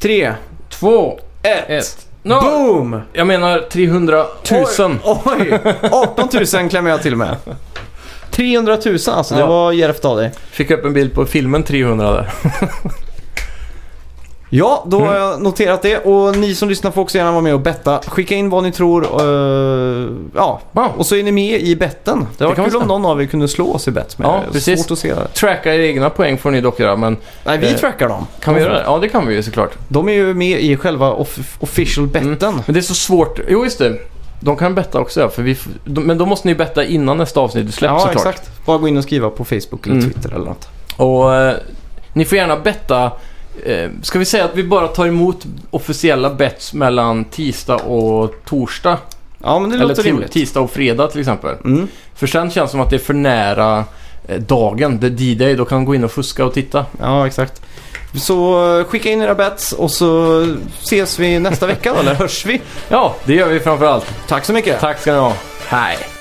Speaker 3: Tre,
Speaker 2: Två.
Speaker 3: ett,
Speaker 2: Ett. No.
Speaker 3: boom!
Speaker 2: Jag menar 300 000.
Speaker 3: Oj, oj, 18 000 klämmer jag till med. 300 000 alltså, det
Speaker 2: Ja.
Speaker 3: var djärvt av dig.
Speaker 2: Fick upp en bild på filmen 300 där.
Speaker 3: Ja, då har jag noterat det och ni som lyssnar får också gärna vara med och betta. Skicka in vad ni tror. eh, ja,
Speaker 2: Wow.
Speaker 3: och så är ni med i betten. Det var
Speaker 2: kan
Speaker 3: kul
Speaker 2: vara
Speaker 3: om någon av er kunde slå oss i bett. Men
Speaker 2: Ja,
Speaker 3: det är
Speaker 2: precis.
Speaker 3: Svårt att se det.
Speaker 2: Tracka era egna poäng får ni dock göra, men
Speaker 3: Nej, vi
Speaker 2: Eh,
Speaker 3: trackar dem.
Speaker 2: kan vi göra det? Ja, det kan vi ju såklart.
Speaker 3: De är ju med i själva off- official betten.
Speaker 2: Men det är så svårt. Jo, just det. De kan betta också, ja, för vi... f- de- men då måste ni betta innan nästa avsnitt släpps
Speaker 3: Ja,
Speaker 2: såklart.
Speaker 3: exakt. Bara gå in och skriva på Facebook eller
Speaker 2: Mm.
Speaker 3: Twitter eller något.
Speaker 2: Och eh, ni får gärna betta. Eh, ska vi säga att vi bara tar emot officiella bets mellan tisdag och torsdag?
Speaker 3: Ja, men det
Speaker 2: Eller
Speaker 3: låter
Speaker 2: ti-
Speaker 3: rimligt.
Speaker 2: tisdag och fredag till exempel.
Speaker 3: Mm.
Speaker 2: För sen känns det som att det är för nära eh, dagen, det är D-Day, då kan man gå in och fuska och titta.
Speaker 3: Ja, exakt. Så eh, skicka in era bets och så ses vi nästa vecka då, eller hörs vi.
Speaker 2: Ja, det gör vi framförallt.
Speaker 3: Tack så mycket.
Speaker 2: Tack ska ni ha. Hej.